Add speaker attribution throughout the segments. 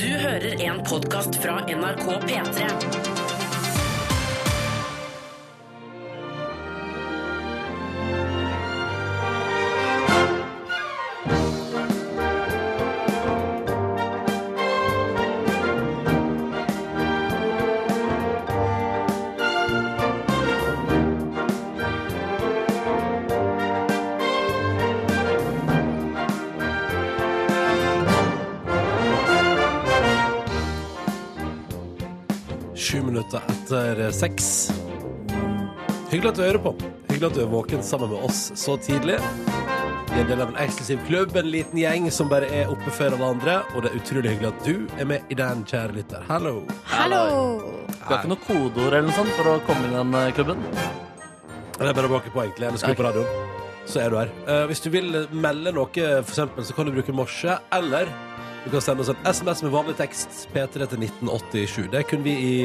Speaker 1: Du hører en podkast fra NRK P3.
Speaker 2: Sju minutter etter seks. Hyggelig at du hører på. Hyggelig at du er våken sammen med oss så tidlig. Vi er en del av en eksklusiv klubb, en liten gjeng som bare er oppe før alle andre. Og det er utrolig hyggelig at du er med i den, kjære lytter. Hallo.
Speaker 3: Hallo!
Speaker 4: Du har ikke noe kodeord eller noe sånt for å komme inn i den eh, klubben?
Speaker 2: Det er bare å bake på, egentlig. Eller skru på radioen. Så er du her. Eh, hvis du vil melde noe, for eksempel, så kan du bruke morse, eller du kan sende oss en SMS med vanlig tekst, P3 til 1987. Det er kun vi i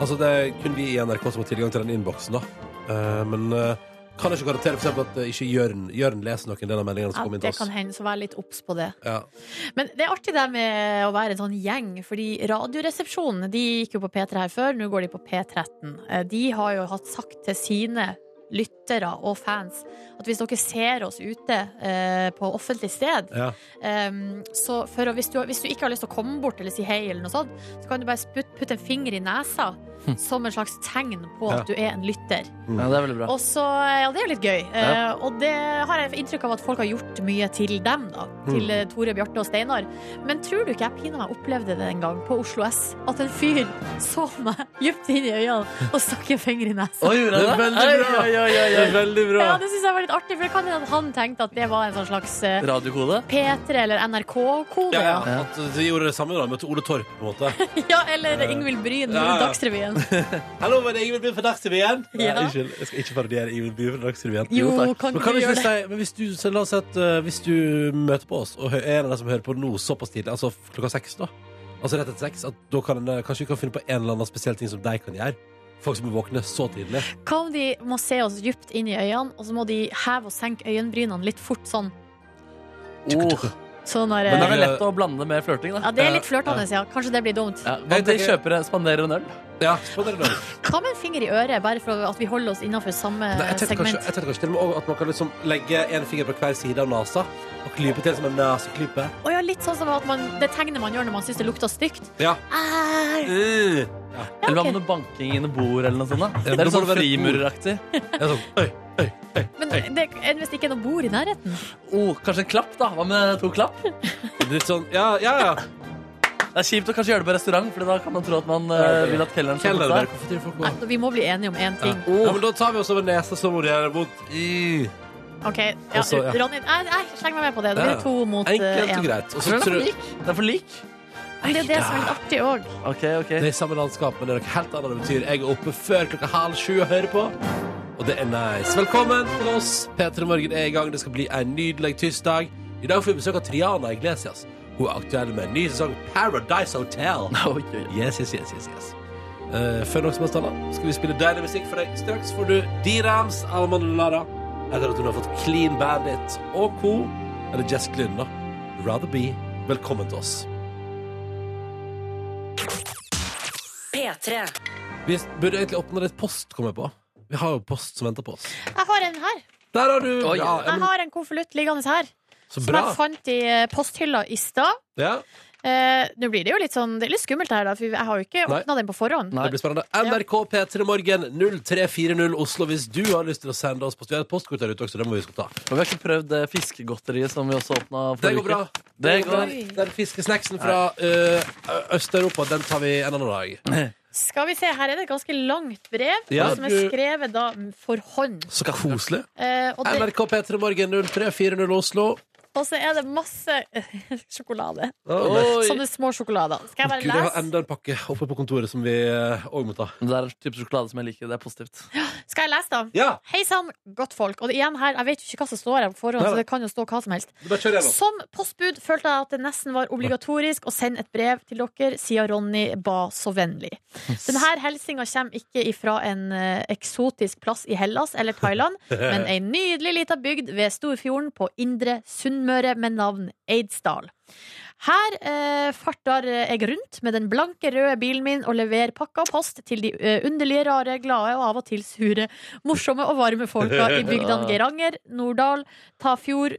Speaker 2: Altså, det er kun vi i NRK som har tilgang til den innboksen, da. Eh, men eh, kan jeg ikke garantere for eksempel at eh, ikke Jørn, Jørn leser noen del av meldingene som
Speaker 3: Ja,
Speaker 2: kommer inn
Speaker 3: det
Speaker 2: til
Speaker 3: kan
Speaker 2: oss.
Speaker 3: hende, så vær litt obs på det.
Speaker 2: Ja.
Speaker 3: Men det er artig det med å være en sånn gjeng, fordi Radioresepsjonen de gikk jo på P3 her før, nå går de på P13. Eh, De har jo hatt sagt til sine lyttere og fans at hvis dere ser oss ute eh, på offentlig sted,
Speaker 2: Ja.
Speaker 3: Ehm, så for, å- hvis, du, hvis du ikke har lyst til å komme bort eller si hei, eller noe sånt, så kan du bare putte, putte en finger i nesa som en slags tegn på at
Speaker 2: Ja.
Speaker 3: du er en lytter.
Speaker 4: Ja, det er veldig bra.
Speaker 3: Og så, ja, det er jo litt gøy. Eh,
Speaker 4: Ja.
Speaker 3: og det har jeg inntrykk av at folk har gjort mye til dem, da. Til
Speaker 2: Mm.
Speaker 3: eh, Tore, Bjarte og Steinar. Men tror du ikke jeg pinadø meg opplevde det en gang på Oslo S? At en fyr så meg dypt inn i øynene og stakk en finger i nesa.
Speaker 4: Oi, gjorde jeg det?
Speaker 2: veldig bra.
Speaker 4: Oi, oi, oi, oi,
Speaker 2: Det er
Speaker 4: oi.
Speaker 2: veldig bra.
Speaker 3: Ja, det syns jeg var litt artig, for det kan hende at han tenkte at det var en sånn slags eh,
Speaker 4: Radiokode?
Speaker 3: P3 eller NRK-kode.
Speaker 2: Ja, ja.
Speaker 3: Ja,
Speaker 2: At du gjorde det samme da, møtte Ole Torp, på en måte.
Speaker 3: eller Ingvild Bryn
Speaker 2: Ja, ja.
Speaker 3: i Dagsrevyen.
Speaker 2: Hallo, var det Ingvild By fra Dagsrevyen?
Speaker 3: Ja.
Speaker 2: Nei, Unnskyld, jeg skal ikke parodiere Ingvild By fra Dagsrevyen.
Speaker 3: Jo,
Speaker 4: takk.
Speaker 3: kan
Speaker 2: Men
Speaker 3: du
Speaker 2: kan du
Speaker 3: gjøre
Speaker 2: ikke
Speaker 3: det?
Speaker 2: si, men hvis du, så la oss si at eh, hvis du møter på oss, og hø- er en av de som hører på nå såpass tidlig, altså f- klokka seks da, altså rett etter seks, at da kan en, eh, kanskje vi kan finne på en eller annen spesiell ting som de kan gjøre. Folk som er våkne så tidlig.
Speaker 3: Hva om de må se oss dypt inn i øynene, og så må de heve og senke øyenbrynene litt fort sånn?
Speaker 4: Oh.
Speaker 3: sånn der,
Speaker 4: Men det
Speaker 3: eh,
Speaker 4: er vel lett å blande med flørting, da.
Speaker 3: Ja, det er
Speaker 2: Eh,
Speaker 3: litt flørtende, ja. Kanskje det blir dumt.
Speaker 4: Ja, hva om de kjøper, spanderer en øl?
Speaker 2: Ja, spennende dag.
Speaker 3: Hva med en finger i øret, bare for at vi holder oss innenfor samme
Speaker 2: Nei, jeg tenkte kanskje,
Speaker 3: Eh, segment?
Speaker 2: jeg tenkte kanskje til og med også at man kan liksom legge en finger på hver side av nasa, og klype til som en naseklype.
Speaker 3: Å ja, litt sånn som at man, det tegnet man gjør når man syns det lukter stygt.
Speaker 2: Ja.
Speaker 3: Æsj!
Speaker 2: Mm.
Speaker 4: Eller hva med noe banking i noe bord eller noe sånt? da?
Speaker 2: Ja,
Speaker 4: Øh. Det er
Speaker 2: da
Speaker 4: litt
Speaker 2: må
Speaker 4: sånn
Speaker 2: det være et bord.
Speaker 4: frimureraktig.
Speaker 2: Jeg er sånn, øy, øy.
Speaker 3: Men det, enn hvis det ikke er noe bord i nærheten?
Speaker 4: Oh, kanskje en klapp, da? Hva med to klapp?
Speaker 2: Det er Litt sånn, ja, ja, ja.
Speaker 4: Det er kjipt å kanskje gjøre det på restaurant, for da kan man tro at man
Speaker 2: Ja,
Speaker 4: eh,
Speaker 2: det-
Speaker 4: vil at kelneren skal
Speaker 2: Kjell, er det
Speaker 4: putte der.
Speaker 2: bare hvorfor til folk
Speaker 3: Nei,
Speaker 2: går?
Speaker 3: vi må bli enige om én ting.
Speaker 2: Ja, men da tar vi oss over nesa så må det gjøre vondt. I.
Speaker 3: OK, ja,
Speaker 2: Og så, ja.
Speaker 3: Ronny, jeg, jeg slenger meg med på det. Da blir det to mot eh,
Speaker 2: Enkelt og
Speaker 3: én.
Speaker 2: greit. Og så
Speaker 4: Tror du
Speaker 2: tror-
Speaker 4: det er for lik? Det er for lik?
Speaker 3: Men Det er det som er litt artig òg.
Speaker 4: Ok, ok.
Speaker 2: Det er samme landskap, men det er noe helt annet det betyr. Jeg er oppe før klokka halv sju og hører på. Og det er nice. Velkommen til oss. P3 Morgen er i gang. Det skal bli en nydelig tirsdag. I dag får vi besøk av Triana Iglesias. Hun er aktuell med en ny sesong Paradise Hotel.
Speaker 4: Oi, oi, oi.
Speaker 2: Yes, yes, yes, yes, yes. Eh, før noe som helst annet skal vi spille deilig musikk for deg. Straks får du D-Rams, Alman Lara. Etter at hun har fått Clean Bandit og co. Eller Jess Glynn, da. Rather Be. Velkommen til oss.
Speaker 1: P3.
Speaker 2: Vi burde egentlig åpne litt post, kom jeg på. Vi har jo post som venter på oss.
Speaker 3: Jeg har en her.
Speaker 2: Der har du!
Speaker 4: Oi.
Speaker 2: ja, ja,
Speaker 3: Jeg
Speaker 2: men,
Speaker 3: har en konvolutt liggende her,
Speaker 2: så
Speaker 3: som
Speaker 2: bra.
Speaker 3: jeg fant i eh, posthylla i stad.
Speaker 2: Ja,
Speaker 3: Eh, Nå blir det jo litt sånn Det er litt skummelt, det her, da, for jeg har jo ikke
Speaker 2: Nei.
Speaker 3: åpna den på forhånd.
Speaker 2: det blir spennende. NRK P3 Morgen 0340 Oslo hvis du har lyst til å sende oss post. Vi har et postkort der ute også, det må vi huske å ta.
Speaker 4: Og vi har ikke prøvd eh, fiskegodteriet som vi også åpna
Speaker 2: Det
Speaker 4: forrige
Speaker 2: går bra.
Speaker 4: uke. Det går
Speaker 3: Oi.
Speaker 2: Den fiskesnacksen fra eh, Øst-Europa, den tar vi en annen dag.
Speaker 3: Skal vi se, her er det et ganske langt brev
Speaker 2: Ja,
Speaker 3: som er
Speaker 2: du-
Speaker 3: skrevet da for hånd.
Speaker 2: Så koselig.
Speaker 3: Eh, og, det,
Speaker 2: NRK P3 Morgen 0340 Oslo.
Speaker 3: og så er det masse eh, sjokolade.
Speaker 2: Oi.
Speaker 3: Sånne små sjokolader. Skal jeg
Speaker 2: Gud, jeg
Speaker 3: bare
Speaker 2: har
Speaker 3: lese,
Speaker 2: enda en pakke oppe på kontoret som vi òg må ta.
Speaker 4: Det er en type sjokolade som jeg liker. Det er positivt.
Speaker 3: Skal jeg lese da?
Speaker 2: Ja!
Speaker 3: Hei sann, godt folk. Og igjen her, jeg vet jo ikke hva som står her på forhånd,
Speaker 2: Nei,
Speaker 3: så
Speaker 2: nei.
Speaker 3: det kan jo stå hva som helst.
Speaker 2: Bare kjør gjennom.
Speaker 3: Som postbud følte jeg at det nesten var obligatorisk å sende et brev til dere, siden Ronny ba så vennlig. Denne hilsinga kommer ikke ifra en eh, eksotisk plass i Hellas eller Thailand, men ei nydelig lita bygd ved Storfjorden på Indre Sund Sunnmøre med navn Eidsdal. Her eh, farter jeg rundt med den blanke, røde bilen min og leverer pakker og post til de eh, underlige, rare, glade og av og til sure, morsomme og varme folka i bygdene Geiranger, Norddal, Tafjord,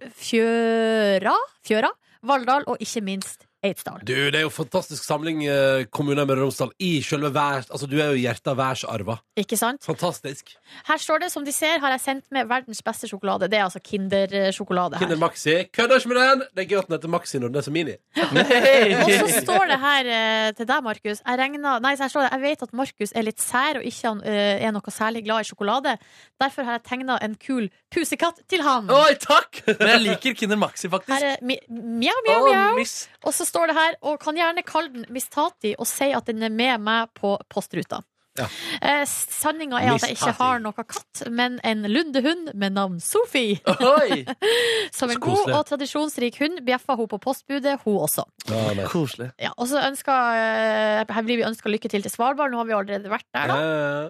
Speaker 3: Fjøra, Fjøra Valldal og ikke minst Eidsdal.
Speaker 2: Du, det er jo fantastisk samling eh, kommuner i Møre og Romsdal i selve værs... Altså, du er jo hjertet av værsarva.
Speaker 3: Ikke sant?
Speaker 2: Fantastisk.
Speaker 3: Her står det, som de ser, har jeg sendt med verdens beste sjokolade. Det er altså Kinder-sjokolade her.
Speaker 2: Kinder Maxi. Kødder ikke med den! Det er gøy at den heter Maxi når den er så mini.
Speaker 3: Og så står det her eh, til deg, Markus Jeg, regner, nei, så her står det, jeg vet at Markus er litt sær og ikke han, eh, er noe særlig glad i sjokolade. Derfor har jeg tegna en kul pusekatt til han.
Speaker 4: Oi, takk! Men jeg liker Kinder Maxi, faktisk.
Speaker 3: Her er mi- mjau, mjau,
Speaker 4: Å,
Speaker 3: mjau.
Speaker 4: miss.
Speaker 3: Og så står det her, og kan gjerne kalle den Miss Tati og si at den er med meg på postruta.
Speaker 2: Ja.
Speaker 3: Eh, Sanninga er
Speaker 2: Miss
Speaker 3: at jeg ikke
Speaker 2: Tati.
Speaker 3: har noe katt, men en lundehund med navn Sophie.
Speaker 4: Oi!
Speaker 3: Som
Speaker 2: Så
Speaker 3: en god
Speaker 2: koselig.
Speaker 3: og tradisjonsrik hund bjeffa hun på postbudet, hun også.
Speaker 2: Ja, nei.
Speaker 4: Koselig.
Speaker 3: Ja, og så ønsker, eh, her blir vi ønska lykke til til Svalbard, nå har vi allerede vært der. da
Speaker 2: Eh,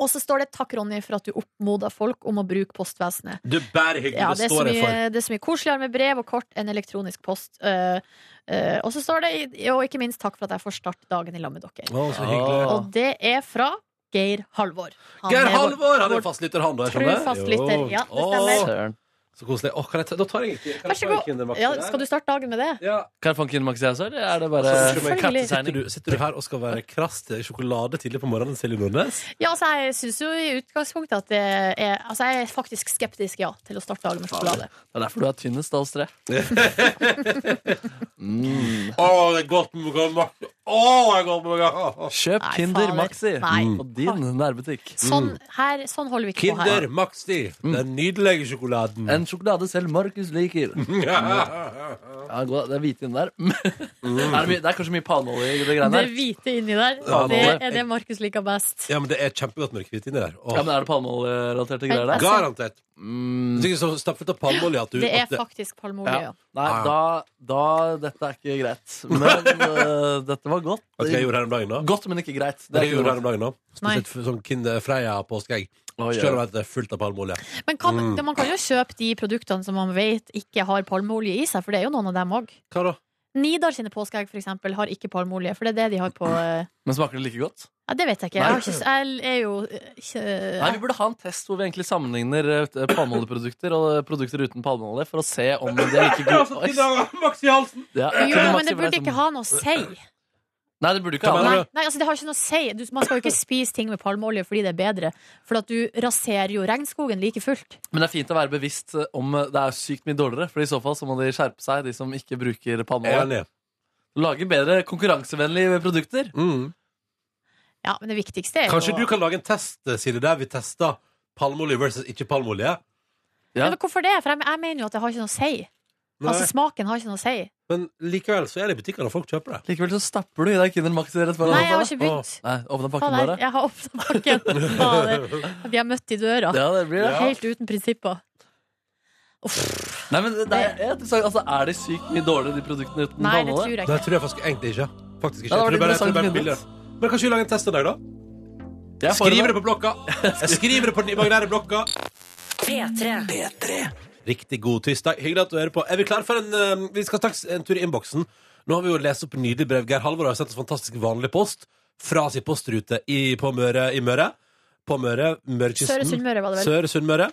Speaker 3: Og så står det 'takk, Ronny, for at du oppmoda folk om å bruke postvesenet'.
Speaker 2: Du, bare hyggelig.
Speaker 3: Ja,
Speaker 2: det,
Speaker 3: det, er så
Speaker 2: står jeg for.
Speaker 3: mye, det er så mye koseligere med brev og kort enn elektronisk post. Eh, eh, og så står det, og ikke minst, takk for at jeg får starte dagen i lag med dere.
Speaker 2: Å, så hyggelig.
Speaker 3: Og det er fra Geir Halvor. Han
Speaker 2: Geir
Speaker 3: er vår-
Speaker 2: Halvor! Han
Speaker 3: vår
Speaker 2: er fastlytter, han. da, jeg
Speaker 3: Tru
Speaker 2: skjønner.
Speaker 3: fastlytter.
Speaker 2: Jo.
Speaker 3: Ja, det
Speaker 2: Å,
Speaker 3: stemmer.
Speaker 4: Søren.
Speaker 2: Så koselig. Å, kan jeg ta, da tar jeg en Kinder- kan
Speaker 3: Vær
Speaker 2: jeg
Speaker 3: så
Speaker 2: ta en Kinder
Speaker 3: god.
Speaker 2: Maxi
Speaker 3: Ja,
Speaker 2: der?
Speaker 3: skal du starte dagen med det?
Speaker 2: Ja.
Speaker 4: Kan jeg få en Kinder Maxi også, eller er det bare
Speaker 3: Selvfølgelig.
Speaker 2: Sitter
Speaker 4: kattetegning?
Speaker 2: du, sitter du her og skal være krass til sjokolade tidlig på morgenen, Silje Nordnes?
Speaker 3: Ja, altså Jeg syns jo i utgangspunktet at det er Altså jeg er faktisk skeptisk, ja, til å starte dagen med sjokolade.
Speaker 4: Det er derfor du er tynnest av oss tre. Mm.
Speaker 2: Å, det er godt med Maxi! Å, det er godt med Maxi!
Speaker 4: Kjøp
Speaker 3: Nei,
Speaker 4: Kinder
Speaker 3: fader.
Speaker 4: Maxi
Speaker 3: Nei.
Speaker 4: på din nærbutikk.
Speaker 3: Sånn, her, sånn holder vi ikke på her.
Speaker 2: Kinder Maxi. Den nydelige sjokoladen. Mm.
Speaker 4: En sjokolade selv Markus liker.
Speaker 2: Ja.
Speaker 4: Ja, gå- det er hvite inni der. Er det, mye, det er kanskje mye palmeolje i det greiene
Speaker 3: Det
Speaker 4: her.
Speaker 3: hvite inni der,
Speaker 4: Ja,
Speaker 3: det
Speaker 4: det-
Speaker 3: er det Markus liker best.
Speaker 2: men det er kjempegodt med hvitt inni der. Å,
Speaker 4: Ja, men Er det palmeoljerelaterte greier
Speaker 3: altså,
Speaker 4: der?
Speaker 2: Garantert.
Speaker 4: Mm.
Speaker 2: Du er så stappfullt av palmeolje at du
Speaker 3: Det er
Speaker 2: at det-
Speaker 3: faktisk palmeolje.
Speaker 4: Ja.
Speaker 3: Ja.
Speaker 4: Nei,
Speaker 2: Ja.
Speaker 4: da, da Dette er ikke greit. Men eh, dette var godt.
Speaker 2: Vet du hva jeg gjorde her om dagen, da?
Speaker 4: Godt, men ikke greit.
Speaker 2: Det jeg
Speaker 4: ikke
Speaker 2: gjorde
Speaker 4: noe.
Speaker 2: her om dagen da
Speaker 3: Nei.
Speaker 2: Spesielt f- sånn Kinder Freia påskeegg.
Speaker 4: Oi, oi.
Speaker 2: Selv om det er fullt av palmeolje.
Speaker 3: Men kan, man kan jo kjøpe de produktene som man vet ikke har palmeolje i seg, for det er jo noen av dem òg.
Speaker 2: Hva da?
Speaker 3: Nidar sine påskeegg for eksempel, har ikke palmeolje, for det er det de har på eh,
Speaker 4: Men smaker det like godt?
Speaker 3: ja, Det vet jeg ikke. Jeg, har ikke, s- jeg er jo eh, ikke
Speaker 4: Nei, Vi burde ha en test hvor vi egentlig sammenligner eh, palmeoljeprodukter og eh, produkter uten palmeolje for å se om de er like gode. Oi,
Speaker 2: Maxi i halsen!
Speaker 4: ja, jeg kunne
Speaker 3: Jo, men det
Speaker 4: maksimert
Speaker 3: burde
Speaker 4: som-
Speaker 3: ikke ha noe å si.
Speaker 4: Nei, det burde ikke ha
Speaker 2: Hva
Speaker 4: det.
Speaker 2: mener
Speaker 3: Nei, nei altså, det har ikke noe å si. Du, man skal jo ikke spise ting med palmeolje fordi det er bedre, for at du raserer jo regnskogen like fullt.
Speaker 4: Men det er fint å være bevisst eh, om eh, det er sykt mye dårligere. For i så fall så må de skjerpe seg, de som ikke bruker palmeolje.
Speaker 2: Enig.
Speaker 4: Lage bedre konkurransevennlige produkter.
Speaker 2: Mm.
Speaker 3: Ja, men det viktigste er jo
Speaker 2: Kanskje du kan lage en test, Silje, der vi tester palmeolje versus ikke palmeolje?
Speaker 4: Ja.
Speaker 3: Men hvorfor det? For jeg, jeg mener jo at det har ikke noe å si.
Speaker 2: Nei.
Speaker 3: Altså, smaken har ikke noe å si.
Speaker 2: Men likevel så er det i butikkene folk kjøper det.
Speaker 4: Likevel så stapper du i deg Kinder Maxi rett foran
Speaker 3: Nei, jeg har
Speaker 4: nesa.
Speaker 3: ikke begynt.
Speaker 4: Nei, åpna
Speaker 3: Faen,
Speaker 4: pakken
Speaker 3: jeg-
Speaker 4: vår.
Speaker 3: Jeg har åpna pakken. Fader. Vi har møtt i døra.
Speaker 4: Ja, det blir det.
Speaker 3: Helt uten prinsipper.
Speaker 4: Nei, men det er, jeg, tror- altså, er det sykt mye dårligere, de produktene uten
Speaker 3: Nei, det tror
Speaker 4: palmeolje?
Speaker 3: jeg
Speaker 2: Nei,
Speaker 3: ikke.
Speaker 2: tror jeg faktisk egentlig ikke. Faktisk ikke.
Speaker 4: Ja, det
Speaker 2: Jeg tror
Speaker 4: var
Speaker 2: bare- jeg tror
Speaker 4: interessant
Speaker 2: bare det er
Speaker 4: funnet.
Speaker 2: billigere. Men kanskje vi lager en test en dag, da?
Speaker 4: Jeg får
Speaker 2: Skriver
Speaker 4: det.
Speaker 2: det på blokka. Jeg skriver det på den imaginære blokka.
Speaker 1: P3.
Speaker 2: Riktig god tirsdag. Hyggelig at du hører på. Er vi klare for en eh, Vi skal ta en tur i innboksen. Nå har vi jo lest opp nydelig brev. Geir Halvor har sendt oss fantastisk vanlig post fra sin postrute i, på Møre i Møre. På Møre, Mørekysten.
Speaker 3: Søre Sunnmøre var det vel.
Speaker 2: Søre Sunnmøre.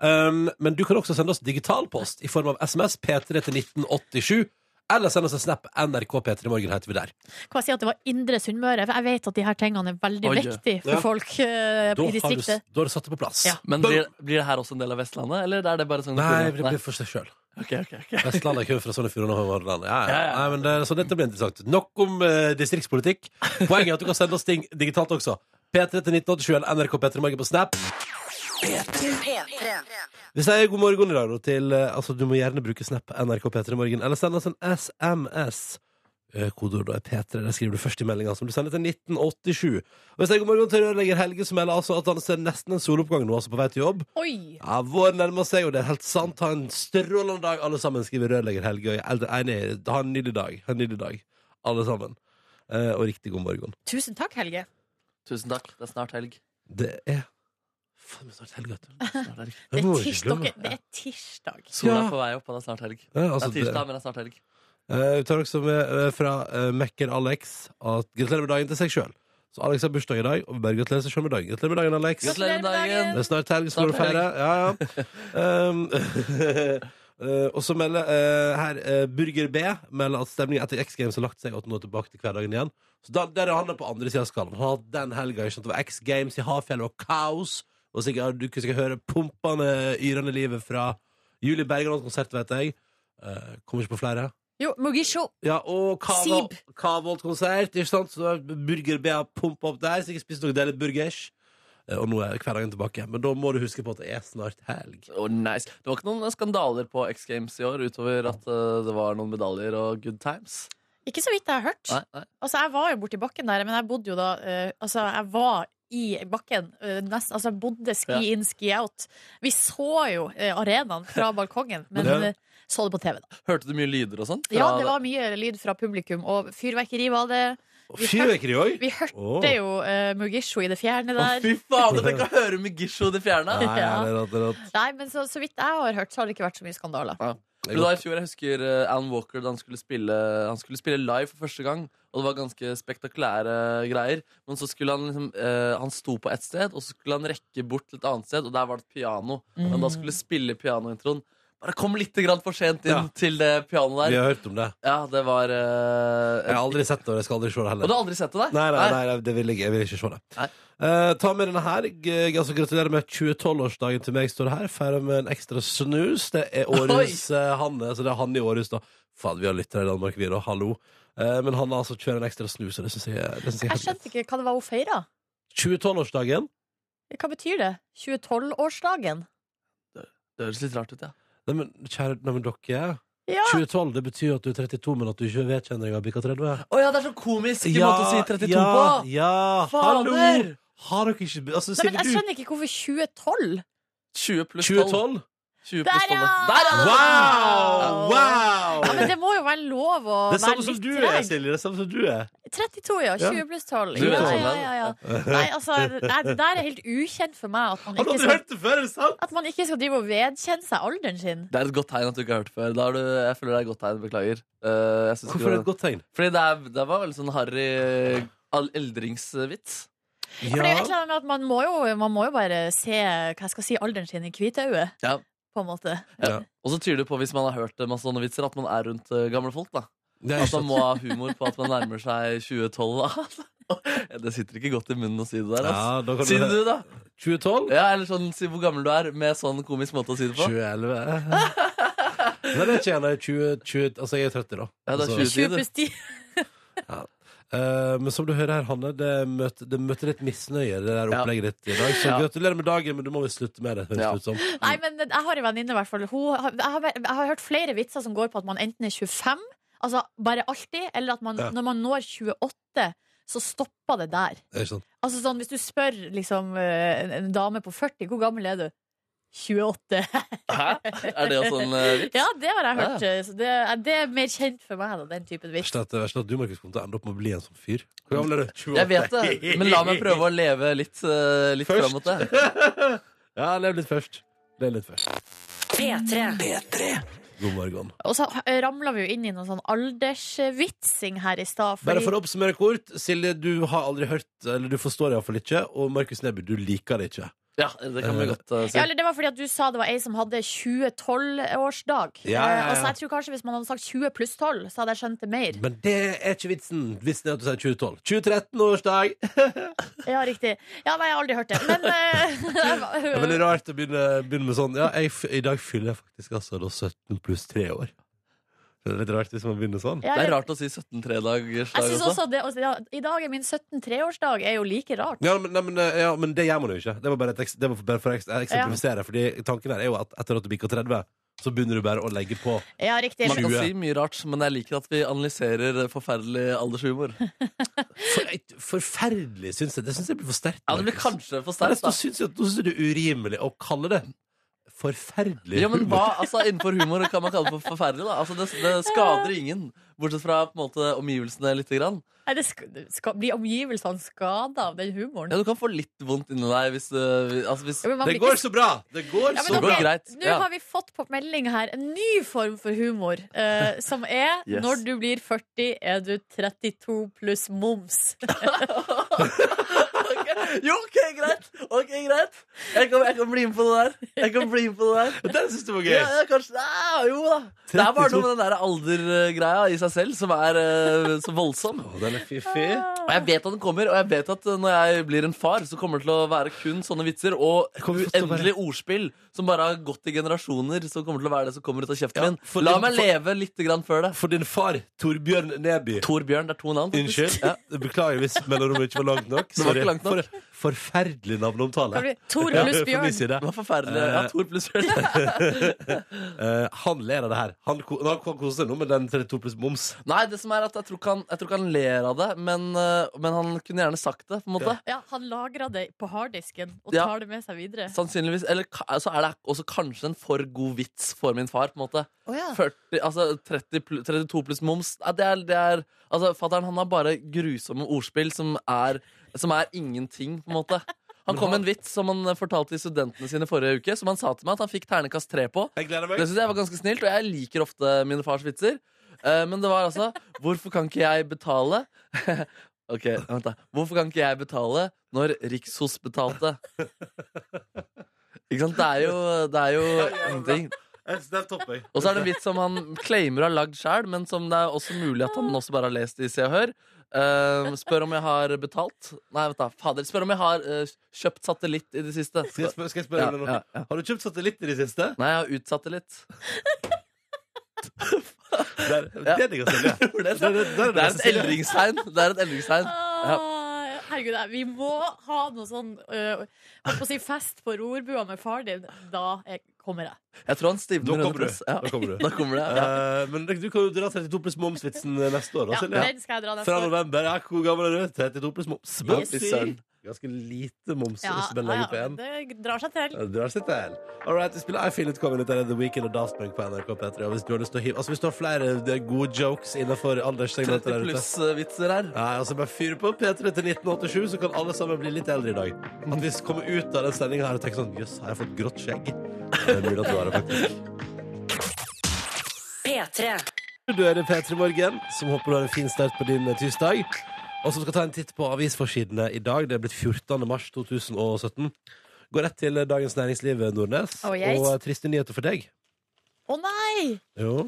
Speaker 2: Um, men du kan også sende oss digital post i form av SMS P3 til 1987. Eller send oss en snap NRK P3 Morgen heter vi der.
Speaker 3: Kan jeg si at det var Indre Sunnmøre? For jeg vet at de her tingene er veldig
Speaker 4: Oi, ja.
Speaker 3: viktige for
Speaker 2: Ja.
Speaker 3: folk
Speaker 2: Da
Speaker 3: eh, i
Speaker 2: har, du,
Speaker 3: distriktet.
Speaker 2: da har du satt det på plass.
Speaker 3: Ja.
Speaker 4: Men blir, blir det her også en del av Vestlandet, eller er det bare sånn
Speaker 2: Nei, det blir for seg sjøl.
Speaker 4: Ok, ok, ok.
Speaker 2: Vestlandet er kun fra Sogn og Fjordane og Hordaland. Ja, ja.
Speaker 4: Ja, ja.
Speaker 2: Nei, men det, så dette blir interessant. Nok om eh, distriktspolitikk. Poenget er at du kan sende oss ting digitalt også. P3 til 1987 eller NRK P3 Morgen på Snap.
Speaker 1: P3.
Speaker 2: Vi sier god morgen i dag da, til eh, Altså, du må gjerne bruke Snap NRK P3 Morgen, eller send oss en SMS. Eh, Kodeordet er P3. Det skriver du først i meldinga, som du sender til 1987. Og vi sier god morgen til rørlegger Helge, som melder altså at han ser nesten en soloppgang nå, altså på vei til jobb.
Speaker 3: Oi!
Speaker 2: Ja, Vår nærmer seg, og det er helt sant. Ha en strålende dag, alle sammen, skriver rørlegger Helge. Og jeg er helt enig. Ha en nydelig dag. Ha en nydelig dag, alle sammen. Eh, og riktig god morgen.
Speaker 3: Tusen takk, Helge.
Speaker 4: Tusen takk. Det er snart helg.
Speaker 2: Det er Faen, det er snart helg, vet du.
Speaker 4: Snart helg.
Speaker 3: Det
Speaker 2: Jeg
Speaker 3: er
Speaker 2: må ikke
Speaker 3: tirsdag.
Speaker 2: glemme.
Speaker 3: dere. Det er tirsdag.
Speaker 4: Sola
Speaker 2: Ja.
Speaker 4: er på vei opp, og det er snart helg.
Speaker 2: Ja, altså,
Speaker 4: Det er
Speaker 2: det-
Speaker 4: tirsdag, men det er snart helg.
Speaker 2: Eh, Vi tar også med eh, fra eh, Mekker Alex at gratulerer med dagen til seg sjøl. Så Alex har bursdag i dag, og vi bare gratulerer seg sjøl med dagen. Gratulerer med dagen, Alex.
Speaker 4: Gratulerer med dagen.
Speaker 2: Det er snart helg, skal du
Speaker 4: Eh, Snart
Speaker 2: feire. Ja, ja. Um, eh, og så melder eh, her eh, Burger B melder at stemningen etter X Games har lagt seg, og at nå er tilbake til hverdagen igjen. Så da, der er han på andre sida av skallen. Han har hatt den helga. ikke sant? Det var X Games i Hafjell og kaos. Og sikkert, du kunne sikkert høre pumpende, yrende livet fra Julie Bergerlands konsert, vet jeg. Eh, kommer ikke på flere.
Speaker 3: Jo, Mogisho.
Speaker 2: Ja, og
Speaker 3: Sib.
Speaker 2: Kavolt-konsert, ikke sant? Så Burger B har pumpa opp der, så jeg spiste noen deler burgers. Eh, Og nå er hverdagen tilbake. Men da må du huske på at det er snart helg.
Speaker 4: Å, nice. Det var ikke noen skandaler på X Games i år, utover at eh, det var noen medaljer og good times.
Speaker 3: Ikke så vidt jeg har hørt.
Speaker 4: Nei, nei.
Speaker 3: Altså, jeg var jo borti bakken der, men jeg bodde jo da eh, Altså, jeg var i bakken. eh, nesten, altså, jeg bodde ski in, ski out. Vi så jo eh, arenaen fra balkongen, men
Speaker 2: Ja.
Speaker 3: eh, så det på TV, da.
Speaker 4: Hørte du mye lyder og sånn?
Speaker 3: Ja, det var mye lyd fra publikum, og fyrverkeri var det.
Speaker 2: Og Fyrverkeri òg!
Speaker 3: Vi hørte
Speaker 2: Åh.
Speaker 3: jo eh, Mugisho i det fjerne
Speaker 4: Å,
Speaker 3: der.
Speaker 4: fy fader, tenk å høre Mugisho det fjerna!
Speaker 2: Nei, det er rått, det er rått.
Speaker 3: Nei, men så, så vidt jeg har hørt, så har det ikke vært så mye skandaler.
Speaker 2: Det
Speaker 4: Det
Speaker 2: er
Speaker 4: var i
Speaker 2: godt.
Speaker 4: fjor, jeg husker eh, Alan Walker da han skulle spille Han skulle spille live for første gang, og det var ganske spektakulære greier. Men så skulle han liksom eh, Han sto på ett sted, og så skulle han rekke bort til et annet sted, og der var det et piano. Men da skulle spille pianointroen. Bare kom litt grann for sent inn
Speaker 2: Ja.
Speaker 4: til det pianoet
Speaker 2: Vi
Speaker 4: der.
Speaker 2: har hørt om det.
Speaker 4: Ja, det var eh,
Speaker 2: Jeg har aldri sett det, og jeg skal aldri se det
Speaker 4: Og
Speaker 2: heller.
Speaker 4: du har aldri sett det der?
Speaker 2: Nei, nei, nei, nei det vil jeg, jeg vil ikke se det.
Speaker 4: Nei.
Speaker 2: Eh, ta med denne her. G- altså, gratulerer med 2012-årsdagen til meg, står det her. Feirer med en ekstra snus. Det er årets eh, Hanne. Så det er Hanne i Århus, da. Faen, vi har lyttere i Danmark, vi, da. Hallo. Eh, men Hanne altså kjører en ekstra snus, og det syns jeg, det synes jeg,
Speaker 3: Jeg skjønte ikke hva det var hun feira.
Speaker 2: 2012-årsdagen.
Speaker 3: Hva betyr det? 2012-årsdagen?
Speaker 4: Det høres litt rart ut, ja.
Speaker 2: Nei, men kjære Nei, men dere.
Speaker 3: Ja!
Speaker 2: 2012 det betyr at du er 32, men at du ikke vet kjenner deg av bikka 30.
Speaker 4: Å ja, det er så komisk i måte å si 32
Speaker 2: ja,
Speaker 4: på!
Speaker 2: Ja,
Speaker 4: Fader!
Speaker 2: hallo! Har dere ikke altså,
Speaker 3: Nei, men jeg
Speaker 2: Sikkert du
Speaker 3: skjønner ikke hvorfor 2012.
Speaker 4: 20 pluss 12.
Speaker 2: 2012?
Speaker 4: 20
Speaker 3: Der,
Speaker 4: pluss 12.
Speaker 3: ja!
Speaker 4: Der, ja!
Speaker 2: Wow! Wow!
Speaker 3: Ja, men det må jo være lov å
Speaker 2: Det er
Speaker 3: være
Speaker 2: samme som
Speaker 3: litt
Speaker 2: du er,
Speaker 3: treg.
Speaker 2: Silje. Det er samme som du er.
Speaker 3: 32, ja.
Speaker 2: Ja.
Speaker 3: 20 pluss 12.
Speaker 4: Du
Speaker 3: Ja,
Speaker 4: vet
Speaker 3: ja,
Speaker 4: sånn,
Speaker 3: ja, ja. Nei, altså, nei, det der er helt ukjent for meg at
Speaker 2: Har
Speaker 3: man
Speaker 2: du
Speaker 3: ikke
Speaker 2: aldri
Speaker 3: skal,
Speaker 2: hørt det før? Er det sant?
Speaker 3: at man ikke skal drive og vedkjenne seg alderen sin.
Speaker 4: Det er et godt tegn at du ikke har hørt det før. Da har du, jeg føler det er et godt tegn, beklager. Eh, jeg synes
Speaker 2: Hvorfor er det
Speaker 4: ikke
Speaker 2: et godt tegn?
Speaker 4: det- Fordi det, er, det var veldig sånn harry all- eldringsvits.
Speaker 3: For det er jo et eller annet med at man må jo, man må jo bare se hva jeg skal si, alderen sin i hvitauget.
Speaker 4: Ja.
Speaker 3: På en måte.
Speaker 2: Ja.
Speaker 4: Og så tyder det på, hvis man har hørt eh, masse sånne vitser, at man er rundt eh, gamle folk. da
Speaker 2: Det
Speaker 4: At
Speaker 2: er
Speaker 4: man må ha humor på at man nærmer seg 2012. da Det sitter ikke godt i munnen å si det der. Altså.
Speaker 2: Ja, da kan
Speaker 4: Si det
Speaker 2: du
Speaker 4: du, da.
Speaker 2: 2012?
Speaker 4: Ja, eller sånn, si hvor gammel du er, med sånn komisk måte å si det på.
Speaker 2: 2011? Nei, det er ikke gjerne 20, 20 Altså, jeg er 30, da.
Speaker 4: Ja, det er
Speaker 2: Altså,
Speaker 4: 20.
Speaker 3: 20 pluss 10.
Speaker 2: eh, men som du hører her, Hanne, det møter, det møter litt misnøye, det der
Speaker 4: Ja.
Speaker 2: opplegget ditt i dag. Så
Speaker 4: Ja.
Speaker 2: gratulerer med dagen, men du må vel slutte med det, høres
Speaker 4: Ja.
Speaker 2: det ut som.
Speaker 3: Nei, men jeg har en venninne, i hvert fall. Hun, har- jeg, har, jeg har hørt flere vitser som går på at man enten er 25, altså bare alltid, eller at man,
Speaker 2: Ja.
Speaker 3: når man når 28, så stopper det der.
Speaker 2: Det er ikke sant.
Speaker 3: Altså sånn, Hvis du spør liksom, eh, en, en dame på 40 hvor gammel er du? 28.
Speaker 4: Hæ? Er det også en eh, vits?
Speaker 3: ja, det har jeg
Speaker 4: Ja.
Speaker 3: hørt. eh, Så det, er- det er mer kjent for meg, da, den typen vits.
Speaker 2: Verst at, verst at du, Markus, kommer til å ende opp med å bli en sånn fyr. Hvor gammel er du? 28.
Speaker 4: Jeg vet det, men la meg prøve å leve litt, eh, litt
Speaker 2: Først.
Speaker 4: fram mot det.
Speaker 2: Ja, lev litt først. Lev litt først.
Speaker 1: P3.
Speaker 2: God morgen.
Speaker 3: Og så ramla vi jo inn i noen sånn aldersvitsing her i stad.
Speaker 2: Bare
Speaker 3: fordi-
Speaker 2: for å oppsummere kort, Silje, du har aldri hørt, eller du forstår iallfall ikke, og Markus Neby, du liker det ikke.
Speaker 4: Ja, det kan vi godt eh, si.
Speaker 3: ja, eller det var fordi at du sa det var ei som hadde 2012-årsdag.
Speaker 2: Ja, ja, ja.
Speaker 3: Og så jeg tror kanskje Hvis man hadde sagt 20 pluss 12, så hadde jeg skjønt det mer.
Speaker 2: Men det er ikke vitsen. Vitsen er at du sier 2012. 2013-årsdag!
Speaker 3: Ja, riktig. Ja, nei, jeg har aldri hørt det. Men eh,
Speaker 2: Det er veldig rart å begynne, begynne med sånn. Ja, jeg, f- I dag fyller jeg faktisk altså da 17 pluss 3 år. Det er litt rart hvis man begynner sånn.
Speaker 3: Ja,
Speaker 4: Det er
Speaker 3: eller-
Speaker 4: rart å si 17-3-dagersdag
Speaker 3: Jeg synes
Speaker 4: også.
Speaker 3: også det, altså, ja, I dag er min 17-3-årsdag er jo like rart.
Speaker 2: Ja men, nei, men, eh, ja, men det gjør man jo ikke. Det var bare, et, eks- det var bare for å eks- eksemplifisere. Fordi tanken her er jo at etter at du bikker 30, så begynner du bare å legge på.
Speaker 3: Ja, riktig.
Speaker 4: Man kan
Speaker 2: 20.
Speaker 4: si mye rart, men jeg liker at vi analyserer forferdelig aldershumor.
Speaker 2: For, forferdelig, syns jeg. Det syns jeg blir for sterkt.
Speaker 4: Ja, det blir
Speaker 2: Markus.
Speaker 4: kanskje for
Speaker 2: Nei,
Speaker 4: sterkt,
Speaker 2: Nå
Speaker 4: da.
Speaker 2: syns jeg, nå synes jeg det er urimelig å kalle det forferdelig
Speaker 4: Ja, men hva, altså Innenfor humor kan man kalle det for forferdelig. da Altså Det, det skader ingen, bortsett fra på en måte omgivelsene lite grann.
Speaker 3: Nei, det sk- det skal, blir omgivelsene skada av den humoren?
Speaker 4: Ja, Du kan få litt vondt inni deg hvis, øh, altså, hvis
Speaker 3: Ja, men man
Speaker 2: Det
Speaker 3: blir
Speaker 2: går
Speaker 3: ikke-
Speaker 2: så bra! Det går
Speaker 3: Ja, men
Speaker 2: så
Speaker 4: det
Speaker 3: ok,
Speaker 2: bra!
Speaker 4: går greit.
Speaker 3: Nå
Speaker 4: Ja.
Speaker 3: har vi fått på melding her en ny form for humor, eh, som er
Speaker 4: Yes.
Speaker 3: når du blir 40, er du 32 pluss moms.
Speaker 4: Jo, ok, greit. Ok, greit Jeg kan, jeg kan bli med på det der. Jeg kan bli med på det der
Speaker 2: Den syns du var
Speaker 4: ja, ja, kanskje, ja, Jo da. Det er bare noe med den der aldergreia i seg selv som er øh, så voldsom.
Speaker 2: Å, den er fiffig.
Speaker 4: Og jeg vet at den kommer, og jeg vet at eh, når jeg blir en far, så kommer det til å være kun sånne vitser og
Speaker 2: Kommer til å
Speaker 4: uendelig ordspill som bare har gått i generasjoner, som kommer til å være det som kommer ut av kjeften
Speaker 2: Ja,
Speaker 4: min.
Speaker 2: for-
Speaker 4: La meg
Speaker 2: for-
Speaker 4: leve litt grann før det.
Speaker 2: For din far, Torbjørn Neby
Speaker 4: Torbjørn, det er to navn. faktisk.
Speaker 2: Unnskyld.
Speaker 4: Ja.
Speaker 2: Beklager hvis mellomrommet ikke var langt nok.
Speaker 4: var
Speaker 2: Sorry.
Speaker 4: ikke langt nok.
Speaker 2: For, forferdelig navneomtale.
Speaker 3: Kan du- Tor
Speaker 2: Ja,
Speaker 3: pluss
Speaker 2: fra min
Speaker 3: Bjørn.
Speaker 2: side.
Speaker 4: Det var forferdelig. Ja, Tor pluss Bjørn.
Speaker 2: Eh, han ler av det her. Han, ko- han kan kose seg nå med den 32 pluss moms.
Speaker 4: Nei, det som er at jeg tror ikke han, jeg tror ikke han ler av det, men, øh, men han kunne gjerne sagt det, på en måte.
Speaker 3: Ja, han lagra det på harddisken og
Speaker 4: Ja.
Speaker 3: tar det med seg videre.
Speaker 2: Sånn.
Speaker 4: Sannsynligvis. Eller ka- så er det også kanskje en for god vits for min far, på en måte.
Speaker 3: Å ja.
Speaker 4: 40, altså 30 pl 32 pluss moms Nei, det er, det er, altså, Fatteren han har bare grusomme ordspill som er, som er ingenting, på en måte. Han kom med en vits som han fortalte til studentene sine forrige uke, som han sa til meg at han fikk ternekast tre på.
Speaker 2: Jeg gleder
Speaker 4: Det
Speaker 2: meg.
Speaker 4: synes jeg var ganske snilt, og jeg liker ofte mine fars vitser. Eh, men det var altså Hvorfor kan ikke jeg betale? ok, vent da. Hvorfor kan ikke jeg betale når Rikshospitalet Ikke sant? Det er jo, det er jo ingenting.
Speaker 2: Jeg synes Den topper jeg.
Speaker 4: Og så er det en vits som han claimer å ha lagd sjøl, men som det er også mulig at han også bare har lest i Se og Hør. Eh, spør om jeg har betalt Nei, vent da. Fader. Spør om jeg har eh, kjøpt satellitt i det siste.
Speaker 2: Skal jeg spørre, skal jeg spørre
Speaker 4: Ja,
Speaker 2: deg om noe?
Speaker 4: ja, ja.
Speaker 2: Har du kjøpt satellitt i det siste?
Speaker 4: Nei, jeg har utsatt det litt.
Speaker 2: Der,
Speaker 4: Ja.
Speaker 2: Det er det jeg kan selge.
Speaker 4: Hvor er det
Speaker 2: Der- der- der er
Speaker 4: Det er
Speaker 2: nesten
Speaker 4: et
Speaker 2: Silje.
Speaker 4: eldringstegn. Det er et eldringstegn.
Speaker 3: Ah, Herregud, jeg- vi må ha noe sånn øh, holdt på å si fest på rorbua med far din. Da jeg, kommer jeg.
Speaker 4: Jeg tror han
Speaker 2: Da
Speaker 4: stivner
Speaker 2: kommer du.
Speaker 4: press. Ja.
Speaker 2: Da kommer du.
Speaker 4: Da kommer det. Ja.
Speaker 2: Eh, men du kan jo dra 32 pluss moms-vitsen eh, neste år. Da,
Speaker 3: Ja,
Speaker 2: Silje.
Speaker 3: den skal jeg dra neste
Speaker 2: Fra
Speaker 3: år.
Speaker 2: november. Ja, hvor gammel er du? 32 pluss moms.
Speaker 4: Yes.
Speaker 2: Fy søren. Ganske lite moms.
Speaker 3: Ja,
Speaker 2: hvis du bare
Speaker 3: ja,
Speaker 2: legger på en.
Speaker 3: det drar seg til.
Speaker 2: Ja, Det drar seg til. All right, vi spiller I Feel It Coming Ut av The Weekend og Daft Punk på NRK P3. Og hvis du har lyst til å hive Altså, hvis du har flere eh, gode jokes innenfor alderssegmentet
Speaker 4: 30
Speaker 2: der ute
Speaker 4: pluss-vitser her.
Speaker 2: Nei, altså bare fyr på P3 til 1987, så kan alle sammen bli litt eldre i dag. At vi kommer ut av den sendinga her og tenker sånn Jøss, har jeg fått grått skjegg? Det er mulig at du har det, faktisk.
Speaker 1: P3.
Speaker 2: Du er det P3 Morgen, som håper du har en fin start på din eh, tirsdag. Og som skal ta en titt på avisforsidene i dag. Det er blitt 14. mars 2017. Går rett til eh, Dagens Næringsliv, eh, Nordnes.
Speaker 3: Oh, yes.
Speaker 2: Og eh, triste nyheter for deg.
Speaker 3: Å nei!
Speaker 2: Jo.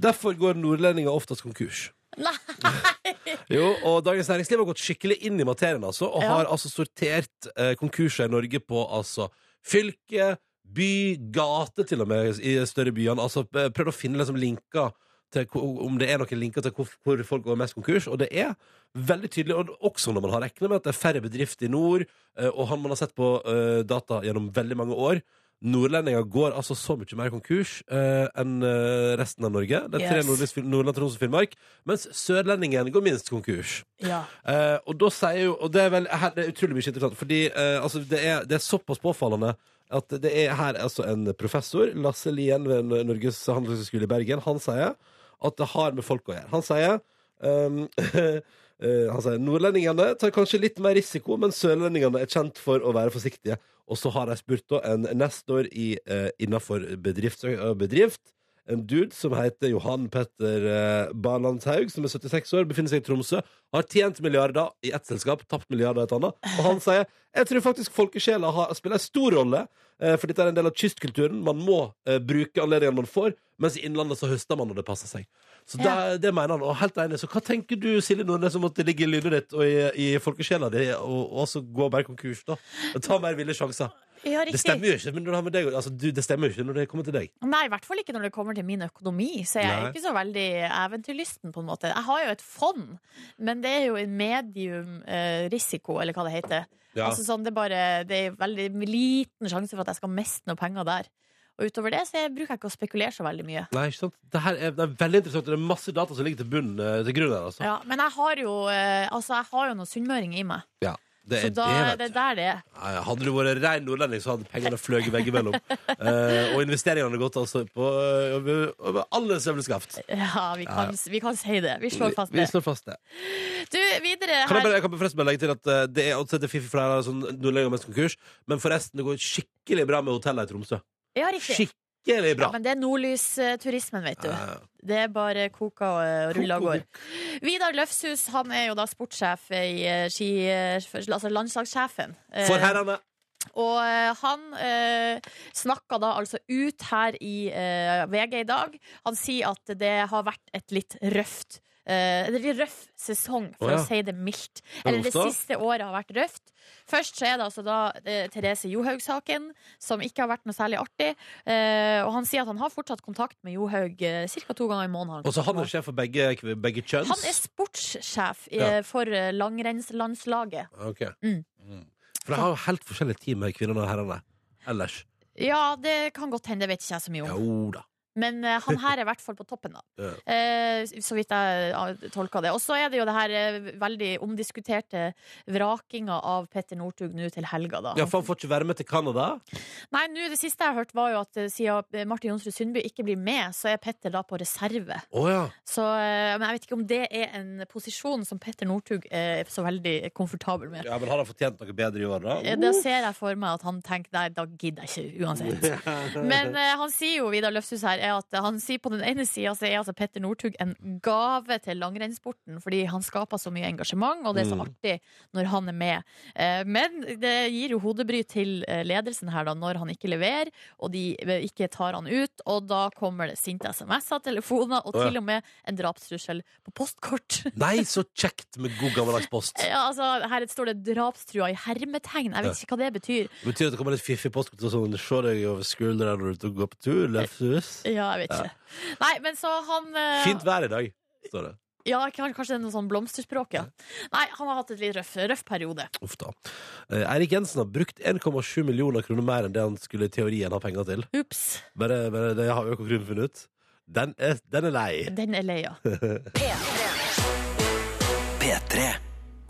Speaker 2: Derfor går nordlendinger oftest konkurs.
Speaker 3: Nei.
Speaker 2: Jo, og Dagens Næringsliv har gått skikkelig inn i materien altså, og
Speaker 3: Ja.
Speaker 2: har altså sortert eh, konkurser i Norge på altså, fylke, by, gate til og med i de større byene. Altså, eh, prøvd å finne liksom, linker til, ko- om det er noen linker til hvor, hvor folk går mest konkurs. Og det er veldig tydelig, og også når man har regnet med at det er færre bedrifter i nord, eh, og han man har sett på eh, data gjennom veldig mange år. Nordlendinger går altså så mye mer konkurs eh, enn eh, resten av Norge. Det er tre
Speaker 3: Yes.
Speaker 2: nordlys- Nordland, Troms og Finnmark. Mens sørlendingen går minst konkurs.
Speaker 3: Ja.
Speaker 2: Eh, og da sier jo Og det er, vel, her, det er utrolig mye interessant, fordi eh, altså, det, er, det er såpass påfallende at det er her altså en professor, Lasse Lien ved N- Norges handelshøyskole i Bergen, han sier at det har med folk å gjøre. Han sier um, eh, Han sier nordlendingene tar kanskje litt mer risiko, men sørlendingene er kjent for å være forsiktige. Og så har de spurt da en nestor i, eh, innenfor bedrift, ø, bedrift. En dude som heter Johan Petter eh, Barlandshaug, som er 76 år, befinner seg i Tromsø. Har tjent milliarder i ett selskap, tapt milliarder i et annet. Og han sier jeg tror faktisk folkesjela har, spiller en stor rolle, eh, for dette er en del av kystkulturen. Man må eh, bruke anledningene man får, mens i Innlandet så høster man når det passer seg. Så
Speaker 3: Ja.
Speaker 2: det, det mener han. Og helt enig. Så hva tenker du, Silje Nordnes, om at det ligger i lynet ditt og i, i folkesjela di, og, og også gå mer konkurs, da? Ta mer ville sjanser.
Speaker 3: ja, riktig.
Speaker 2: Det stemmer jo ikke, men når det, har med deg, å- altså, du, det stemmer jo ikke når det kommer til deg.
Speaker 3: Nei, i hvert fall ikke når det kommer til min økonomi. Så jeg er
Speaker 2: Nei.
Speaker 3: ikke så veldig eventyrlysten, på en måte. Jeg har jo et fond, men det er jo en medium eh, risiko, eller hva det heter. Altså sånn, det, er bare, det er veldig liten sjanse for at jeg skal miste noe penger der. Og utover det så jeg bruker jeg ikke å spekulere så veldig mye.
Speaker 2: Nei, ikke sant? Det her er, det er veldig interessant, og det er masse data som ligger til, bunn, eh, til grunn her. Altså.
Speaker 3: Ja, men jeg har jo, eh, altså, jeg har jo noen sunnmøringer i meg.
Speaker 2: Det
Speaker 3: Så
Speaker 2: er
Speaker 3: da
Speaker 2: det,
Speaker 3: er
Speaker 2: vet du.
Speaker 3: det der det er.
Speaker 2: Nei, Hadde du vært rein nordlending, så hadde pengene fløyet veggimellom. Eh, og investeringene hadde gått altså på eh, over, over alle søvnskaft.
Speaker 3: Ja, vi kan, vi kan si det. Vi slår fast
Speaker 2: Vi, vi
Speaker 3: det.
Speaker 2: slår fast det.
Speaker 3: Du, videre
Speaker 2: Kan jeg, bare,
Speaker 3: her.
Speaker 2: jeg kan forresten bare legge til at eh, det er åtte til fiffi for her, sånn nordlending mest konkurs, men forresten, det går skikkelig bra med hotellene i Tromsø.
Speaker 3: Ja, riktig.
Speaker 2: Skikkelig
Speaker 3: Ja,
Speaker 2: bra!
Speaker 3: men det er nordlysturismen, vet du.
Speaker 2: Eh,
Speaker 3: Det er bare koka og rulla og går. Vidar Løfshus han er jo da sportssjef i eh, ski... eh, Altså landslagssjefen. Eh,
Speaker 2: for herrene
Speaker 3: Og eh, han eh, snakka da altså ut her i eh, VG i dag. Han sier at det har vært et litt røft eh, en litt røff sesong, for
Speaker 2: Å, ja.
Speaker 3: å si det mildt. Eller det
Speaker 2: Hvorfor?
Speaker 3: siste året har vært røft. Først så er det altså da eh, Therese Johaug-saken, som ikke har vært noe særlig artig. Eh, og han sier at han har fortsatt kontakt med Johaug eh, ca. to ganger i måneden.
Speaker 2: Og så han er sjef for begge, begge kjønns.
Speaker 3: Han er sportssjef eh,
Speaker 2: Ja.
Speaker 3: for eh, langrennslandslaget.
Speaker 2: Ok.
Speaker 3: Mm.
Speaker 2: Mm. For de har jo helt forskjellige team, kvinnene og herrene. Ellers.
Speaker 3: Ja, det kan godt hende, det vet ikke jeg så mye om.
Speaker 2: Jo da.
Speaker 3: Men eh, han her er i hvert fall på toppen, da.
Speaker 2: Ja.
Speaker 3: Eh, så vidt jeg uh, tolka det. Og så er det jo det her eh, veldig omdiskuterte vrakinga av Petter Northug nå til helga, da.
Speaker 2: Ja, for han får ikke være med til Canada.
Speaker 3: Nei, nå det siste jeg hørte, var jo at eh, siden Martin Jonsrud Sundby ikke blir med, så er Petter da på reserve.
Speaker 2: Å ja.
Speaker 3: Så eh, Men jeg vet ikke om det er en posisjon som Petter Northug er så veldig komfortabel med.
Speaker 2: ja. Men har han fortjent noe bedre i år, da?
Speaker 3: Eh, Da ser jeg for meg at han tenker Nei, da gidder jeg ikke uansett. Men eh, han sier jo Vidar Løfshus her er at han sier på den ene sida så er altså Petter Northug en gave til langrennssporten fordi han skaper så mye engasjement, og det er så
Speaker 2: Mm.
Speaker 3: artig når han er med. Eh, Men det gir jo hodebry til eh, ledelsen her da når han ikke leverer, og de eh, ikke tar han ut, og da kommer det sinte SMS-er, telefoner og
Speaker 2: Å, ja.
Speaker 3: til og med en drapstrussel på postkort.
Speaker 2: Nei, så kjekt med god gammeldags post.
Speaker 3: Ja, altså, her står det 'drapstrua' i hermetegn. Jeg vet ikke hva det betyr.
Speaker 2: Det betyr at det kommer litt fiffig postkort og sånn Se deg over skulderen når du går på tur. Løfthus.
Speaker 3: Ja, jeg vet ikke. Nei, men så han eh,
Speaker 2: Fint vær i dag, står det.
Speaker 3: Ja, kan- kanskje det er noe sånn blomsterspråk, ja. Nei, han har hatt et litt røff, røff periode.
Speaker 2: Uff da. Eh, Eirik Jensen har brukt 1,7 millioner kroner mer enn det han skulle i teorien ha penger til.
Speaker 3: Ups.
Speaker 2: Bare, bare det har Økokrim funnet ut. Den er, den er lei.
Speaker 3: Den er lei, ja.
Speaker 5: P3.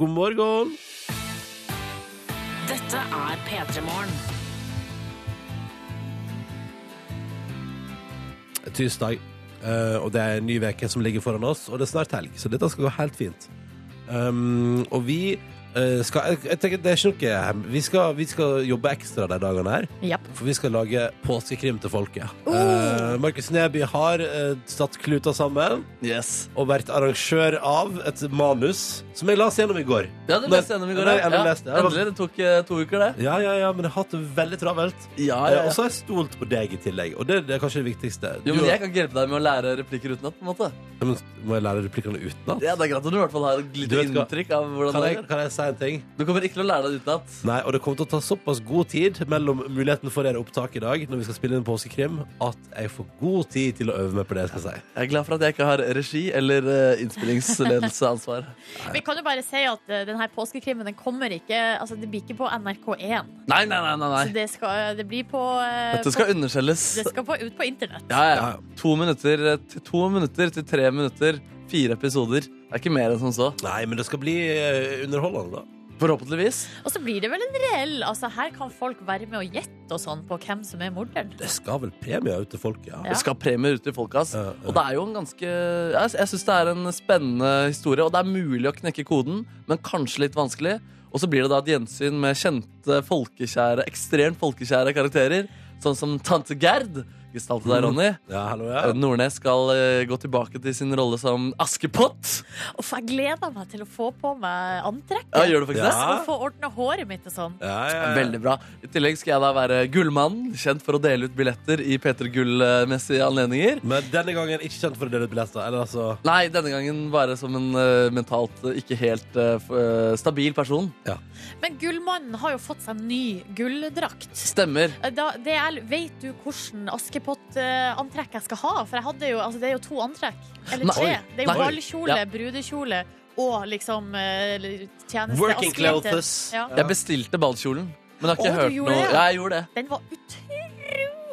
Speaker 2: God morgen!
Speaker 1: Dette er P3 Morgen.
Speaker 2: tirsdag. eh, og det er en ny veke som ligger foran oss, og det er snart helg. Så dette skal gå helt fint. Um, og vi eh, skal jeg, jeg tenker, Det er ikke noe hem- vi skal, vi skal jobbe ekstra de dagene her,
Speaker 3: Japp.
Speaker 2: for vi skal lage påskekrim til folket.
Speaker 3: Oh.
Speaker 2: Eh, Markus Neby har eh, satt kluta sammen
Speaker 4: Yes.
Speaker 2: og vært arrangør av et manus som jeg las gjennom i går.
Speaker 4: Ja, det leste jeg gjennom i går.
Speaker 2: Nei,
Speaker 4: ja.
Speaker 2: jeg
Speaker 4: Ja,
Speaker 2: leste det.
Speaker 4: Endelig. Det tok eh, to uker, det.
Speaker 2: Ja, ja, ja, men jeg har hatt det veldig travelt.
Speaker 4: Ah, Ja,
Speaker 2: Eh, Og så har jeg stolt på deg i tillegg, og det, det er kanskje det viktigste.
Speaker 4: Jo, men
Speaker 2: Du-
Speaker 4: Jeg kan ikke hjelpe deg med å lære replikker utenat. på en måte
Speaker 2: Ja, men Må jeg lære replikkene utenat?
Speaker 4: Ja, Det er greit at du i hvert fall har et
Speaker 2: Du
Speaker 4: lite
Speaker 2: vet hva-
Speaker 4: inntrykk av hvordan
Speaker 2: Kan
Speaker 4: det
Speaker 2: jeg,
Speaker 4: er.
Speaker 2: kan jeg si en ting?
Speaker 4: Du kommer ikke til å lære deg det utenat.
Speaker 2: Nei, og det kommer til å ta såpass god tid mellom muligheten for å gjøre opptak i dag når vi skal spille inn påskekrim, at jeg får god tid til å øve meg på det jeg skal si.
Speaker 4: Jeg er glad for at jeg ikke har regi eller eh, innspillingsledelseansvar.
Speaker 3: Vi kan jo bare si at eh, den her påskekrimmen den kommer ikke Altså, det blir ikke på NRK1.
Speaker 4: Nei, nei, nei, nei,
Speaker 3: Så
Speaker 4: nei.
Speaker 3: det skal Det blir på eh,
Speaker 4: Dette
Speaker 3: på,
Speaker 4: skal underskjelles.
Speaker 3: det skal på, ut på internett.
Speaker 4: Ja, ja.
Speaker 2: Ja.
Speaker 4: To minutter, eh, til to minutter til tre minutter. Fire episoder. Det er ikke mer enn som så.
Speaker 2: Nei, men det skal bli eh, underholdende, da.
Speaker 4: Forhåpentligvis.
Speaker 3: Og så blir det vel en reell Altså, her kan folk være med og gjette og sånn på hvem som er morderen.
Speaker 2: Det skal vel premier ut til folk, ja.
Speaker 3: Ja.
Speaker 4: Det skal premier ut til folka. ass.
Speaker 2: Ja, ja.
Speaker 4: Og det er jo en ganske Jeg, jeg syns det er en spennende historie, og det er mulig å knekke koden, men kanskje litt vanskelig. Og så blir det da et gjensyn med kjente, folkekjære, ekstremt folkekjære karakterer. Sånn som tante Gerd, gestaltet av Ronny.
Speaker 2: Ja, hallo, Mm. ja.
Speaker 4: Nordnes skal eh, gå tilbake til sin rolle som Askepott.
Speaker 3: Uff, jeg gleder meg til å få på meg antrekket.
Speaker 4: Ja, gjør du
Speaker 2: Ja.
Speaker 4: faktisk det?
Speaker 3: Og få ordna håret mitt og sånn.
Speaker 2: Ja, ja, ja.
Speaker 4: Veldig bra. I tillegg skal jeg da være Gullmannen, kjent for å dele ut billetter i P3 Gull-messige anledninger.
Speaker 2: Men denne gangen ikke kjent for å dele ut billetter. Eller altså
Speaker 4: Nei, denne gangen bare som en eh, mentalt eh, ikke helt eh, f- eh, stabil person.
Speaker 3: Men Gullmannen har jo fått seg ny gulldrakt.
Speaker 4: Stemmer.
Speaker 3: Da, det er, vet du hvordan Askepott-antrekk jeg skal ha? For jeg hadde jo, altså, det er jo to antrekk. Eller
Speaker 4: Nei,
Speaker 3: tre.
Speaker 4: oi.
Speaker 3: Det er jo
Speaker 4: Nei.
Speaker 3: ballkjole,
Speaker 4: Ja.
Speaker 3: brudekjole og liksom eh, tjeneste
Speaker 2: Working
Speaker 3: askejente.
Speaker 2: clothes.
Speaker 3: Ja.
Speaker 4: Jeg bestilte ballkjolen, men har ikke
Speaker 3: Å, du
Speaker 4: hørt
Speaker 3: gjorde
Speaker 4: noe.
Speaker 3: det?
Speaker 4: Ja, jeg gjorde det.
Speaker 3: Den var utrolig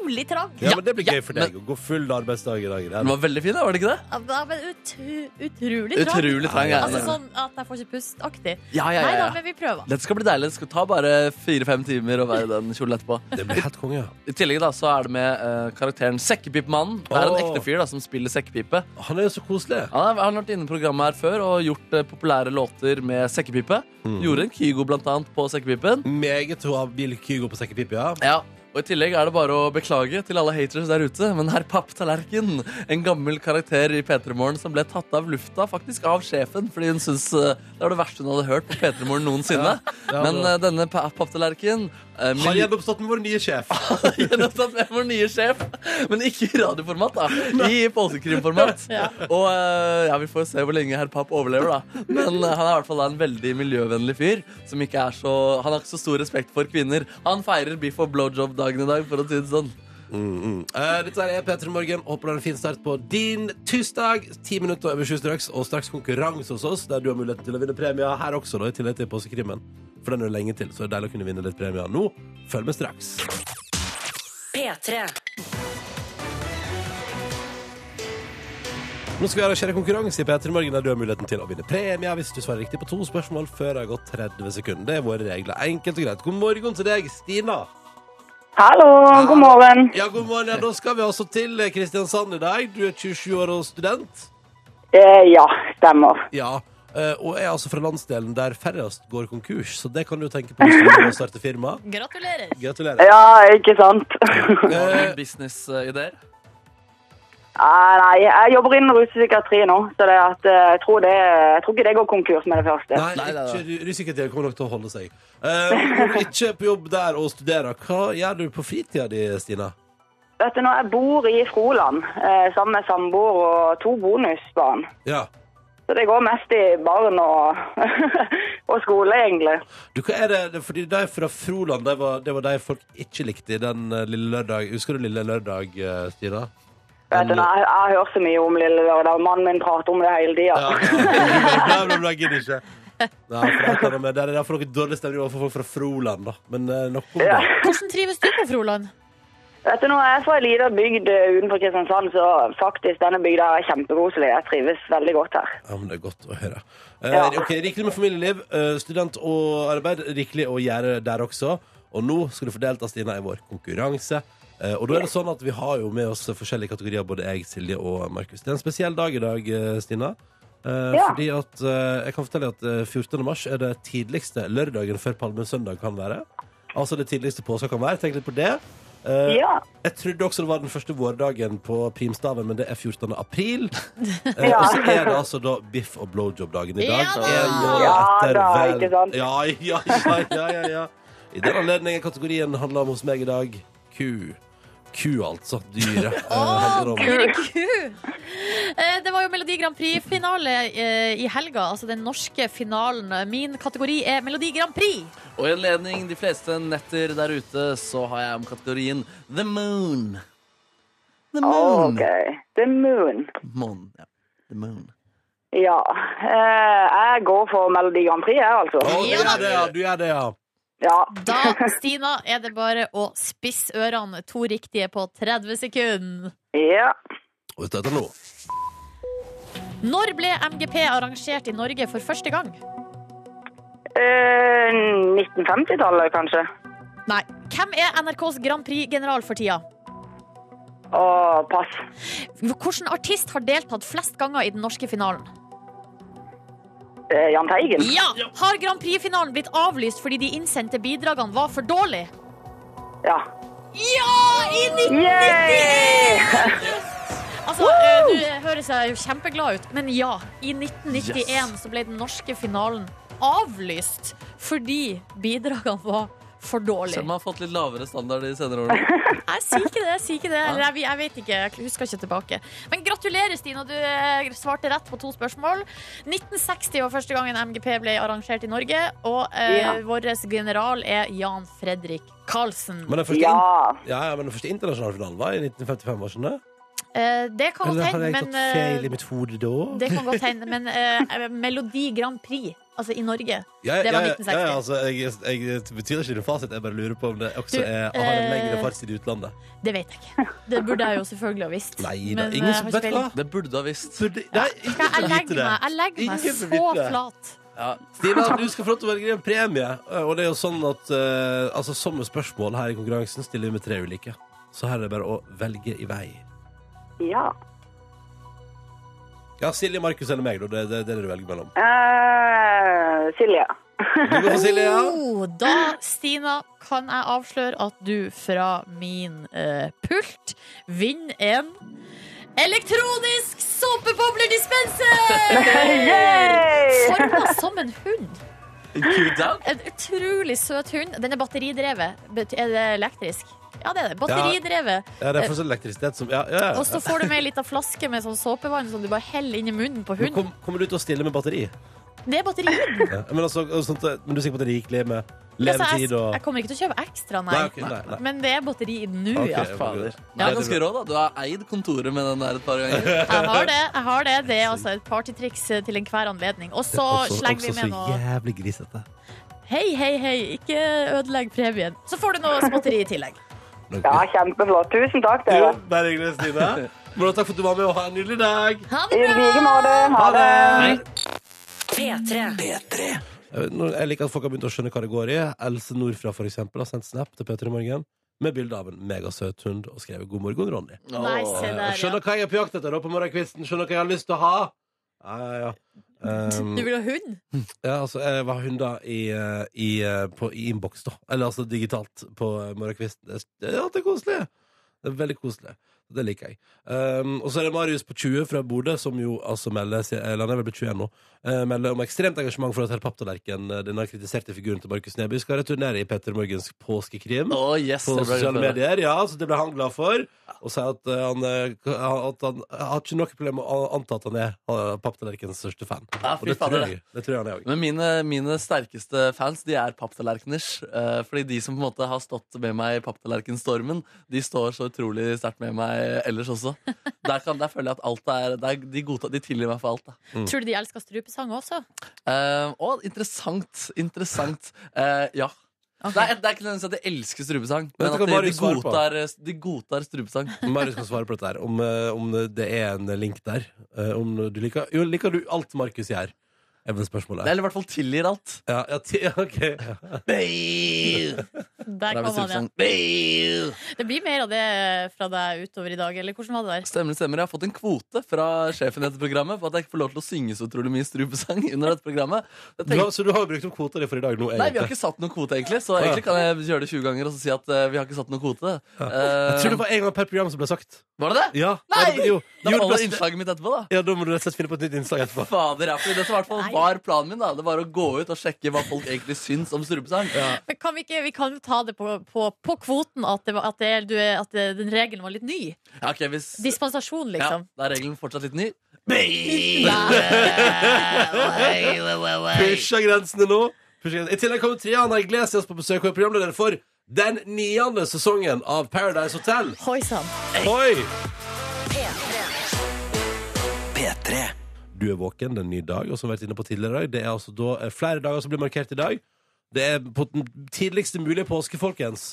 Speaker 3: utrolig trangt.
Speaker 2: Ja, men Det blir gøy for
Speaker 4: men-
Speaker 2: deg å gå full arbeidsdag i dag.
Speaker 4: Den
Speaker 2: Der.
Speaker 4: var veldig fin, da, var det ikke det?
Speaker 3: Ja, men utru, utrolig trangt.
Speaker 4: Utrolig trang. Ja,
Speaker 3: Altså
Speaker 4: ja,
Speaker 3: sånn at jeg får ikke pust-aktig.
Speaker 4: ja, ja,
Speaker 3: Nei da,
Speaker 4: ja.
Speaker 3: men vi prøver.
Speaker 4: Den skal bli deilig. Det skal ta bare fire-fem timer å være i den kjolen etterpå.
Speaker 2: Det blir helt konge. ja.
Speaker 4: I tillegg da, så er det med eh, karakteren Sekkepipemannen. Det er en
Speaker 2: Åh.
Speaker 4: ekte fyr da, som spiller sekkepipe.
Speaker 2: Han er jo så koselig.
Speaker 4: Han har, han har vært inne i programmet her før og gjort eh, populære låter med sekkepipe.
Speaker 2: Mm.
Speaker 4: Gjorde en Kygo blant annet på sekkepipen.
Speaker 2: Meget habil Kygo på sekkepipe, ja.
Speaker 4: Ja, og I tillegg er det bare å beklage til alle haters der ute, men herr Papptallerken, en gammel karakter i P3 Morgen som ble tatt av lufta, faktisk av sjefen, fordi hun syntes eh, det var det verste hun hadde hørt på P3 Morgen noensinne.
Speaker 2: Ja,
Speaker 4: Men
Speaker 2: bra.
Speaker 4: eh, denne pa- Papptallerken eh,
Speaker 2: Har
Speaker 4: mil-
Speaker 2: gjenoppstått med vår nye sjef.
Speaker 4: Gjenopptatt med vår nye sjef, men ikke i radioformat, da. I påskekrimformat.
Speaker 3: Ja.
Speaker 4: Og eh, ja, vi får se hvor lenge herr Papp overlever, da. Men eh, han er i hvert fall da en veldig miljøvennlig fyr. Som ikke er så Han har ikke så stor respekt for kvinner. Han feirer beef og blowjob-dagen i dag, for å si det sånn.
Speaker 2: Eh, dette her er P3 Morgen. Håper du har en fin start på din tirsdag. Ti minutter over sju straks, og straks konkurranse hos oss, der du har muligheten til å vinne premie her også, da, i tillegg til påskekrimmen. For den er det lenge til, så det er deilig å kunne vinne litt premier nå. Følg med straks.
Speaker 1: P3.
Speaker 2: Nå skal vi arrangere konkurranse i P3 Morgen, der du har muligheten til å vinne premie hvis du svarer riktig på to spørsmål før det har gått 30 sekunder. Det er våre regler. Enkelt og greit. God morgen til deg, Stina.
Speaker 5: Hallo, god morgen.
Speaker 2: Ja, god morgen. Ja, da skal vi altså til Kristiansand i dag. Du er 27 år og student.
Speaker 5: Eh, ja, stemmer.
Speaker 2: Ja, eh, og er altså fra landsdelen der færrest går konkurs, så det kan du tenke på hvis du vil starte firma.
Speaker 3: Gratulerer.
Speaker 2: Gratulerer.
Speaker 5: Ja, ikke sant?
Speaker 4: Har du
Speaker 2: Eh,
Speaker 4: noen businessideer?
Speaker 5: Ah, Nei, jeg jobber innen ruspsykiatri nå, så det at, eh, jeg, tror det, jeg tror ikke det går konkurs med det første.
Speaker 2: Nei,
Speaker 4: Nei, nei, nei.
Speaker 2: ikke ru- ruspsykiatrien kommer nok til å holde seg. Eh, når du ikke er på jobb der og studerer, hva gjør du på fritida di, Stina?
Speaker 5: Vet du, nå, jeg bor i Froland eh, sammen med samboer og to bonusbarn.
Speaker 2: Ja.
Speaker 5: Så det går mest i barn og, og skole, egentlig.
Speaker 2: Du, hva er det, det- fordi de fra Froland, det var, det var de folk ikke likte i den eh, lille lørdag. Husker du lille lørdag, eh, Stina?
Speaker 5: Vet du, nå, jeg, jeg hører så mye om Lille Lørdag, og mannen min prater om det hele tida.
Speaker 2: Ja, ja. Bla, bla, bla, gidder ikke. Nei, for det er noe med- det er derfor noe dårlig stemning overfor folk fra Froland, da. Men eh, nok om det.
Speaker 3: Hvordan trives du på Froland?
Speaker 5: Vet du, nå, jeg er fra en liten bygd eh, utenfor Kristiansand, så faktisk denne bygda er kjempekoselig. Jeg trives veldig godt her.
Speaker 2: Ja, men det er godt å høre. Eh,
Speaker 5: Ja.
Speaker 2: ok, Rikelig med familieliv, eh, student og arbeid. Rikelig å gjøre der også. Og nå skal du få delta, Stina, i vår konkurranse. Eh, og da er det sånn at Vi har jo med oss forskjellige kategorier, både jeg, Silje og Markus. Det er en spesiell dag i dag, eh, Stina. Eh,
Speaker 5: Ja.
Speaker 2: Fordi at eh, Jeg kan fortelle at eh, 14. mars er det tidligste lørdagen før palmesøndag kan være. Altså det tidligste påska kan være. Tenk litt på det. Eh,
Speaker 5: Ja.
Speaker 2: Jeg trodde også det var den første vårdagen på primstaven, men det er 14. april. Eh,
Speaker 5: Ja.
Speaker 2: og så er det altså da biff og blowjob-dagen i dag.
Speaker 3: Ja da!
Speaker 2: En måned
Speaker 5: Ja
Speaker 2: etter
Speaker 5: da,
Speaker 2: vel-
Speaker 5: ikke sant?
Speaker 2: Ja, ja, ja, ja, ja, ja. I den anledningen kategorien handler om hos meg i dag ku. Ku, altså. Dyret. eh, handler
Speaker 3: Å,
Speaker 2: om.
Speaker 3: guri ku! Eh, Det var jo Melodi Grand Prix-finale eh, i helga. Altså den norske finalen. Min kategori er Melodi Grand Prix.
Speaker 4: Og i anledning de fleste netter der ute, så har jeg om kategorien The Moon. The
Speaker 5: Å,
Speaker 4: Moon.
Speaker 5: OK. The Moon.
Speaker 4: Moon, ja. The moon.
Speaker 5: Ja. Eh, jeg går for Melodi Grand Prix, jeg, altså.
Speaker 2: Å, du
Speaker 3: Ja da.
Speaker 2: gjør det, ja. Du gjør det, ja.
Speaker 5: Ja.
Speaker 3: Da, Stina, er det bare å spisse ørene. To riktige på 30 sekunder.
Speaker 5: ja.
Speaker 2: Og vet du dette nå?
Speaker 3: Når ble MGP arrangert i Norge for første gang?
Speaker 5: Eh, 1950-tallet, kanskje.
Speaker 3: Nei. Hvem er NRKs Grand Prix-general for tida?
Speaker 5: Å, pass.
Speaker 3: Hvilken artist har deltatt flest ganger i den norske finalen?
Speaker 5: Eh, Jahn Teigen.
Speaker 3: Ja! Har Grand Prix-finalen blitt avlyst fordi de innsendte bidragene var for dårlige?
Speaker 5: Ja.
Speaker 3: Ja! I 19...
Speaker 5: Yay!
Speaker 3: Altså, eh, du høres jeg jo kjempeglad ut, men ja. I 1991 så ble den norske finalen avlyst fordi bidragene var for dårlige.
Speaker 4: Selv om jeg har fått litt lavere standard de senere årene.
Speaker 3: Jeg sier ikke det. Jeg sier ikke det. Eller Jeg, jeg vet ikke. Jeg husker ikke tilbake. Men gratulerer, Stina. Du eh, svarte rett på to spørsmål. 1960 var første gangen MGP ble arrangert i Norge, og eh,
Speaker 5: Ja.
Speaker 3: vår general er Jan Fredrik Karlsen.
Speaker 2: Men den første,
Speaker 5: Ja.
Speaker 2: in ja, ja, men den første internasjonale finalen var i 1955, var ikke det?
Speaker 3: Eh, det kan godt
Speaker 6: Eller har
Speaker 3: hende,
Speaker 6: jeg
Speaker 3: men
Speaker 6: tatt feil i
Speaker 3: eh,
Speaker 6: mitt hode da?
Speaker 3: Det kan godt hende, men eh, Melodi Grand Prix, altså i Norge
Speaker 2: Ja,
Speaker 3: Det var
Speaker 2: ja, ja,
Speaker 3: 1960.
Speaker 2: Ja, altså, jeg, jeg det betyr ikke noe fasit. Jeg bare lurer på om det også
Speaker 3: Du,
Speaker 2: er, har en lengre
Speaker 3: eh,
Speaker 2: fartstid i utlandet.
Speaker 3: Det vet jeg ikke. Det burde jeg jo selvfølgelig ha visst.
Speaker 2: Nei da.
Speaker 3: Men,
Speaker 2: Ingen
Speaker 3: eh,
Speaker 2: som
Speaker 3: har
Speaker 2: vet
Speaker 3: ikke
Speaker 2: hva?
Speaker 4: Det burde du ha visst.
Speaker 2: Burde, nei, ingen
Speaker 3: Jeg
Speaker 2: får vite
Speaker 3: legger
Speaker 2: det.
Speaker 3: meg, jeg legger meg
Speaker 2: Ingen får
Speaker 3: så
Speaker 2: vite det.
Speaker 3: flat.
Speaker 4: Ja.
Speaker 2: Stina, du skal få lov til å velge en premie. Og det er jo sånn at eh, altså, Sånne spørsmål her i konkurransen stiller vi med tre ulike. Så her er det bare å velge i vei.
Speaker 5: Ja.
Speaker 2: Ja, Silje, Markus eller meg, da. Det, det, det er det du velger mellom.
Speaker 5: Eh, Silje.
Speaker 2: Du går for Silje, ja.
Speaker 3: Oh, da, Stina, kan jeg avsløre at du fra min eh, pult vinner en elektronisk såpebobler-dispenser!
Speaker 5: Yay!
Speaker 3: Forma som en hund.
Speaker 4: Cool down.
Speaker 3: En utrolig søt hund. Den er batteridrevet. Bet- Er det elektrisk? Ja, det er det. Batteridrevet.
Speaker 2: ja det er fortsatt elektrisitet som Ja, ja. ja.
Speaker 3: Og så får du med ei lita flaske med sånn såpevann som du bare heller inn i munnen på
Speaker 2: Men
Speaker 3: hunden.
Speaker 2: kom, kommer du til å stille med batteri?
Speaker 3: Det er batterihund.
Speaker 2: Ja. Men, altså, sånt, eh, men du er sikker på at det er rikelig med
Speaker 3: Altså, jeg,
Speaker 2: levetid og
Speaker 3: jeg kommer ikke til å kjøpe ekstra, nei.
Speaker 2: Nei, ok, nei, nei.
Speaker 3: Men det er batteri i den nå,
Speaker 2: Ok,
Speaker 3: ja.
Speaker 2: jeg får gå.
Speaker 4: Fader. Du
Speaker 2: Ja.
Speaker 4: er ganske rå, da. Du har eid kontoret med den der et par ganger.
Speaker 3: Jeg har det. jeg har Det Det er altså et partytriks eh, til enhver anledning. Og så
Speaker 2: Også-
Speaker 3: slenger vi
Speaker 2: også
Speaker 3: med
Speaker 2: så
Speaker 3: noe
Speaker 2: jævlig grisete.
Speaker 3: Hei, hei, hei, ikke ødelegg premien. Så får du noe småtteri i tillegg.
Speaker 5: Ja, kjempeflott. Tusen takk,
Speaker 2: Jo,
Speaker 5: dere.
Speaker 2: bare hyggelig, Stine. Men takk for at du var med, og ha en nydelig dag.
Speaker 3: Ha
Speaker 5: I
Speaker 3: det bra!
Speaker 5: like måte. Ha det.
Speaker 1: P3.
Speaker 2: Jeg nå- jeg liker at folk har begynt å skjønne hva det går i. Else Nordfra for eksempel, har sendt snap til Peter i morgen med bilde av en megasøt hund og skrevet 'God morgen, Ronny'.
Speaker 3: Nei, se
Speaker 2: Eh,
Speaker 3: der, ja.
Speaker 2: Skjønner hva jeg er på jakt etter da på morgenkvisten. Skjønner hva jeg har lyst til å ha. Ja, ja, ja. Um,
Speaker 3: Du vil ha hund?
Speaker 2: ja, altså, jeg var hunder i, eh, i, eh, på- i innboks, da. Eller altså digitalt på eh, morgenkvisten. Det er, ja, det er koselig. Det er veldig koselig. Det liker jeg. Um, og så er det Marius på 20 fra Bodø, som jo altså melder Eller han er vel blitt 21 nå. eh, melder om ekstremt engasjement for at herr Papptallerken, eh, denne kritiserte figuren til Markus Neby, skal returnere i Petter Morgens påskekrim
Speaker 4: Å, yes,
Speaker 2: på
Speaker 4: det ble
Speaker 2: sosiale
Speaker 4: gøy.
Speaker 2: medier. Ja, så det ble han glad for. Og sier at eh, han, eh, at han jeg har ikke noe problem med å anta at han er eh, Papptallerkens største fan.
Speaker 4: Ja,
Speaker 2: og
Speaker 4: fy
Speaker 2: det
Speaker 4: fader.
Speaker 2: tror, jeg, det tror jeg han er òg.
Speaker 4: Men mine, mine sterkeste fans De er papptallerkeners. eh, fordi de som på en måte har stått med meg i papptallerkenstormen, de står så utrolig sterkt med meg ellers også. Der, kan, der føler jeg at alt er, der, de, godtar, de tilgir meg for alt. Da.
Speaker 2: Mm.
Speaker 3: Tror du de elsker strupesang også?
Speaker 4: Eh, og interessant. Interessant. Eh, ja. Det, er, det er ikke nødvendigvis at de elsker strupesang, men,
Speaker 2: dette
Speaker 4: at
Speaker 2: kan
Speaker 4: de, de,
Speaker 2: Marius svare på.
Speaker 4: godtar, de godtar strupesang.
Speaker 2: Marius kan svare på dette her om, eh, om det er en link der. Eh, Om du liker, jo, liker du alt Markus gjør? Er vel spørsmålet.
Speaker 4: Eller i hvert fall tilgir alt.
Speaker 2: Ja, ja, ti, ja, ok.
Speaker 3: Der
Speaker 4: Der
Speaker 3: kom
Speaker 4: blir
Speaker 3: han,
Speaker 4: strupesang.
Speaker 3: ja. Det blir mer av det eh, fra deg utover i dag, eller hvordan var det der?
Speaker 4: Stemmer, stemmer. Jeg har fått en kvote fra sjefen i dette programmet på at jeg ikke får lov til å synge så utrolig mye strupesang under dette programmet.
Speaker 2: Du
Speaker 4: Jeg tenker,
Speaker 2: har, så du har jo brukt opp kvota di for i dag nå,
Speaker 4: nei, vi har
Speaker 2: egentlig?
Speaker 4: ikke satt noen kvote, egentlig. Så egentlig kan jeg gjøre det 20 ganger og så si at eh, vi har ikke satt noen kvote.
Speaker 2: Jeg tror det
Speaker 4: Eh,
Speaker 2: var en gang per program som ble sagt.
Speaker 4: var det det?
Speaker 2: Ja,
Speaker 4: Nei!
Speaker 2: Ja, jo,
Speaker 4: Da
Speaker 2: jo, det
Speaker 4: holder
Speaker 2: ble-
Speaker 4: innslaget mitt etterpå, da.
Speaker 2: ja, da må du rett og slett finne på et nytt innslag etterpå.
Speaker 4: Fader, ja, for dette var i hvert fall
Speaker 3: Nei.
Speaker 4: var planen min. da Det var å gå ut og sjekke hva folk egentlig syns om strupesang.
Speaker 3: Men kan vi, ikke, vi kan jo ta det på, på, på kvoten at, det, var- at, det, du, er- at det, den regelen var litt ny.
Speaker 4: Ja, ok, hvis
Speaker 3: Dispensasjon,
Speaker 4: ja,
Speaker 3: liksom.
Speaker 4: Da er regelen fortsatt litt ny.
Speaker 2: Pusha grensene nå. Pusha grensene. I tillegg kommer Triana Iglesias på besøk og er programleder for den niende sesongen av Paradise Hotel.
Speaker 3: Hoi sann.
Speaker 2: Oi! Du er våken, det er en ny dag, og som vi har vært inne på tidligere i dag, det er altså da eh, flere dager som blir markert i dag. Det er på den tidligste mulige påske, folkens.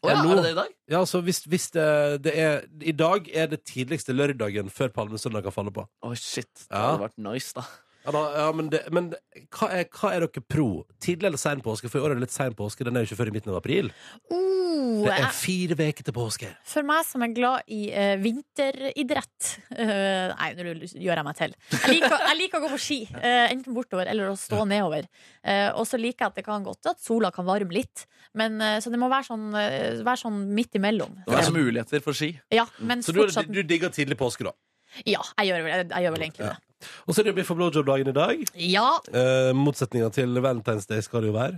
Speaker 4: Å ja,
Speaker 2: nå-
Speaker 4: er det det i dag?
Speaker 2: Ja, altså hvis, hvis det, det er I dag er det tidligste lørdagen før palmesøndag kan falle på.
Speaker 4: Å, shit. Det
Speaker 2: Ja.
Speaker 4: hadde vært nice, da.
Speaker 2: Ja, da, ja men, det, men hva, er, hva er dere pro? Tidlig eller sein påske? For i år er det litt sein påske. Den er jo ikke før i midten av april.
Speaker 3: Oh,
Speaker 2: Det er
Speaker 3: jeg,
Speaker 2: fire uker til påske.
Speaker 3: for meg som er glad i eh, vinteridrett eh, Nei, nå gjør jeg meg til. Jeg liker, jeg liker å gå på ski. eh, enten bortover eller å stå nedover. Eh, og så liker jeg at det kan godt at sola kan varme litt. Men, eh, så det må være sånn, eh, være sånn midt imellom.
Speaker 4: Det er muligheter for ski.
Speaker 3: Ja, men
Speaker 2: sånn- Så du,
Speaker 3: fortsatt
Speaker 2: du digger tidlig påske, da.
Speaker 3: Ja, jeg gjør vel, jeg, jeg gjør vel egentlig det.
Speaker 2: Og så er det jo Biff og blowjob-dagen i dag.
Speaker 3: Ja,
Speaker 2: Eh, motsetninga til Valentine's Day skal det jo være.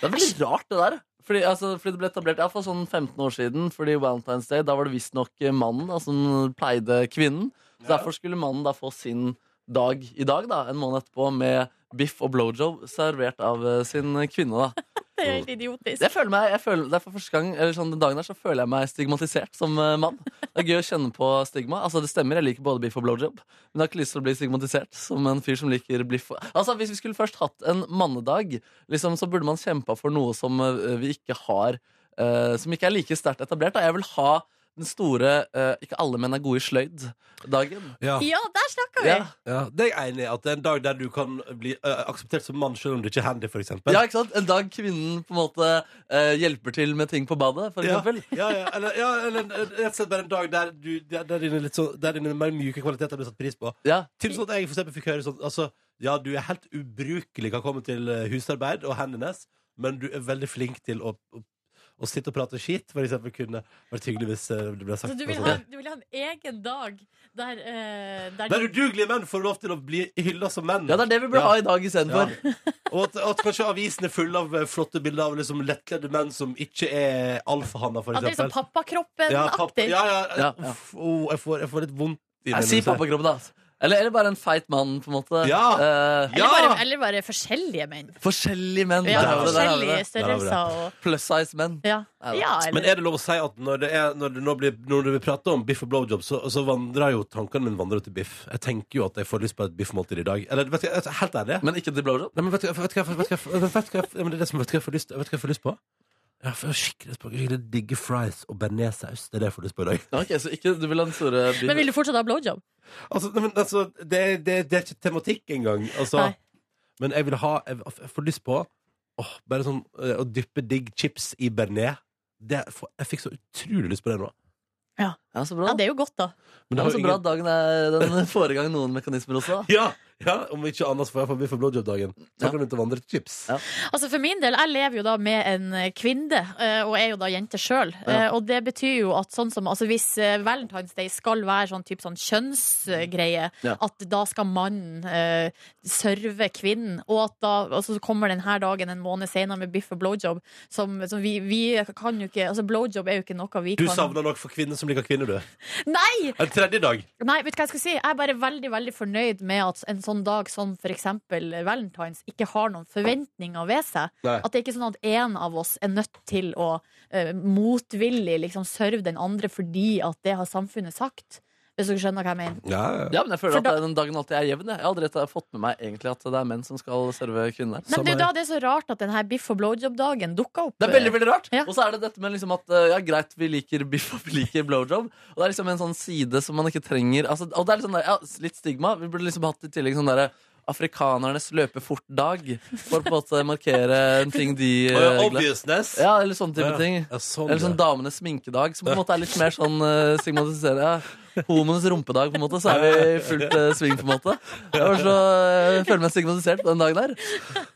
Speaker 4: Det er veldig rart, det der. Fordi, altså, fordi det ble etablert ja, for sånn 15 år siden. Fordi Valentine's Day, Da var det visstnok eh, mannen da, som pleide kvinnen. Så Derfor skulle mannen da få sin dag i dag, da, en måned etterpå, med biff og blowjob servert av eh, sin kvinne. da
Speaker 3: Det er helt idiotisk.
Speaker 4: Jeg føler meg, jeg føler, det er for første gang eller sånn, Den dagen her så føler jeg meg stigmatisert som eh, mann. Det er gøy å kjenne på stigma. Altså Det stemmer, jeg liker både biff og blowjob, men jeg har ikke lyst til å bli stigmatisert som en fyr som liker bliff. og- Altså Hvis vi skulle først hatt en mannedag, liksom, så burde man kjempa for noe som eh, vi ikke har eh, Som ikke er like sterkt etablert. Da. Jeg vil ha den store eh, 'ikke alle menn er gode i sløyd'-dagen.
Speaker 2: Ja.
Speaker 3: Ja, der snakka vi!
Speaker 4: Ja.
Speaker 2: Ja, det er jeg enig i. At det er en dag der du kan bli eh, akseptert som mann selv om du ikke er handy, for eksempel.
Speaker 4: Ja, ikke sant? En dag kvinnen på en måte eh, hjelper til med ting på badet, for
Speaker 2: Ja,
Speaker 4: eksempel.
Speaker 2: ja, ja, eller, ja, eller eh, rett og slett bare en dag der, du, der, der, dine, litt sånn- der dine mer mjuke kvaliteter blir satt pris på.
Speaker 4: Ja.
Speaker 2: Til sånn at jeg for eksempel fikk høre sånn altså, Ja, du er helt ubrukelig kan komme til eh, husarbeid og handiness, men du er veldig flink til å, å, å sitte og prate skit. For eksempel kunne vært hyggelig hvis eh, det ble sagt.
Speaker 3: Så du
Speaker 2: på
Speaker 3: vil,
Speaker 2: sånn.
Speaker 3: ha, du vil ha en egen dag der, eh, der
Speaker 2: Der udugelige menn får lov til å bli hylla som menn.
Speaker 4: ja, det er det vi burde
Speaker 2: Ja.
Speaker 4: ha i dag istedenfor.
Speaker 2: Ja. Og at, at kanskje avisen er full av eh, flotte bilder av liksom lettkledde menn som ikke er alfahanner, for
Speaker 3: At det er liksom
Speaker 2: eksempel. Ja, papp-
Speaker 3: pappakroppen-aktig.
Speaker 2: ja, ja,
Speaker 4: Ja, ja.
Speaker 2: Uff, oh, jeg, får, jeg får litt vondt i det
Speaker 4: Jeg sier
Speaker 2: når du sier-
Speaker 4: pappakroppen, da. altså. Eller, eller bare en feit mann, på en måte.
Speaker 2: Ja.
Speaker 4: Eh,
Speaker 2: Ja.
Speaker 3: Eller, bare, eller bare forskjellige menn.
Speaker 4: forskjellige menn.
Speaker 3: Ja,
Speaker 4: Der har vi det, der har vi
Speaker 3: forskjellige
Speaker 4: det.
Speaker 3: størrelser og
Speaker 4: Plus size menn.
Speaker 3: ja.
Speaker 4: Ja,
Speaker 3: ja,
Speaker 2: Men
Speaker 3: eller
Speaker 2: er det lov å si at når det, er, når det nå blir Når det blir pratet om biff og blowjob, så, så vandrer jo tankene mine vandrer til biff. Jeg tenker jo at jeg får lyst på et biffmåltid i dag. Eller vet du, hva, jeg- altså, helt ærlig.
Speaker 4: Men ikke til blowjob.
Speaker 2: Nei, men vet du, vet du, hva- vet du, hva- vet du, hva- vet du, hva- men det er det som vet du hva jeg får lyst, vet du hva jeg får lyst på? Jeg får skikkelig, lyst på- skikkelig digge fries og bearnéssaus. Det er det jeg får lyst på i dag.
Speaker 4: Ja, ok, så ikke, du vil ha den store bilen.
Speaker 3: Men vil du fortsatt ha blowjob?
Speaker 2: Altså, nei, men, altså det, det, det er ikke tematikk engang. Altså,
Speaker 3: Nei.
Speaker 2: men jeg vil ha Jeg, jeg får lyst på åh, bare sånn eh, å dyppe digg chips i bearnés. Det får- Jeg fikk så utrolig lyst på det nå.
Speaker 4: Ja, så bra.
Speaker 3: Ja, det er jo godt, da.
Speaker 2: Men
Speaker 4: Ja,
Speaker 2: det har
Speaker 4: så
Speaker 2: jo
Speaker 4: bra
Speaker 2: ingen-
Speaker 4: at dagen er den får i gang noen mekanismer også. da.
Speaker 2: ja, ja, om ikke annet så får jeg forbi for blowjob-dagen. Så
Speaker 4: Ja.
Speaker 2: kan du ut og vandre til chips.
Speaker 4: Ja.
Speaker 3: Altså For min del, jeg lever jo da med en eh, kvinne, eh, og er jo da jente sjøl.
Speaker 4: Ja.
Speaker 3: Og det betyr jo at sånn som Altså hvis eh, Valentine's Day skal være sånn type sånn kjønnsgreie,
Speaker 4: Ja.
Speaker 3: at da skal mannen eh, serve kvinnen, og at da og så kommer denne dagen en måned senere med biff og blowjob, som, som vi, vi kan jo ikke Altså blowjob er jo ikke noe vi
Speaker 2: Du
Speaker 3: kan
Speaker 2: savner nok for kvinner som liker kvinner, du.
Speaker 3: Nei!
Speaker 2: En tredje dag.
Speaker 3: Nei, vet du hva jeg skal si? Jeg er bare veldig veldig fornøyd med at en sånn dag som for eksempel Valentine's ikke har noen forventninger ved seg.
Speaker 2: Nei.
Speaker 3: At det er ikke sånn at én av oss er nødt til å eh, motvillig liksom serve den andre fordi at det har samfunnet sagt. Hvis dere skjønner hva jeg mener.
Speaker 2: Ja, ja.
Speaker 4: Ja, men jeg føler
Speaker 3: For da-
Speaker 4: at den dagen alltid er jevn. jeg. Jeg har aldri rett- fått med meg egentlig at det er menn som skal serve kvinner.
Speaker 3: Men det er
Speaker 2: Samme
Speaker 3: jo da det er så rart at denne biff og blowjob-dagen dukka opp.
Speaker 4: Det er veldig, veldig rart.
Speaker 3: Ja.
Speaker 4: Og så er det dette med liksom at eh, ja, greit, vi liker biff og vi liker blowjob. Og det er liksom en sånn side som man ikke trenger altså, Og det er liksom der, ja, litt stigma. Vi burde liksom hatt i tillegg sånn derre Afrikanernes løpe fort-dag. For på en måte å markere en ting de eh,
Speaker 2: Og
Speaker 4: er glad-
Speaker 2: obviousness.
Speaker 4: Ja, eller sånne type
Speaker 2: Ja,
Speaker 4: ting.
Speaker 2: ja, sånn,
Speaker 4: Eller sånn
Speaker 2: ja.
Speaker 4: Damenes sminkedag, som på en måte er litt mer sånn uh, stigmatiserende. Ja. Homenes rumpedag, på en måte. Så er vi i fullt eh, sving, på en måte. Jeg var så, eh, føler meg stigmatisert på den dagen der.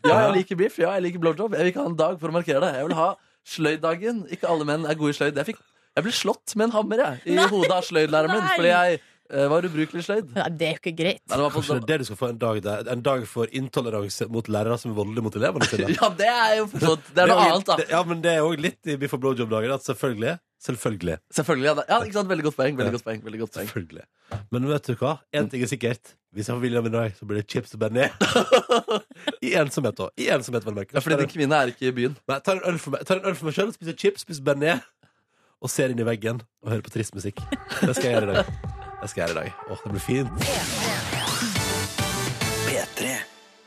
Speaker 4: Ja, jeg liker biff. Ja, jeg liker blowjob. Jeg vil ikke ha en dag for å markere det. Jeg vil ha sløyddagen. Ikke alle menn er gode i sløyd. Jeg, fikk, jeg ble slått med en hammer jeg, i
Speaker 3: Nei.
Speaker 4: hodet av sløydlæreren min
Speaker 3: Nei.
Speaker 4: fordi jeg eh, var ubrukelig i sløyd.
Speaker 3: Nei, det er jo ikke greit.
Speaker 4: Nei, det var på,
Speaker 2: Kanskje det er det du skal få en dag der. En dag for intoleranse mot lærere som er voldelige mot elevene sine.
Speaker 4: ja, det er jo for så vidt- Det er noe
Speaker 2: jo-
Speaker 4: annet, da.
Speaker 2: det- Ja, men det er òg litt i Biff og blowjob-dagen. at Selvfølgelig. Selvfølgelig.
Speaker 4: Selvfølgelig. Ja, det- ja, ikke sant? Veldig godt poeng.
Speaker 2: Ja.
Speaker 4: Veldig godt poeng. Veldig godt poeng.
Speaker 2: Selvfølgelig. Men vet du hva? Én ting er sikkert. Hvis jeg får viljen min i dag, så blir det chips og bearnés. I ensomhet, da. I ensomhet, vel å merke.
Speaker 4: Ja, fordi din kvinne er ikke i byen.
Speaker 2: Nei, tar en øl for meg, tar en øl for meg sjøl, spiser chips, spiser bearnés og ser inn i veggen og hører på trist musikk. Det skal jeg gjøre i dag. Det skal jeg gjøre i dag. Åh, det blir fint.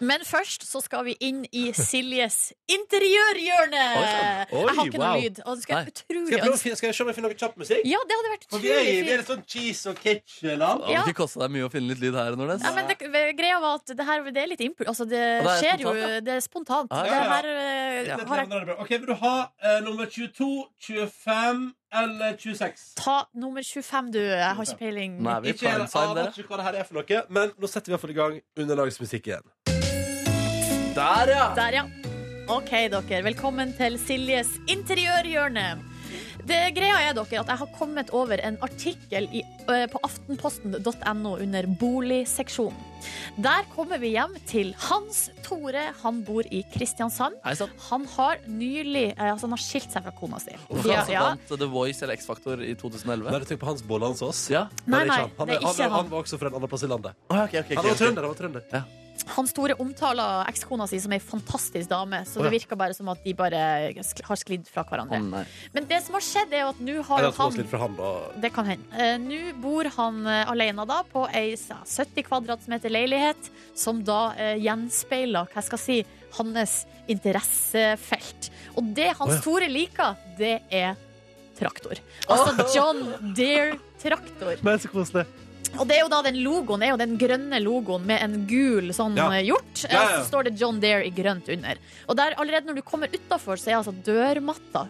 Speaker 3: Men først så skal vi inn i Siljes interiørhjørne!
Speaker 2: Oi, sant. Oi,
Speaker 3: Jeg har ikke noe
Speaker 2: wow.
Speaker 3: lyd. Og det skal
Speaker 4: Nei.
Speaker 3: jeg utrolig ønske
Speaker 2: se om jeg finner noe kjapp musikk?
Speaker 3: Ja, det hadde vært utrolig fint.
Speaker 2: sånn cheese og ketchup-land.
Speaker 4: Det
Speaker 3: Ja.
Speaker 4: hadde ikke kosta deg mye å finne litt lyd her, Nordnes.
Speaker 3: Ja, men det, greia var at det her det er litt impul... Altså, det,
Speaker 4: det er
Speaker 3: skjer
Speaker 4: spontant, Ah,
Speaker 3: jo Det er spontant.
Speaker 4: Ja, ja,
Speaker 3: Det
Speaker 2: ja.
Speaker 3: her eh,
Speaker 4: Ja.
Speaker 3: har jeg
Speaker 2: Ok, Vil du ha eh, nummer 22, 25 eller 26?
Speaker 3: Ta nummer 25, du. Jeg har ikke peiling.
Speaker 4: Nå er vi i
Speaker 2: Ikke jeg
Speaker 4: prime time,
Speaker 2: aner
Speaker 4: dere.
Speaker 2: ikke hva det her er for noe, men nå setter vi i hvert fall i gang underlagsmusikk igjen.
Speaker 4: Der, ja!
Speaker 3: Der, ja. OK, dere. Velkommen til Siljes interiørhjørne. Det greia er dere at Jeg har kommet over en artikkel i, eh, på aftenposten.no under boligseksjonen. Der kommer vi hjem til Hans Tore. Han bor i Kristiansand.
Speaker 4: Hei sann.
Speaker 3: Han har nylig eh, altså han har skilt seg fra kona si.
Speaker 4: Hvorfor han som vant The Voice eller X-Faktor i 2011?
Speaker 2: Bare tenk på Hans Bollandsås.
Speaker 4: Ja.
Speaker 2: det
Speaker 3: Nei,
Speaker 2: er
Speaker 3: nei,
Speaker 2: ikke han. Han,
Speaker 3: det er
Speaker 2: han,
Speaker 3: ikke
Speaker 2: han
Speaker 3: han.
Speaker 2: var også fra en annen plass i landet.
Speaker 4: Å, ok, ok, ok,
Speaker 2: Han var
Speaker 4: ok.
Speaker 2: trønder. han var trønder
Speaker 3: Han store omtaler ekskona si som ei fantastisk dame, så det
Speaker 2: Å, ja.
Speaker 3: virker bare som at de bare sk- har sklidd fra
Speaker 4: Å
Speaker 3: hverandre.
Speaker 4: nei.
Speaker 3: Men det som har skjedd, er jo at nå har
Speaker 2: Eller
Speaker 3: jo
Speaker 2: at hun har
Speaker 3: han
Speaker 2: slitt fra han, da.
Speaker 3: det kan hende. Eh, Nå bor han eh, alene da på ei s- 70 kvadratmeter leilighet, som da eh, gjenspeiler hva jeg skal si, hans interessefelt. Og det
Speaker 2: Å,
Speaker 3: han
Speaker 2: ja.
Speaker 3: store liker, det er traktor. Altså John Deere-traktor.
Speaker 2: Men så koselig.
Speaker 3: Og det er jo da den logoen er jo den grønne logoen med en gul sånn
Speaker 2: Ja.
Speaker 3: eh, hjort.
Speaker 2: Ja, ja.
Speaker 3: Og så står det John Deere i grønt under. Og der allerede når du kommer utafor, så er altså dørmatta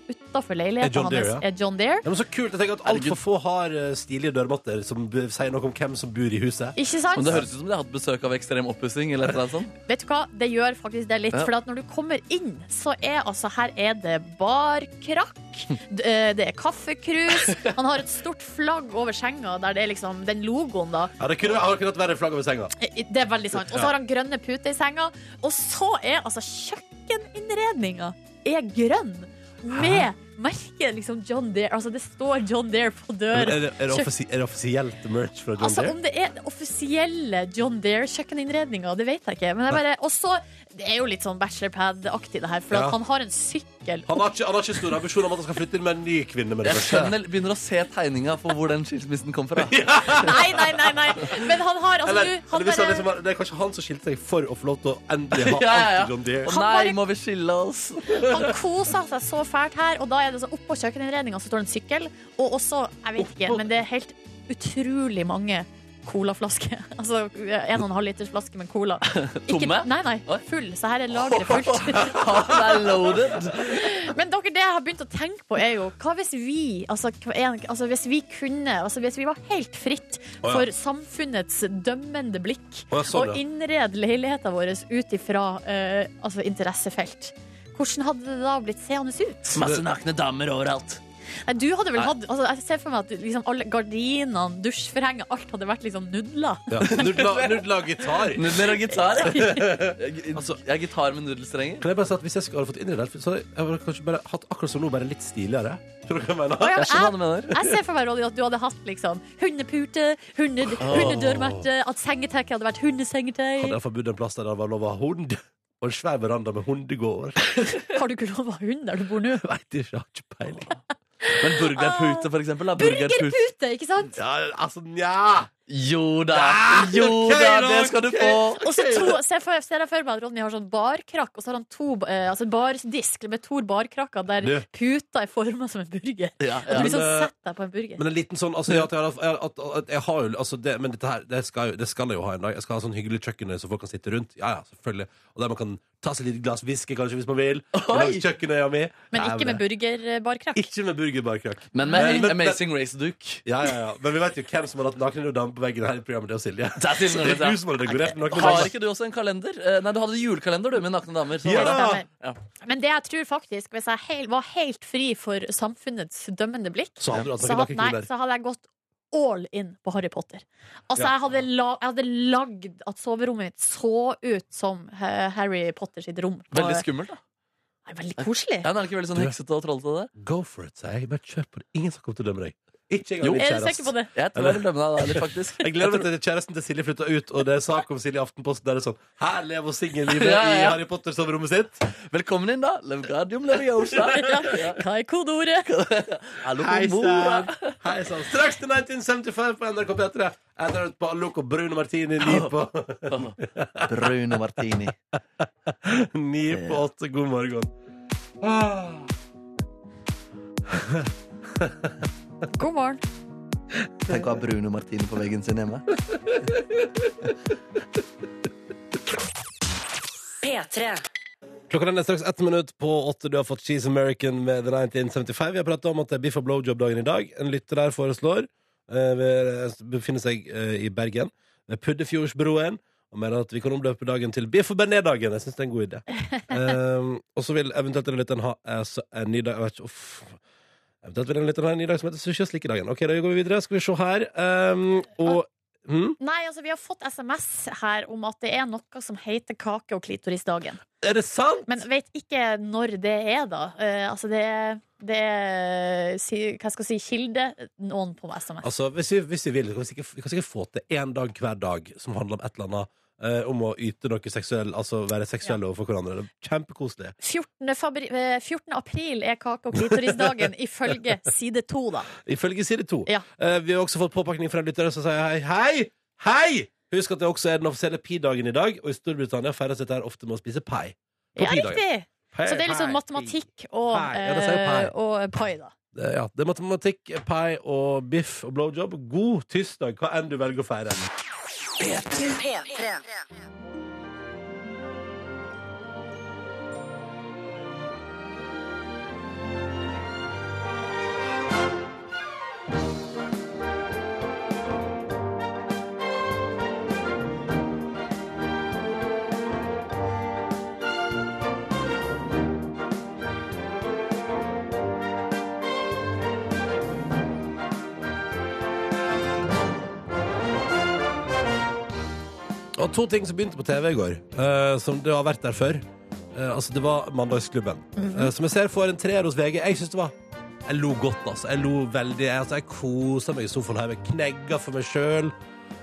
Speaker 2: Er
Speaker 3: utafor
Speaker 2: John
Speaker 3: leiligheten
Speaker 2: Deere,
Speaker 3: hans
Speaker 2: ja.
Speaker 3: er John Deere.
Speaker 2: Ja, men så kult. Jeg tenker at
Speaker 4: Herregud.
Speaker 2: altfor få har eh, stilige dørmatter som b- sier noe om hvem som bor i huset.
Speaker 3: Ikke sant?
Speaker 4: Men det høres ut som de har hatt besøk av ekstrem oppussing. Eller et eller annet sånt.
Speaker 3: Vet du hva, det gjør faktisk det litt.
Speaker 4: Ja.
Speaker 3: For at når du kommer inn, så er altså her er det barkrakk, d- eh, det er kaffekrus. Han har et stort flagg over senga der det er liksom den logoen, da.
Speaker 2: Ja, det kunne, har kunnet være flagg over senga.
Speaker 3: Eh, Det er veldig sant. Og så har han grønne puter i senga. Og så er altså kjøkkeninnredninga er grønn med merket liksom John Deere. Altså det står John Deere på
Speaker 2: Er
Speaker 3: døra.
Speaker 2: det, er det, offisie, er det offisielt merch fra John
Speaker 3: Altså,
Speaker 2: Deere?
Speaker 3: Om det er den offisielle John Deere-kjøkkeninnredninga, det vet jeg ikke. Men jeg bare, og så, Det er jo litt sånn bachelorpad-aktig, det her. For
Speaker 2: Ja.
Speaker 3: at han har en sykkel
Speaker 2: Han har, ikke, han har ikke stor ambisjon om at han skal flytte inn med en ny kvinne. med det
Speaker 4: Jeg
Speaker 2: første.
Speaker 4: skjønner, begynner å se tegninga for hvor den skilsmissen kom fra.
Speaker 3: Ah, Nei, nei, nei! nei Men han har altså,
Speaker 2: Eller,
Speaker 3: du, han
Speaker 2: eller hvis han
Speaker 3: bare-
Speaker 2: liksom, har- det er kanskje han som skilte seg for å få lov til å endelig ha
Speaker 4: Ja, ja, ja.
Speaker 2: alt til John Deere.
Speaker 4: Å nei, må vi skille oss?
Speaker 3: Han koser seg så fælt her, og da er det så oppå kjøkkeninnredninga så står det en sykkel, og også, jeg vet ikke, men det er helt utrolig mange colaflasker. Altså en og en halv liters flaske med cola. Ikke-
Speaker 4: Tomme?
Speaker 3: Nei, nei,
Speaker 4: Oi.
Speaker 3: full. Så her er lageret fullt.
Speaker 4: Han er loaded.
Speaker 3: Men dere, det jeg har begynt å tenke på, er jo hva hvis vi, altså, hva en, altså hvis vi kunne, altså hvis vi var helt fritt
Speaker 2: ja.
Speaker 3: for samfunnets dømmende blikk,
Speaker 2: Å, ja, sånn,
Speaker 3: og
Speaker 2: ja.
Speaker 3: innrede leiligheten vår ut ifra eh, altså, interessefelt. Hvordan hadde det da blitt seende ut?
Speaker 4: Masse nakne damer overalt.
Speaker 3: Nei, du hadde vel
Speaker 4: Nei.
Speaker 3: hatt altså, Jeg ser for meg at liksom, alle gardinene, dusjforhenget, alt hadde vært liksom nudler.
Speaker 2: Ja. Nudla, nudla gitar.
Speaker 4: Nudler og gitar. Jeg, jeg, jeg er gitar med nudelstrenger.
Speaker 2: Kan jeg bare si at Hvis jeg skulle hadde fått innredd det, så hadde jeg hadde kanskje bare hatt akkurat som nå, bare litt stiligere. Tror du hva jeg mener?
Speaker 3: Å, ja,
Speaker 4: Jeg
Speaker 3: men
Speaker 4: skjønner hva
Speaker 3: jeg,
Speaker 4: du mener.
Speaker 3: jeg ser for meg Ronny, at du hadde hatt liksom, hundepute, hunde, hundedørmerte, at sengetøyet hadde vært
Speaker 2: Hadde jeg
Speaker 3: hundesengetøy.
Speaker 2: iallfall bodd en plass der det var lov å ha hund. Og en svær veranda med hundegård.
Speaker 3: Har du ikke lov å ha hund der du bor nå?
Speaker 2: Veit ikke, jeg har ikke peiling.
Speaker 4: Men burgerpute, for eksempel. Da. Burgerpute.
Speaker 3: Burgerpute, ikke sant?
Speaker 2: Ja, altså, nja
Speaker 4: Jo da, jo da, det skal du få.
Speaker 3: Og så to, ser for- ser jeg for meg at Ronny har sånn barkrakk, og så har han to eh, altså bardisk med to barkrakker der
Speaker 2: Du.
Speaker 3: puta er forma som en burger.
Speaker 4: Ja,
Speaker 3: Du
Speaker 4: ja.
Speaker 2: Men,
Speaker 3: liksom
Speaker 2: eh,
Speaker 3: setter deg på en burger.
Speaker 2: Men en liten sånn altså, ja, at jeg, har- at, at, at jeg har jo altså, det, Men dette her, det skal, jo- det skal jeg jo ha en dag. Jeg skal ha sånn hyggelig kjøkken så folk kan sitte rundt. Ja, ja, selvfølgelig Og der man kan ta seg et lite glass whisky, kanskje, hvis man vil. Langs kjøkkenøya mi.
Speaker 3: Men
Speaker 2: Nei,
Speaker 3: ikke med burgerbarkrakk.
Speaker 2: Ikke med burgerbarkrakk.
Speaker 4: Men
Speaker 2: Men-
Speaker 4: med
Speaker 2: men-
Speaker 4: Amazing Race-duk.
Speaker 2: Ja, ja, ja. Men vi vet jo hvem som har hatt nakne damer på veggen her i programmet. Det er Silje.
Speaker 4: Det er Silje,
Speaker 2: Det er
Speaker 4: ja.
Speaker 2: du som har dekorert den nakne
Speaker 4: Har
Speaker 2: damer.
Speaker 4: ikke du også en kalender? Eh, Nei, du hadde julekalender du med nakne damer. Sånn
Speaker 2: Ja.
Speaker 4: var det.
Speaker 3: Stemmer.
Speaker 4: Ja.
Speaker 3: Men det jeg tror faktisk, hvis jeg hel, var helt fri for samfunnets dømmende blikk,
Speaker 2: Så hadde
Speaker 4: Altså,
Speaker 2: du hatt
Speaker 3: så
Speaker 2: noen
Speaker 3: hadde,
Speaker 2: nakne
Speaker 3: nei,
Speaker 2: kvinner.
Speaker 3: så hadde jeg gått all in på Harry Potter. Altså,
Speaker 2: Ja.
Speaker 3: jeg, hadde la, jeg hadde lagd at soverommet mitt så ut som eh, Harry Potter sitt rom. på-
Speaker 4: Veldig skummelt, da.
Speaker 3: Nei, veldig koselig.
Speaker 4: Ja, men er det ikke veldig sånn heksete og trollete? det?
Speaker 2: Go for it, sier jeg. Bare kjør på det. Ingen som kommer til å dømme deg. Ikke
Speaker 4: Jo.
Speaker 2: engang din
Speaker 3: Er du sikker
Speaker 2: kjæreste.
Speaker 3: på det?
Speaker 4: Jeg tror jeg vil dømme deg da, litt, faktisk.
Speaker 2: Jeg gleder meg til kjæresten til Silje flytter ut, og det er sak om Silje i Aftenposten der det er sånn Her lever hun singellivet
Speaker 4: Ja, ja,
Speaker 2: i
Speaker 4: ja.
Speaker 2: Harry Potter-soverommet sitt.
Speaker 4: Velkommen inn, da. Levgardium Leviosa. Ja.
Speaker 3: Hva er kodeordet?
Speaker 4: Hallo,
Speaker 2: Hei
Speaker 4: mora.
Speaker 2: sann! Hei sann. Straks til 1975 på NRK P3. Etter at Balloco Bruno Martini ni på,
Speaker 4: Bruno Martini.
Speaker 2: ni på åtte. God morgen. Ah.
Speaker 3: God morgen.
Speaker 4: Tenk å ha Bruno Martini på veggen sin hjemme.
Speaker 1: P3.
Speaker 2: Klokka den er straks ett minutt på åtte. Du har fått Cheese American med The 1975. Vi har pratet om at det er biff og blowjob-dagen i dag. En lytter der foreslår eh, ved- Befinner seg eh, i Bergen, ved Puddefjordsbroen, og mener at vi kan omdøpe dagen til Biff og bearnés-dagen. Jeg syns det er en god idé. Ehm, og så vil eventuelt den lytteren ha eh, så- en ny dag jeg vet ikke, uff. Eventuelt vil den lytteren ha en ny dag som heter Sushi og slikkedagen. Ok, da går vi videre. Skal vi se her. Ehm, og hm?
Speaker 3: Nei, altså, vi har fått SMS her om at det er noe som heter kake- og klitorisdagen.
Speaker 2: Er det sant?
Speaker 3: Men vet ikke når det er, da. Eh, altså, det er, det er si, Hva skal jeg si? Kilde noen på SMS.
Speaker 2: Altså, hvis vi, hvis vi vil, kan vi sikkert, vi kan sikkert få til én dag hver dag som handler om et eller annet eh, om å yte noe seksuell, altså være seksuelle overfor hverandre. Det er Kjempekoselig.
Speaker 3: 14. Fabri eh, 14. april er kake- og klitorisdagen, ifølge side to, da.
Speaker 2: Ifølge side to.
Speaker 3: Ja.
Speaker 2: Eh, vi har også fått påpakning fra en lytter som sier hei, hei! Hei! Husk at det også er den offisielle pi-dagen i dag, og i Storbritannia feires dette her ofte med å spise pai. På
Speaker 3: Ja,
Speaker 2: pi-dagen.
Speaker 3: riktig!
Speaker 2: Pai,
Speaker 3: Så det er liksom
Speaker 2: pai, pi.
Speaker 3: matematikk og,
Speaker 2: Pai. Ja, det sier jo pai.
Speaker 3: eh, og pai, da.
Speaker 2: Det- Ja, det er matematikk, pai og biff og blowjob. God tirsdag, hva enn du velger å feire. Og to ting som begynte på TV i går, eh, som det har vært der før. Eh, altså, det var Mandagsklubben.
Speaker 3: Mhm.
Speaker 2: eh, som jeg ser får en treer hos VG. Jeg syns det var Jeg lo godt, altså. Jeg lo veldig. Jeg, altså, jeg kosa meg i sofaen hjemme. Knegga for meg sjøl.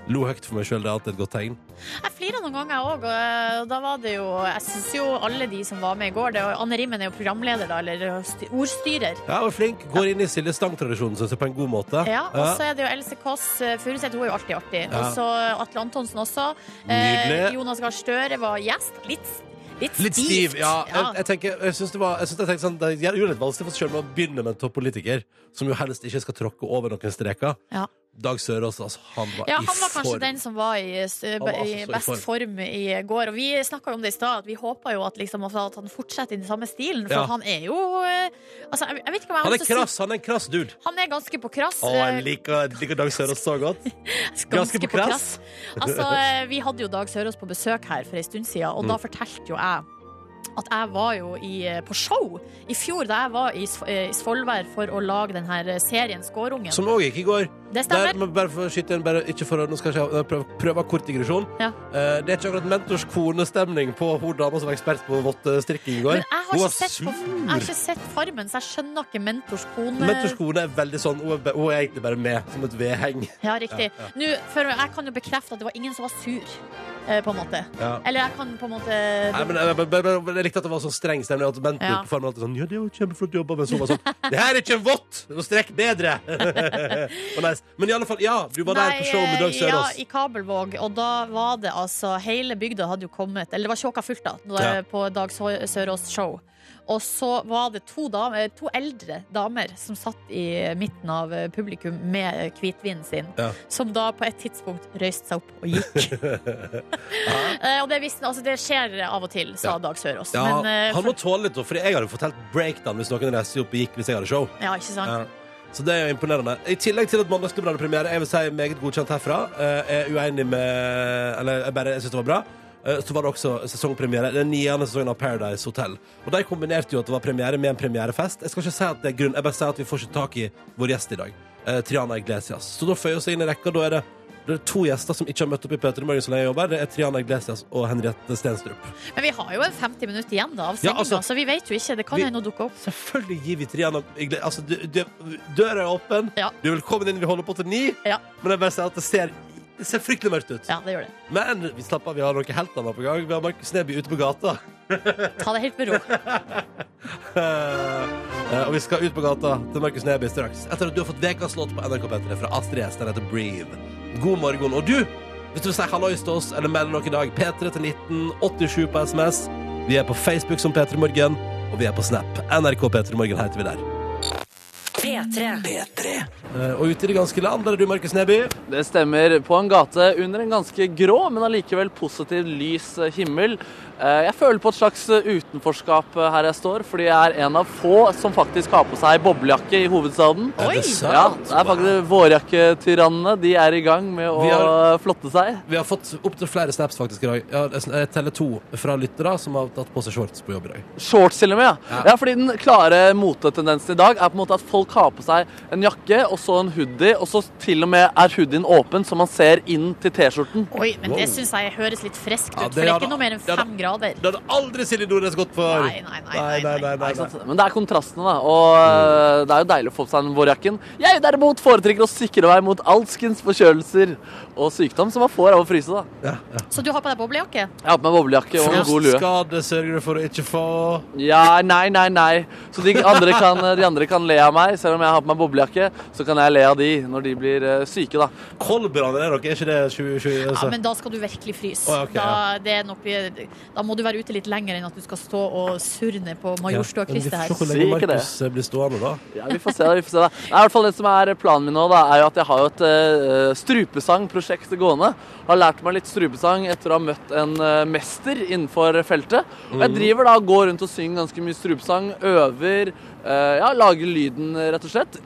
Speaker 2: Lo høyt for meg sjøl. Det er alltid et godt tegn.
Speaker 3: Jeg flirer noen ganger òg, og eh, da var det jo Jeg syns jo alle de som var med i går det, var- Anne Rimmen er jo programleder, da, eller sty- ordstyrer.
Speaker 2: Ja, og flink. Går inn i Silje Stang-tradisjonen, syns jeg, på en god måte.
Speaker 3: Ja, og så
Speaker 2: Ja.
Speaker 3: er det jo Else Kåss eh, Furuseth, hun er jo alltid artig.
Speaker 2: Ja.
Speaker 3: Og så Atle Antonsen også. Eh,
Speaker 2: Nydelig.
Speaker 3: Jonas Gahr Støre var gjest. Litt, litt,
Speaker 2: Litt stiv.
Speaker 3: stivt.
Speaker 2: Ja,
Speaker 3: Ja.
Speaker 2: jeg, jeg, tenker, jeg syns det var jeg synes jeg tenkte sånn, Det gjør det litt vanskelig for seg sjøl å begynne med en toppolitiker som jo helst ikke skal tråkke over noen streker.
Speaker 3: Ja.
Speaker 2: Dag Sørås, altså, han var
Speaker 3: Ja,
Speaker 2: i
Speaker 3: han var kanskje
Speaker 2: form.
Speaker 3: den som var i, s-
Speaker 2: var altså så
Speaker 3: i
Speaker 2: i
Speaker 3: best
Speaker 2: form.
Speaker 3: form i går. Og vi snakka jo om det i stad, at vi håpa jo at, liksom, at han fortsetter i den samme stilen. For
Speaker 2: Ja.
Speaker 3: at han er jo eh, Altså, jeg, jeg vet ikke om jeg har
Speaker 2: Han er
Speaker 3: lyst til å si
Speaker 2: krass, han er en krass dude.
Speaker 3: Han er ganske på krass.
Speaker 2: Å,
Speaker 3: eh,
Speaker 2: jeg liker, liker Dag Sørås så godt. Ganske på krass.
Speaker 3: Altså, eh, vi hadde jo Dag Sørås på besøk her for en stund siden, og
Speaker 2: Mm.
Speaker 3: da fortalte jo jeg at jeg var jo i, eh, på show i fjor da jeg var i Sv- eh, i Svolvær for å lage den her eh, serien Skårungen.
Speaker 2: Som òg gikk i går.
Speaker 3: det
Speaker 2: Der,
Speaker 3: stemmer.
Speaker 2: men bare for å skyte inn, bare, ikke for å nå skal jeg ikke- prøve, prøve å ha kort digresjon.
Speaker 3: Ja.
Speaker 2: Eh, det er ikke akkurat mentors konestemning på hun dama som var ekspert på vottestrikking i går.
Speaker 3: Men jeg har,
Speaker 2: Hun var
Speaker 3: ikke sett på, jeg har ikke sett Farmen, så jeg skjønner ikke mentors kone.
Speaker 2: Mentors kone er veldig sånn. Hun er, be- hun er egentlig bare med som et vedheng.
Speaker 3: Ja, riktig. Nå, for jeg kan jo bekrefte at det var ingen som var sur, eh, på en måte.
Speaker 2: Ja.
Speaker 3: Eller jeg kan på en måte
Speaker 2: Nei, men jeg, jeg, jeg, jeg likte at det var så streng stemning. At mentor
Speaker 3: Ja.
Speaker 2: på farmen alltid sånn Ja, det var kjempeflott jobba, men så var det sånn Det her er ikke en vott! Nå strekk bedre! Og nice. Men i alle fall, ja, du var der på show med Dag
Speaker 3: eh,
Speaker 2: Sørås.
Speaker 3: Ja, i Kabelvåg, og da var det altså Hele bygda hadde jo kommet, eller det var tjåka fullt da, da
Speaker 2: Ja.
Speaker 3: på Dag Sø- Sørås show. Og så var det to, damer, to eldre damer som satt i midten av eh, publikum med eh, hvitvinen sin,
Speaker 2: Ja.
Speaker 3: som da på et tidspunkt røyste seg opp og gikk. Eh, og det, visste, altså, det skjer av og til, sa
Speaker 2: Ja.
Speaker 3: Dag Sørås.
Speaker 2: Ja,
Speaker 3: Men, eh,
Speaker 2: han må
Speaker 3: for,
Speaker 2: tåle litt, for jeg hadde fortalt breakdown hvis noen reiste opp og gikk hvis jeg hadde show.
Speaker 3: ja, ikke sant?
Speaker 2: Ja. Så det er jo imponerende. I tillegg til at Mandagsklubben hadde premiere, jeg vil si meget godkjent herfra, eh, er uenig med Eller jeg bare jeg syns det var bra. eh, Så var det også sesongpremiere. Den niende sesongen av Paradise Hotel. Og de kombinerte jo at det var premiere med en premierefest. Jeg skal ikke si at det er grunn, jeg bare sier at vi får ikke tak i vår gjest i dag. eh, Triana Iglesias. Så da føyer vi oss inn i rekka. Da er det, det er to gjester som ikke har møtt opp i P3 Morgen så lenge jeg jobber. Det er Triana Iglesias og Henriette Stenstrup.
Speaker 3: Men vi har jo en 50 minutter igjen da,
Speaker 2: Ja,
Speaker 3: av sendinga,
Speaker 2: altså,
Speaker 3: så vi vet jo ikke. Det kan
Speaker 2: vi-
Speaker 3: hende hun dukker opp.
Speaker 2: Selvfølgelig gir vi Triana Igle- altså, du, du, Døra er åpen.
Speaker 3: Ja.
Speaker 2: Du er velkommen inn. Vi holder på til ni.
Speaker 3: Ja.
Speaker 2: Men jeg bare sier at det ser, det ser fryktelig mørkt ut.
Speaker 3: Ja, det gjør det.
Speaker 2: Men vi slapper av. Vi har noe helt annet på gang. Vi har Markus Neby ute på gata.
Speaker 3: Ta det helt med ro.
Speaker 2: Eh, og vi skal ut på gata til Markus Neby straks. Etter at du har fått ukas låt på NRK P3 fra Astrid S. Den heter Breathe. God morgen. Og du, hvis du vil si hallois til oss eller melde noe i dag, P3 til 1987 på SMS. Vi er på Facebook som P3 Morgen, og vi er på Snap. NRK P3 Morgen heter vi der.
Speaker 1: P3.
Speaker 2: Eh, Og ute i det ganske land, der er du, Markus Neby.
Speaker 4: Det stemmer. På en gate under en ganske grå, men allikevel positiv lys eh, himmel. Eh, Jeg føler på et slags eh, utenforskap eh, her jeg står, fordi jeg er en av få som faktisk har på seg boblejakke i hovedstaden.
Speaker 2: Er det sant?
Speaker 4: Ja, det er faktisk vårjakketyrannene. De er i gang med å
Speaker 2: Vi har-
Speaker 4: eh, flotte seg.
Speaker 2: Vi har fått opptil flere snaps faktisk i dag. Ja, jeg sn- jeg teller to fra lyttere som har tatt på seg shorts på jobb i dag.
Speaker 4: Shorts til og med, ja. ja. fordi den klare motetendensen i dag er på en måte at folk har har på seg en jakke og så en hoodie, og så til og med er hoodien åpen, så man ser inn til T-skjorten.
Speaker 3: Oi, men
Speaker 2: Wow.
Speaker 3: det syns jeg høres litt friskt ut,
Speaker 2: Ja, det
Speaker 3: for det er
Speaker 2: hadde-
Speaker 3: ikke noe mer enn
Speaker 2: det hadde-
Speaker 3: fem grader.
Speaker 2: Det hadde aldri Silje Nordnes gått for.
Speaker 3: Nei, nei, nei, nei,
Speaker 2: nei, nei, nei,
Speaker 4: Ikke
Speaker 2: nei.
Speaker 4: sant? Men det er kontrastene, da. Og eh, det er jo deilig å få på seg den vårjakken. Jeg derimot foretrekker å sikre meg mot alskens forkjølelser og sykdom som man får av å fryse, da.
Speaker 2: Ja, ja.
Speaker 3: Så du har på deg boblejakke?
Speaker 4: Jeg har på meg boblejakke og en god lue.
Speaker 2: Frostskade sørger du for å ikke få.
Speaker 4: Ja, nei, nei, nei. Så de andre, kan, de andre kan le av meg, selv om jeg har på meg boblejakke. Så kan jeg le av de når de blir eh, syke, da.
Speaker 2: Kolbrand er dere, er ikke det altså? 2020?
Speaker 3: Ja, men da skal du virkelig fryse.
Speaker 2: Å, ja, ok,
Speaker 3: da, det er nok, da må du være ute litt lenger enn at du skal stå og surne på Majorstua
Speaker 2: vi
Speaker 3: Kriste
Speaker 2: får
Speaker 3: her.
Speaker 2: se hvor
Speaker 4: Si
Speaker 2: lenge
Speaker 4: ikke det.
Speaker 2: Markus eh, blir stående, da.
Speaker 4: Ja, vi får se, da. vi får se da. Nei, i hvert fall Det som er planen min nå, da, er jo at jeg har jo et eh, strupesangprosjekt gående. Har lært meg litt strupesang etter å ha møtt en eh, mester innenfor feltet. Og jeg driver da og går rundt og synger ganske mye strupesang, øver, eh, ja, lager lyden, eh, rett og slett.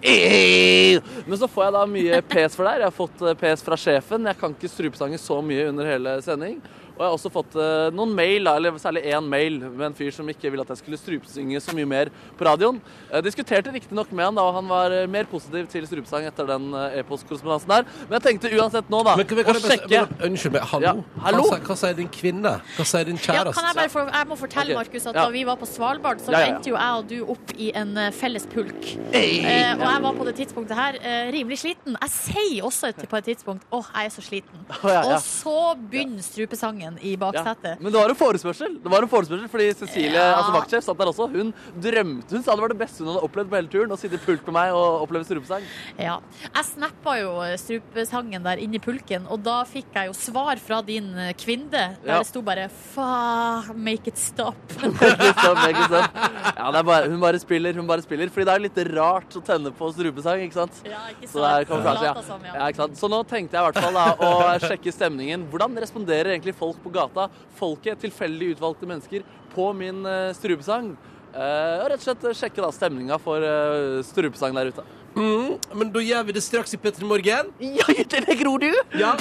Speaker 4: Men så får jeg da mye pes for det her. Jeg har fått eh, pes fra sjefen. Jeg kan ikke strupesanger så mye under hele sending. Og jeg har også fått eh, noen mail, da, eller særlig én mail, med en fyr som ikke ville at jeg skulle strupesynge så mye mer på radioen. Jeg diskuterte riktignok med han, da, og han var eh, mer positiv til strupesang etter den eh, e-postkorrespondansen der. Men jeg tenkte uansett nå, da,
Speaker 2: Men, men, kan
Speaker 4: å
Speaker 2: jeg bare,
Speaker 4: sjekke
Speaker 2: men, unnskyld meg, hallo?
Speaker 4: Ja,
Speaker 2: Hva,
Speaker 4: hallo?
Speaker 2: sier, hva sier din kvinne? Hva sier din
Speaker 3: Ja,
Speaker 2: kjæreste?
Speaker 3: kan jeg, bare få, jeg må fortelle,
Speaker 4: Ok,
Speaker 3: Markus, at
Speaker 4: ja.
Speaker 3: da vi var på Svalbard, så
Speaker 4: Ja, ja, ja.
Speaker 3: endte jo jeg og du opp i en eh, felles pulk. Eh, og jeg var på det tidspunktet her eh, rimelig sliten. Jeg sier også et, på et tidspunkt 'Å, jeg er så sliten'.
Speaker 4: ja, ja.
Speaker 3: Og så begynner strupesangen i
Speaker 4: Ja.
Speaker 3: baksetet.
Speaker 4: Men det var en forespørsel, Det var en forespørsel, fordi Cecilie,
Speaker 3: Ja.
Speaker 4: altså vaktsjef, satt der også. Hun drømte Hun sa det var det beste hun hadde opplevd på hele turen, å sitte i pult med meg og oppleve strupesang.
Speaker 3: Ja. Jeg snappa jo strupesangen der inni pulken, og da fikk jeg jo svar fra din eh, kvinne. Der
Speaker 4: Ja.
Speaker 3: det sto bare 'fa, make it stop'.
Speaker 4: Ikke sant, sånn, ikke sant. Ja, det er bare, hun bare spiller, hun bare spiller. Fordi det er litt rart å tenne på strupesang, ikke sant?
Speaker 3: Ja, ikke sant?
Speaker 4: Så,
Speaker 3: sånn,
Speaker 4: det er kamuflasje,
Speaker 3: Lata som,
Speaker 4: ja. Ja, ikke sant? så nå tenkte jeg i hvert fall da, å sjekke stemningen. Hvordan responderer egentlig folk på gata, folket, tilfeldig utvalgte mennesker, på min eh, strupesang? Eh, og rett og slett sjekke da stemninga for eh, strupesang der ute.
Speaker 2: Mm, men da gjør vi det straks i P3 Morgen.
Speaker 4: Ja, det gror du!
Speaker 2: Ja.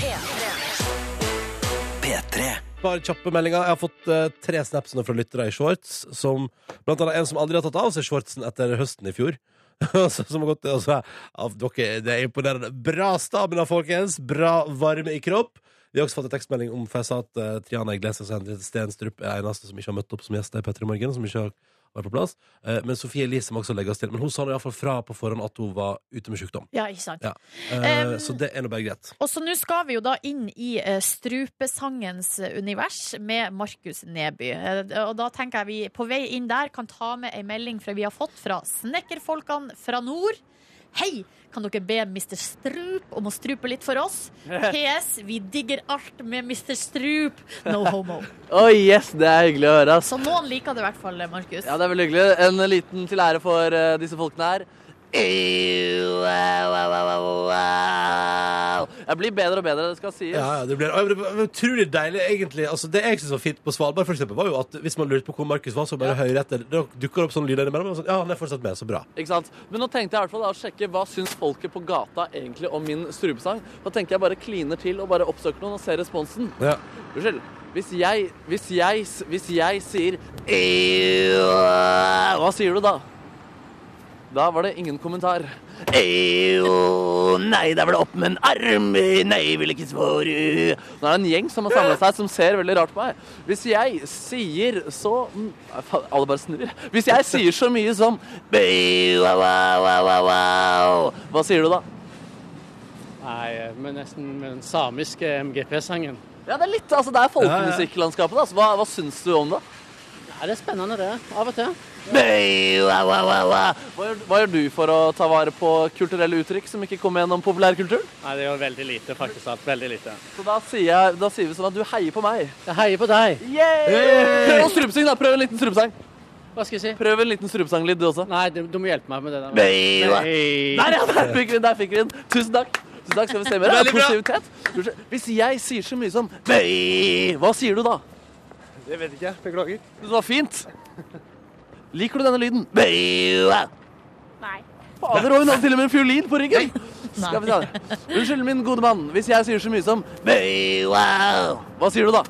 Speaker 2: Bare kjappe meldinger. Jeg har fått eh, tre snaps nå fra lyttere i shorts. Som, blant annet en som aldri har tatt av seg shortsen etter høsten i fjor. Så- som har gått og så, av dere, Det er imponerende. Bra stamina, folkens! Bra varme i kropp. Vi har også fått en tekstmelding om for jeg sa at eh, Triana Iglesias og Henriette Stenstrup er eneste som ikke har møtt opp som gjester i P3 Morgen. Som ikke har vært på plass. Eh, men Sofie Elise må også legges til. Men hun sa iallfall fra på forhånd at hun var ute med sykdom.
Speaker 3: Ja, ikke sant.
Speaker 2: Ja. Eh,
Speaker 3: Um,
Speaker 2: så det er nå bare greit.
Speaker 3: Og så nå skal vi jo da inn i eh, strupesangens eh, univers med Markus Neby. Eh, Og da tenker jeg vi på vei inn der kan ta med ei melding fra vi har fått fra snekkerfolkene fra nord. Hei! Kan dere be Mr. Strup om å strupe litt for oss? PS. Vi digger alt med Mr. Strup. No homo.
Speaker 4: Oh, yes, det er hyggelig å høre. ass.
Speaker 3: Så noen liker det i hvert fall, Markus.
Speaker 4: Ja, det er veldig hyggelig. En liten til ære for eh, disse folkene her. Jeg blir bedre og bedre, det skal sies.
Speaker 2: Ja, ja, det blir det var utrolig deilig, egentlig. Altså, det jeg syntes var fint på Svalbard, for eksempel, var jo at hvis man lurte på hvor Markus var, så bare høyre etter. Da dukker det opp sånne lyder innimellom. og Sånn, ja, han er fortsatt med, så bra.
Speaker 4: Ikke sant? Men nå tenkte jeg i hvert fall da å sjekke hva syns folket på gata egentlig om min strupesang. Da tenker jeg bare kliner til og bare oppsøker noen og ser responsen.
Speaker 2: Ja.
Speaker 4: Unnskyld. Hvis jeg, hvis jeg, s- hvis jeg sier «Ew», Hva sier du da? Da var det ingen kommentar. «Ew», Nei, der var det opp med en arm. Nei, vil ikke svare. Nå er det en gjeng som har samla seg, som ser veldig rart på meg. Hvis jeg sier så mm, faen, Alle bare snur. Hvis jeg sier så mye som «Ew, wow, wow, wow, wow, wow», Hva sier du da?
Speaker 6: Nei, eh, men nesten med den samiske MGP-sangen.
Speaker 4: Ja, det er litt, altså det er folkemusikklandskapet. da, så Hva, hva syns du om det?
Speaker 6: Ja, det er spennende det, av og til.
Speaker 4: Hva gjør, hva gjør du for å ta vare på kulturelle uttrykk som ikke kommer gjennom populærkulturen?
Speaker 6: Nei, det er jo veldig lite, faktisk. alt, Veldig lite.
Speaker 4: Så da sier, jeg, da sier vi sånn at du heier på meg.
Speaker 6: Jeg heier på deg.
Speaker 4: Prøv å strupesynge, da. Prøv en liten strupesang.
Speaker 6: Hva skal jeg si?
Speaker 4: Prøv en liten strupesanglyd, du også.
Speaker 6: Nei, du, du må hjelpe meg med det der.
Speaker 4: Der,
Speaker 6: Nei.
Speaker 4: ja, der fikk vi den! der fikk vi den. Tusen takk. Tusen takk, Skal vi se mer? da?
Speaker 2: Veldig bra.
Speaker 4: Positivitet. Skal vi se. Hvis jeg sier så mye som «Bøy», hva sier du da?
Speaker 7: Det vet ikke jeg. Beklager.
Speaker 4: Det var fint. Liker du denne lyden? Nei. Fader, og hun hadde til og med en fiolin på ryggen. Skal vi ta det. Unnskyld, min gode mann, hvis jeg sier så mye som «Bøy, wow», Hva sier du da?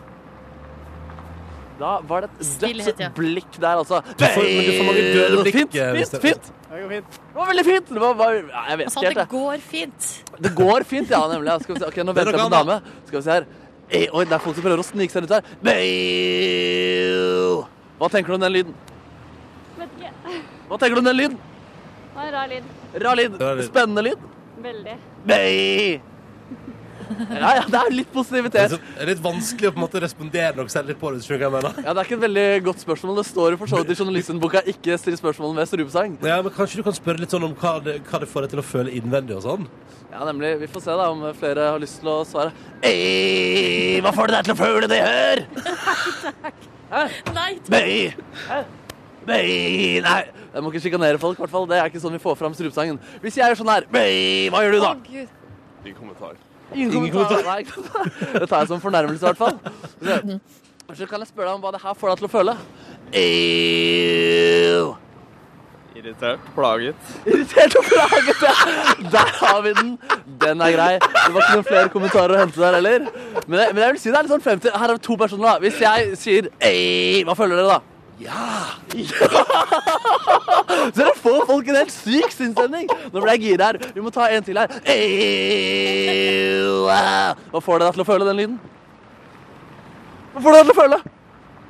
Speaker 4: Da var det et
Speaker 3: Stillhet,
Speaker 4: dødt
Speaker 3: ja.
Speaker 4: blikk der, altså.
Speaker 2: Du får- men du får mange døde blikk,
Speaker 4: Fint,
Speaker 2: eh, hvis
Speaker 4: fint,
Speaker 2: det-
Speaker 4: fint.
Speaker 7: Det går fint.
Speaker 4: Det var veldig fint. Det var, var, ja, jeg vet
Speaker 8: Altså,
Speaker 3: Han
Speaker 4: ikke
Speaker 3: sa at
Speaker 4: helt,
Speaker 3: det
Speaker 4: jeg.
Speaker 3: går fint.
Speaker 4: Det går fint, ja, nemlig. Skal vi se. Ok, nå
Speaker 2: Det er
Speaker 4: venter jeg på
Speaker 2: noe
Speaker 4: dame. Skal vi se her. Ei, oi, det er folk som prøver å snike seg rundt her. Beiu! Hva tenker du om den lyden?
Speaker 8: Vet ikke.
Speaker 4: Hva tenker du om den lyden?
Speaker 8: Det var en rar lyd.
Speaker 4: Rar lyd.
Speaker 2: Rar lyd.
Speaker 4: Spennende lyd.
Speaker 8: Veldig.
Speaker 4: Bei! Ja, ja, det er
Speaker 2: Det
Speaker 4: litt
Speaker 2: er
Speaker 4: positivitet.
Speaker 2: sånn- det er litt vanskelig å på en måte respondere nok selv litt på det. Skjønner du hva jeg mener?
Speaker 4: Ja, Det er ikke et veldig godt spørsmål. Det står jo for så vidt i journalistenboka 'Ikke still spørsmål ved strupesang'.
Speaker 2: Ja, men Kanskje du kan spørre litt sånn om hva det, hva det får deg til å føle innvendig og sånn?
Speaker 4: Ja, nemlig. Vi får se da om flere har lyst til å svare. Ei, hva får du deg til å føle det her?
Speaker 3: Nei,
Speaker 4: Nei. Nei, nei. Jeg må ikke sjikanere folk, i hvert fall. Det er ikke sånn vi får fram strupesangen. Hvis jeg gjør sånn her, nei, hva gjør du da?
Speaker 3: Gud.
Speaker 7: Ingen kommentar.
Speaker 4: Ingen kommentar. Nei, Det tar jeg som fornærmelse, i hvert fall. Så- Så kan jeg spørre deg om hva det her får deg til å føle. Ew.
Speaker 7: Irritert. Plaget.
Speaker 4: Irritert og plaget, ja. Der har vi den. Den er grei. Det var ikke noen flere kommentarer å hente der heller. Men, jeg- men jeg vil si det er litt sånn frem til Her er det to personer, da. Hvis jeg sier Ei, hva føler dere da? Ja! Så dere får folk en helt syk sinnsstemning. Nå ble jeg gira her. Vi må ta en til her. Ei, wow. Hva får dere til å føle den lyden? Hva får dere til å føle?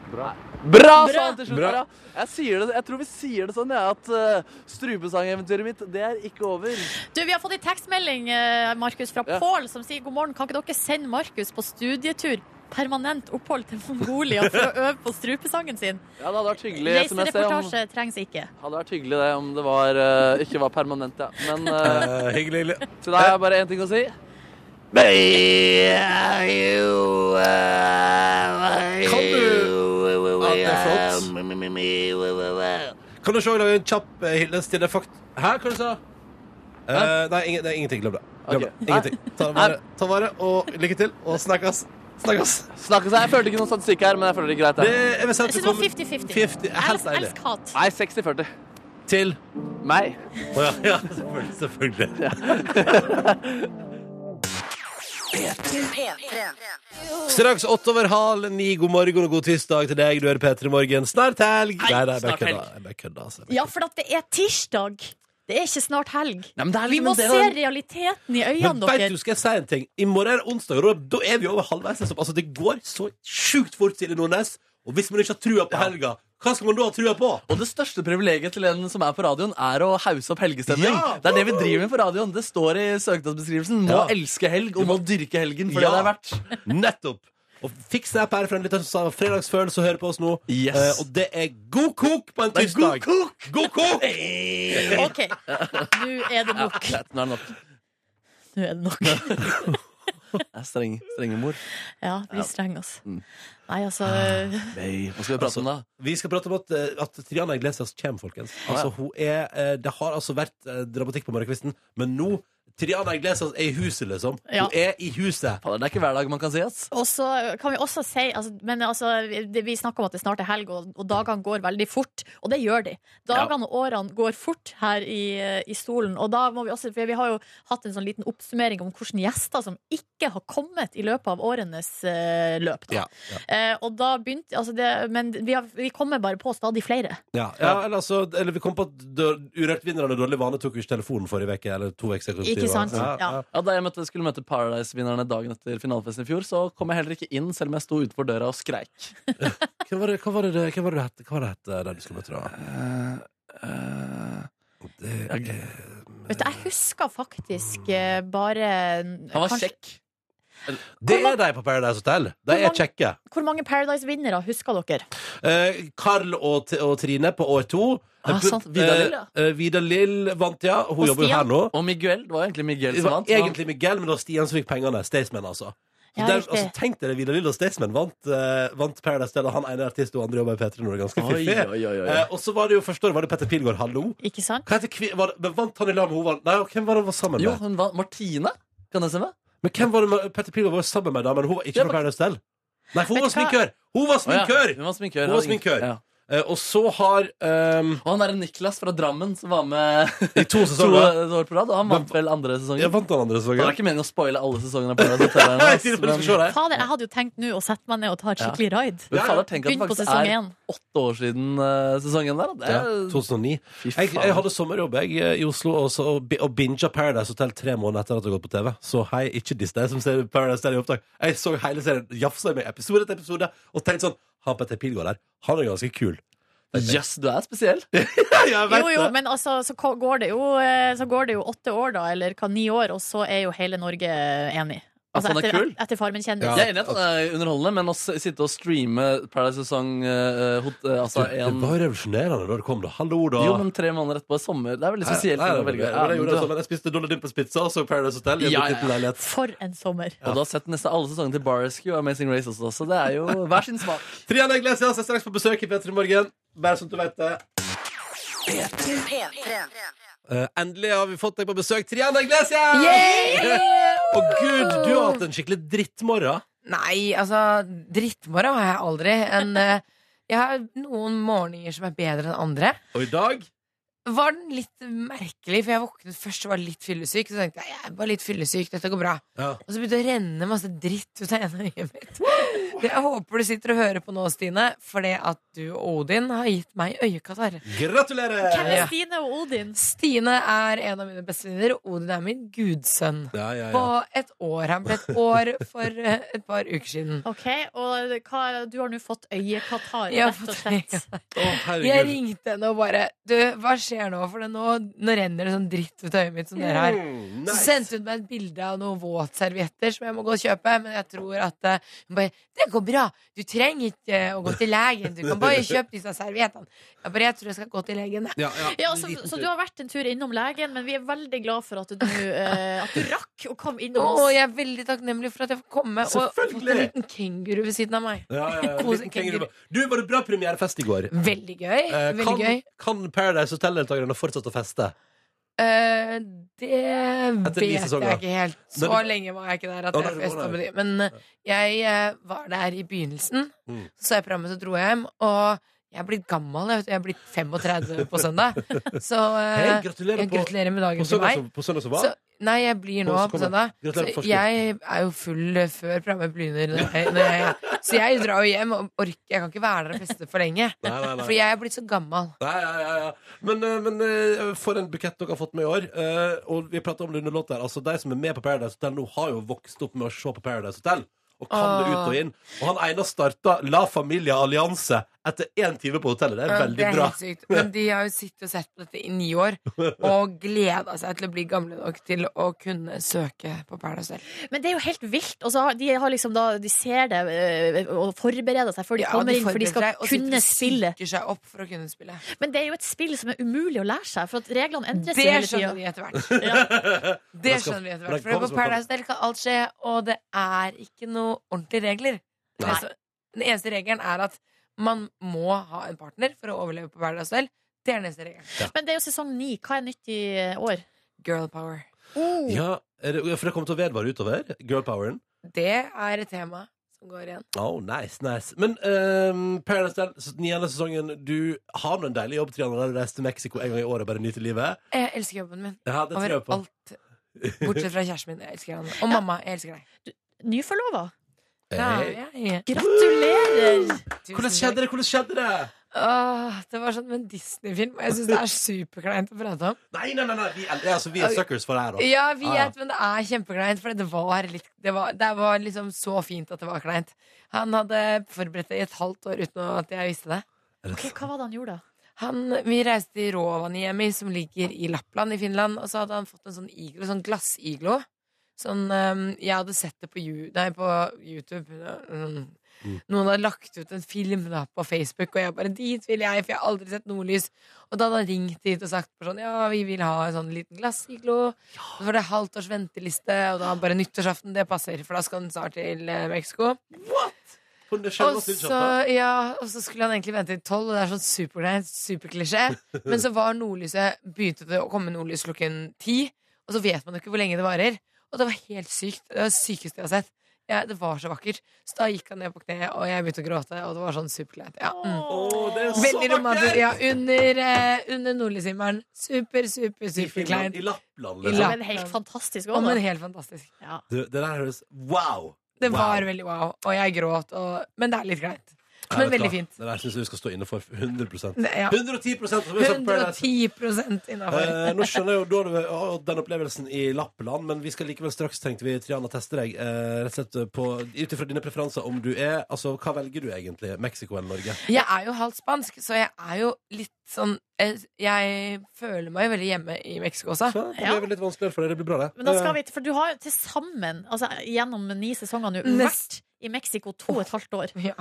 Speaker 4: Bra, sa han til slutt.
Speaker 2: Bra.
Speaker 4: Bra. Jeg, sier det, jeg tror vi sier det sånn, ja, at eh, strupesangeventyret mitt, det er ikke over.
Speaker 3: Du, Vi har fått en tekstmelding eh, Markus, fra
Speaker 4: Ja.
Speaker 3: Pål som sier god morgen. Kan ikke dere sende Markus på studietur? Permanent opphold til Mongolia for å øve på strupesangen sin.
Speaker 4: Ja, det hadde vært hyggelig. som jeg ser om,
Speaker 3: Reisereportasje trengs ikke.
Speaker 4: hadde vært hyggelig det om det var, eh, ikke var permanent, ja. Men eh,
Speaker 2: Eh, hyggelig, hyggelig.
Speaker 4: til deg har jeg bare én ting å si.
Speaker 2: Kan du Ja, det er flott. Kan du se lage en kjapp eh, hyllest til det fakt... Hæ, hva du sa du? nei, ingen, nei, ingenting. Glem det. Glem
Speaker 4: Ok.
Speaker 2: det. Ingenting. Ta vare, ta vare og lykke til, og snakkes. Snakkes.
Speaker 4: Snakkes her. Jeg følte ikke noe statistikk her, men jeg føler det er greit.
Speaker 2: Det,
Speaker 4: Ja.
Speaker 2: jeg vil si at
Speaker 3: Jeg synes
Speaker 2: du
Speaker 3: det
Speaker 2: kommer-
Speaker 3: var 50-50.
Speaker 2: 50, helt
Speaker 3: Elsk-
Speaker 2: deilig.
Speaker 3: Elsk hat.
Speaker 4: Nei, 60-40.
Speaker 2: Til
Speaker 4: Meg.
Speaker 2: Å ja, ja, selvfølgelig. selvfølgelig.
Speaker 1: P3.
Speaker 2: Straks åtte over halv ni. God morgen og god tirsdag til deg. Du er P3 Morgen. Snart helg. Nei, nei, jeg bare
Speaker 4: snart helg.
Speaker 2: kødda. Jeg bare kødda. altså. Jeg bare
Speaker 3: Ja, for at det er tirsdag. Det er ikke snart helg.
Speaker 4: Nei, men det er
Speaker 3: Vi
Speaker 4: liksom
Speaker 3: må
Speaker 4: en
Speaker 3: se
Speaker 4: del av-
Speaker 3: realiteten i
Speaker 2: Men
Speaker 3: øynene
Speaker 2: vet du,
Speaker 3: deres.
Speaker 2: skal jeg si en ting? I morgen er det onsdag, og da, da er vi over halvveis. liksom. Altså, det går så sjukt fort, Silje Nordnes. Og hvis man ikke har trua på helga, hva skal man da ha trua på?
Speaker 4: Og det største privilegiet til en som er på radioen, er å hause opp helgestemning.
Speaker 2: Ja!
Speaker 4: Det er det vi driver med på radioen. Det står i søknadsbeskrivelsen. Må
Speaker 2: Ja.
Speaker 4: elske helg og må dyrke helgen for
Speaker 2: Ja.
Speaker 4: det det er verdt.
Speaker 2: Nettopp! Og fiks deg opp her for en liten som sa fredagsfølelse og hører på oss nå.
Speaker 4: Yes.
Speaker 2: Eh, og det er god kok på en
Speaker 4: Det er god
Speaker 2: tirsdag! kok! God kok!
Speaker 3: OK, nå er det nok.
Speaker 4: Greit, nå er det nok.
Speaker 3: Nå er det nok.
Speaker 4: Jeg er streng, strengemor.
Speaker 3: Ja, vi strenger oss.
Speaker 4: Mm. Ah.
Speaker 3: Nei, altså
Speaker 4: Nei, Hva skal vi
Speaker 2: Altså,
Speaker 4: prate om da?
Speaker 2: Vi skal prate om at, eh, at Triana Iglesias kommer, folkens.
Speaker 4: Ja, ja.
Speaker 2: Altså, hun er, eh, det har altså vært eh, dramatikk på morgenkvisten, men nå Triana Iglesias er i huset, liksom.
Speaker 3: Ja.
Speaker 2: Hun er i huset.
Speaker 4: Fader, det er ikke hver dag man kan si, ass.
Speaker 3: Og så kan vi også si altså, Men altså, det, vi snakker om at det snart er helg, og, og dagene går veldig fort. Og det gjør de. Dagene og årene går fort her i, i stolen. Og da må vi også For vi har jo hatt en sånn liten oppsummering om hvilke gjester som ikke har kommet i løpet av årenes eh, løp. Da.
Speaker 2: Ja, ja.
Speaker 3: Eh, og da begynte altså det, Men vi, har, vi kommer bare på stadig flere.
Speaker 2: Ja, ja, eller, altså, eller vi kom på at dør- Urørt-vinneren av Dårlig vane tok jo ikke telefonen forrige uke. Eller to uker siden.
Speaker 3: Ikke sant?
Speaker 2: Ja, ja.
Speaker 3: Ja.
Speaker 4: Ja, da jeg møtte, skulle møte Paradise-vinnerne dagen etter finalefesten i fjor, så kom jeg heller ikke inn, selv om jeg sto utenfor døra og skreik.
Speaker 2: Hva var det hva var det det- hva var det het- hva var det het eh, der du skulle møte, da? Eh, Det er
Speaker 3: Vet du, jeg husker faktisk eh, bare
Speaker 4: han var
Speaker 3: kanskje-
Speaker 4: kjekk.
Speaker 2: det er de på Paradise Hotel. De er kjekke.
Speaker 3: Hvor mange Paradise-vinnere husker dere?
Speaker 2: Eh, Carl og, T- og Trine på år to.
Speaker 4: Ah, sant. Vidar Lill, ja.
Speaker 2: Eh, eh, Vidar Lill vant, ja. Hun
Speaker 3: Og
Speaker 2: jobber jo her
Speaker 3: Stian.
Speaker 2: nå.
Speaker 4: Og Miguel. Det var egentlig Miguel
Speaker 2: Det
Speaker 4: som
Speaker 2: var
Speaker 4: vant. men han-
Speaker 2: egentlig Miguel, men det var Stian som fikk pengene. Staysman, altså. Så
Speaker 3: Ja,
Speaker 2: der,
Speaker 3: riktig.
Speaker 2: altså tenk dere, Vidar Lill og Staysman vant, eh, vant Paradise Hotel, og han ene er artist, og andre jobber i P3 Nord. Ganske
Speaker 4: Oi,
Speaker 2: fiffig.
Speaker 4: oi, oi, oi.
Speaker 2: Eh, og så var det jo første året var det Petter Pilgaard, hallo.
Speaker 3: Ikke sant?
Speaker 2: Hva heter kvi- var, det- men Vant han i lag med hun var- Nei, hvem var det han var sammen med?
Speaker 4: Jo, hun vant. Martine? Kan det stemme?
Speaker 2: Men hvem var det med, Petter Pilgaard var sammen med da, men hun var ikke
Speaker 4: Ja,
Speaker 2: på
Speaker 4: men-
Speaker 2: Paradise Hotel? Nei, for hun var
Speaker 3: Vet du hva?
Speaker 2: sminkør! Hun var
Speaker 4: Å, ja.
Speaker 2: sminkør!
Speaker 4: Hun var sminkør.
Speaker 2: Hun var sminkør.
Speaker 4: Ja.
Speaker 2: Eh, og så har ehm,
Speaker 4: Og han er en Niklas fra Drammen som var med
Speaker 2: I to
Speaker 4: to
Speaker 2: sesonger.
Speaker 4: år på rad. Og han vant vel andre
Speaker 2: Jeg
Speaker 4: sesongen.
Speaker 2: vant den andre
Speaker 4: Det
Speaker 2: sesongen.
Speaker 4: er ikke meningen å spoile alle sesongene. på Paradise Hotel her nå,
Speaker 2: Nei,
Speaker 4: ass,
Speaker 2: jeg sier det bare for
Speaker 4: men-
Speaker 2: å se deg.
Speaker 3: Fader, jeg hadde jo tenkt nå å sette meg ned og ta et
Speaker 4: Ja.
Speaker 3: skikkelig raid.
Speaker 4: Men fader, tenk at det
Speaker 3: Begynn på
Speaker 4: faktisk
Speaker 3: sesong
Speaker 4: er
Speaker 3: én.
Speaker 4: åtte år siden eh, sesongen der. da. Det
Speaker 2: Ja,
Speaker 4: er,
Speaker 2: 2009.
Speaker 4: Fy
Speaker 2: Jeg,
Speaker 4: faen.
Speaker 2: jeg hadde sommerjobb jeg, eh, i Oslo og, så, og, bi- og binga Paradise Hotel tre måneder etter at det hadde gått på TV. Så hei, ikke diss deg som ser Paradise Hotel i opptak. Jeg så hele serien, jafsa i meg episode etter episode og tenkte sånn Han Petter Pilgaard der, han er ganske kul.
Speaker 4: Jøss, du er spesiell.
Speaker 3: Jo, jo, men altså, så ko- går det jo, eh, så går det jo åtte år, da, eller hva, ni år, og så er jo hele Norge enig. Altså,
Speaker 4: At han er
Speaker 3: etter,
Speaker 4: kul?
Speaker 3: etter Farmen kjendis.
Speaker 2: Ja.
Speaker 4: Jeg er enig i at han er underholdende, men å s- sitte og streame Paradise sesong eh, hot, eh,
Speaker 2: Det,
Speaker 4: altså
Speaker 2: det
Speaker 4: en,
Speaker 2: var revolusjonerende da det kom, da. Hallo, da.
Speaker 4: Jo, men tre måneder etterpå er sommer. Det er veldig spesielt.
Speaker 2: Nei, nei,
Speaker 4: å velge.
Speaker 2: nei,
Speaker 4: Ja,
Speaker 2: men jeg, gjorde
Speaker 4: men
Speaker 2: det
Speaker 4: du-
Speaker 2: sånn, men jeg spiste Dollar Dimples pizza og så Paradise Hotel. i en
Speaker 4: Ja, ja,
Speaker 2: liten leilighet.
Speaker 3: For en sommer.
Speaker 4: Og du har sett nesten alle sesongene til Bar Rescue og Amazing Race også, så det er jo hver sin smak.
Speaker 2: Triana Iglesias er straks på besøk i P3 Morgen. Bare sånn at du vet det. Eh, endelig har vi fått deg på besøk, Triana Iglesias! Og gud, du har hatt en skikkelig drittmorgen.
Speaker 9: Nei, altså, drittmorgen har jeg aldri. En, eh, jeg har noen morgener som er bedre enn andre.
Speaker 2: Og i dag
Speaker 9: Var den litt merkelig, for jeg våknet først og var litt fyllesyk. Så tenkte jeg jeg er bare litt fyllesyk, dette går bra.
Speaker 2: ja.
Speaker 9: Og så begynte det å renne masse dritt ut av ene øyet mitt. Det jeg håper du sitter og hører på nå, Stine, fordi at du og Odin har gitt meg øyekatarr.
Speaker 2: Gratulerer!
Speaker 3: Hvem er
Speaker 9: Ja.
Speaker 3: Stine og Odin?
Speaker 9: Stine er en av mine bestevenninner, og Odin er min gudsønn.
Speaker 2: Ja, ja,
Speaker 9: På
Speaker 2: ja.
Speaker 9: et år. Han ble et år for eh, et par uker siden.
Speaker 3: Ok, og hva, du har nå fått øyekatarr,
Speaker 9: Jeg har
Speaker 3: rett og
Speaker 9: fått
Speaker 3: slett.
Speaker 2: Å,
Speaker 9: Jeg
Speaker 2: herregud.
Speaker 9: ringte henne og bare Du, hva skjer nå? For det nå, nå renner det sånn dritt ut av øyet mitt som dere har.
Speaker 2: Mm,
Speaker 9: Så
Speaker 2: nice.
Speaker 9: sendte hun meg et bilde av noen våtservietter som jeg må gå og kjøpe. Men jeg tror at eh, hun bare 'Det går bra. Du trenger ikke eh, å gå til legen. Du kan bare kjøpe disse serviettene.' Jeg bare 'Jeg tror jeg skal gå til legen', jeg.»
Speaker 2: Ja, ja.
Speaker 3: Ja, så,
Speaker 2: Liten
Speaker 3: så
Speaker 2: tur.
Speaker 3: du har vært en tur innom legen, men vi er veldig glad for at du, eh, at du rakk å komme innom
Speaker 9: Og
Speaker 3: oss.
Speaker 9: jeg er veldig takknemlig for at jeg får komme og fått en
Speaker 2: Selvfølgelig.
Speaker 9: liten kenguru ved siden av meg.
Speaker 2: ja, ja, ja.
Speaker 9: Kos-
Speaker 2: Liten kenguru. Du, var det bra premierefest i går?
Speaker 9: Veldig gøy.
Speaker 2: Eh,
Speaker 9: veldig
Speaker 2: kan,
Speaker 9: gøy.
Speaker 2: kan Paradise Hotel-deltakerne fortsette å feste?
Speaker 9: Eh, det
Speaker 2: Etter ni
Speaker 9: vet
Speaker 2: sesonger.
Speaker 9: jeg ikke helt. Så
Speaker 2: Men-
Speaker 9: lenge var jeg ikke der at
Speaker 2: Å,
Speaker 9: jeg
Speaker 2: nei, å,
Speaker 9: festa
Speaker 2: nei.
Speaker 9: med de. Men eh, jeg eh, var der i begynnelsen.
Speaker 2: Mm.
Speaker 9: Så så jeg programmet, så dro jeg hjem. Og jeg er blitt gammel. Jeg, vet, du. jeg er blitt 35 på søndag. Så eh,
Speaker 2: Hei, gratulerer
Speaker 9: jeg
Speaker 2: på,
Speaker 9: gratulerer med
Speaker 2: på
Speaker 9: dagen til
Speaker 2: søndag
Speaker 9: meg.
Speaker 2: som- på søndag som var.
Speaker 9: Så, nei, jeg blir nå
Speaker 2: Og så
Speaker 9: på
Speaker 2: kommer-
Speaker 9: søndag.
Speaker 2: Gratulerer på
Speaker 9: Så
Speaker 2: forskudd.
Speaker 9: jeg er jo full eh, før programmet begynner. Når jeg, når jeg, så jeg drar jo hjem og orker. Jeg kan ikke være der og feste for lenge.
Speaker 2: Nei, nei, nei.
Speaker 9: For jeg er blitt så gammel.
Speaker 2: Nei, ja, ja, ja. Men, eh, men eh, for en bukett dere har fått med i år. Eh, Og vi prater om det under låt der. Altså, de som er med på Paradise Hotel nå, har jo vokst opp med å se på Paradise Hotel. Og kan
Speaker 9: Ah.
Speaker 2: det ut og inn. Og han ene starta La Familia Allianse etter én time på hotellet. Det er
Speaker 9: Ja,
Speaker 2: veldig
Speaker 9: Ah, det er
Speaker 2: bra.
Speaker 9: helt sykt. Men de har jo sittet og sett på dette i ni år og gleda seg til å bli gamle nok til å kunne søke på Paradise Hotel.
Speaker 3: Men det er jo helt vilt. Og så har, de, har liksom da, de ser det eh, og forbereder seg før de
Speaker 9: Ja,
Speaker 3: kommer inn, for de
Speaker 9: forbereder
Speaker 3: skal
Speaker 9: seg og sitter
Speaker 3: kunne
Speaker 9: og
Speaker 3: spille.
Speaker 9: psyker seg opp for å kunne spille.
Speaker 3: Men det er jo et spill som er umulig å lære seg, for at reglene endres jo
Speaker 9: Det
Speaker 3: hele tida.
Speaker 9: skjønner vi etter hvert. Det
Speaker 2: Men det skal-
Speaker 9: skjønner vi etter
Speaker 2: men det
Speaker 9: hvert. For
Speaker 2: kommer
Speaker 9: på
Speaker 2: som en
Speaker 9: Paradise Hotel kan alt skje, og det er ikke noe ordentlige regler.
Speaker 2: Nei.
Speaker 9: Altså, Den eneste regelen er at man må ha en partner for å overleve på Paradise Hotel. Det er den eneste regelen.
Speaker 3: Men det er jo sesong ni. Hva er nytt i eh, år?
Speaker 9: Girl power. Oh.
Speaker 2: Ja, er det, for det kommer til å vedvare utover. Girlpoweren.
Speaker 9: Det er et tema som går igjen.
Speaker 2: Oh, nice, nice. Men eh, Paradise Hotel, s- niende sesongen Du har nå en deilig jobb, Triana. der Du reiser til Mexico en gang i året og bare nyter livet.
Speaker 9: Jeg elsker jobben min.
Speaker 2: Ja, det tror jeg på.
Speaker 9: Overalt. Bortsett fra kjæresten min. Jeg elsker han. Og mamma. Jeg elsker deg.
Speaker 3: Nyforlova.
Speaker 2: Hey.
Speaker 9: Ja, ja, ja.
Speaker 3: Gratulerer!
Speaker 9: Tusen
Speaker 2: Hvordan
Speaker 9: takk.
Speaker 2: skjedde det? Hvordan skjedde det?
Speaker 9: Åh, det var sånn med en Disney-film, og jeg syns det er superkleint å prate om.
Speaker 2: Nei, nei, nei, nei. Vi, er- altså, vi er
Speaker 9: Ok.
Speaker 2: suckers for det her, da.
Speaker 9: Ja, vi
Speaker 2: Ah, Ja, ja.
Speaker 9: vet, men det er kjempekleint, for det var litt det var, det var liksom så fint at det var kleint. Han hadde forberedt det i et halvt år uten at jeg visste det.
Speaker 2: Er det
Speaker 3: Ok, hva var det han gjorde, da?
Speaker 9: Han, vi reiste til Rovaniemi, som ligger i Lappland i Finland, og så hadde han fått en sånn iglo, sånn glassiglo. Sånn, ehm, jeg hadde sett det på, Ju- nei, på YouTube. Mm. Noen hadde lagt ut en film da, på Facebook, og jeg bare 'dit vil jeg', for jeg har aldri sett nordlys. Og da hadde han ringt dit og sagt bare sånn 'ja, vi vil ha en sånn liten glassiglo'. Så var det halvt års venteliste, og da bare 'nyttårsaften, det passer', for da skal han snart til eh, Mexico.
Speaker 2: Hun er
Speaker 9: Og
Speaker 2: sjøl også
Speaker 9: så, ja, og så skulle han egentlig vente til tolv, og det er sånn supergreint, superklisjé. Men så var nordlyset, begynte det å komme nordlys klokken ti, og så vet man jo ikke hvor lenge det varer. Og det var helt sykt. Det var det sykeste jeg har sett. Ja, det var så vakkert. Så da gikk han ned på kne, og jeg begynte å gråte, og det var sånn superleit. Ja. Mm. Veldig romantisk. Ja, under eh, under nordlyshimelen. Super, super, superkleint.
Speaker 2: I Lappland,
Speaker 9: I
Speaker 2: liksom.
Speaker 9: Lapp-
Speaker 3: Men Altså, helt fantastisk
Speaker 9: Å,
Speaker 3: òg,
Speaker 9: men
Speaker 3: da.
Speaker 9: helt fantastisk.
Speaker 3: Ja.
Speaker 2: Du, det der høres Wow!
Speaker 9: Det
Speaker 2: Wow.
Speaker 9: var veldig wow, og jeg gråt, og... men det er litt greit.
Speaker 2: Ja,
Speaker 9: Men
Speaker 2: vet du
Speaker 9: veldig
Speaker 2: hva?
Speaker 9: fint.
Speaker 2: Det der syns jeg vi skal stå inne for 100
Speaker 9: Det, ja.
Speaker 2: 110 som vi har sagt på Paradise.
Speaker 9: 110 innafor.
Speaker 2: Eh, nå skjønner jeg jo da det, å, den opplevelsen i Lappland, men vi skal likevel straks, tenkte vi, Triana, teste deg. Eh, rett og slett på, ut ifra dine preferanser om du er Altså, hva velger du egentlig? Mexico eller Norge?
Speaker 9: Jeg er jo halvt spansk, så jeg er jo litt sånn eh, Jeg føler meg jo veldig hjemme i Mexico også.
Speaker 2: Så, det
Speaker 3: Ja.
Speaker 2: blir vel litt vanskeligere for deg. Det blir bra, det.
Speaker 3: Men da skal vi, for du har jo til sammen, altså gjennom ni sesonger nå, vært
Speaker 9: Nest-
Speaker 3: i Mexico to og et halvt år.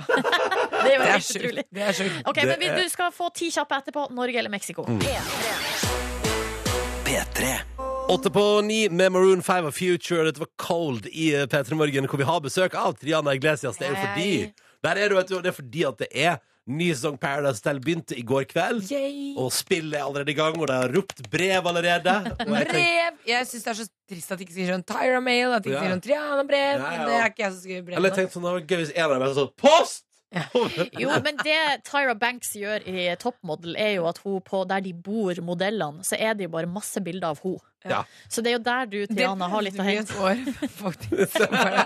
Speaker 9: Ja,
Speaker 3: Det er jo
Speaker 9: det er
Speaker 3: helt
Speaker 9: sjukt.
Speaker 3: utrolig.
Speaker 9: Det er sjukt.
Speaker 3: Ok,
Speaker 2: Det
Speaker 3: men vi,
Speaker 2: er-
Speaker 3: Du skal få ti kjappe etterpå. Norge eller Mexico?
Speaker 2: Åtte på ni med Maroon 5 og Future. Dette var Cold i eh, P3 Morgen, hvor vi har besøk av Triana Iglesias. Det er jo fordi
Speaker 3: Hei.
Speaker 2: Der er du, vet du, og det er fordi at det er ny sesong Paradise Hotel begynte i går kveld. Og spillet er allerede i gang, og de har ropt brev allerede. Og jeg tenker,
Speaker 9: Brev! Jeg syns det er så trist at de ikke skriver sånn Tyra Mail, at de ikke
Speaker 2: Ja.
Speaker 9: skriver sånn Triana-brev.
Speaker 2: Ja, ja.
Speaker 9: Det er ikke jeg som skriver brev.
Speaker 2: eller jeg tenkte sånn, det var gøy hvis en av dem er sånn Post!
Speaker 3: Jo, men det Tyra Banks gjør i Top Model, er jo at hun på der de bor, modellene, så er det jo bare masse bilder av hun.
Speaker 2: Ja.
Speaker 3: Så det er jo der du, Triana, har litt å hente.
Speaker 9: år, faktisk. Så Bare,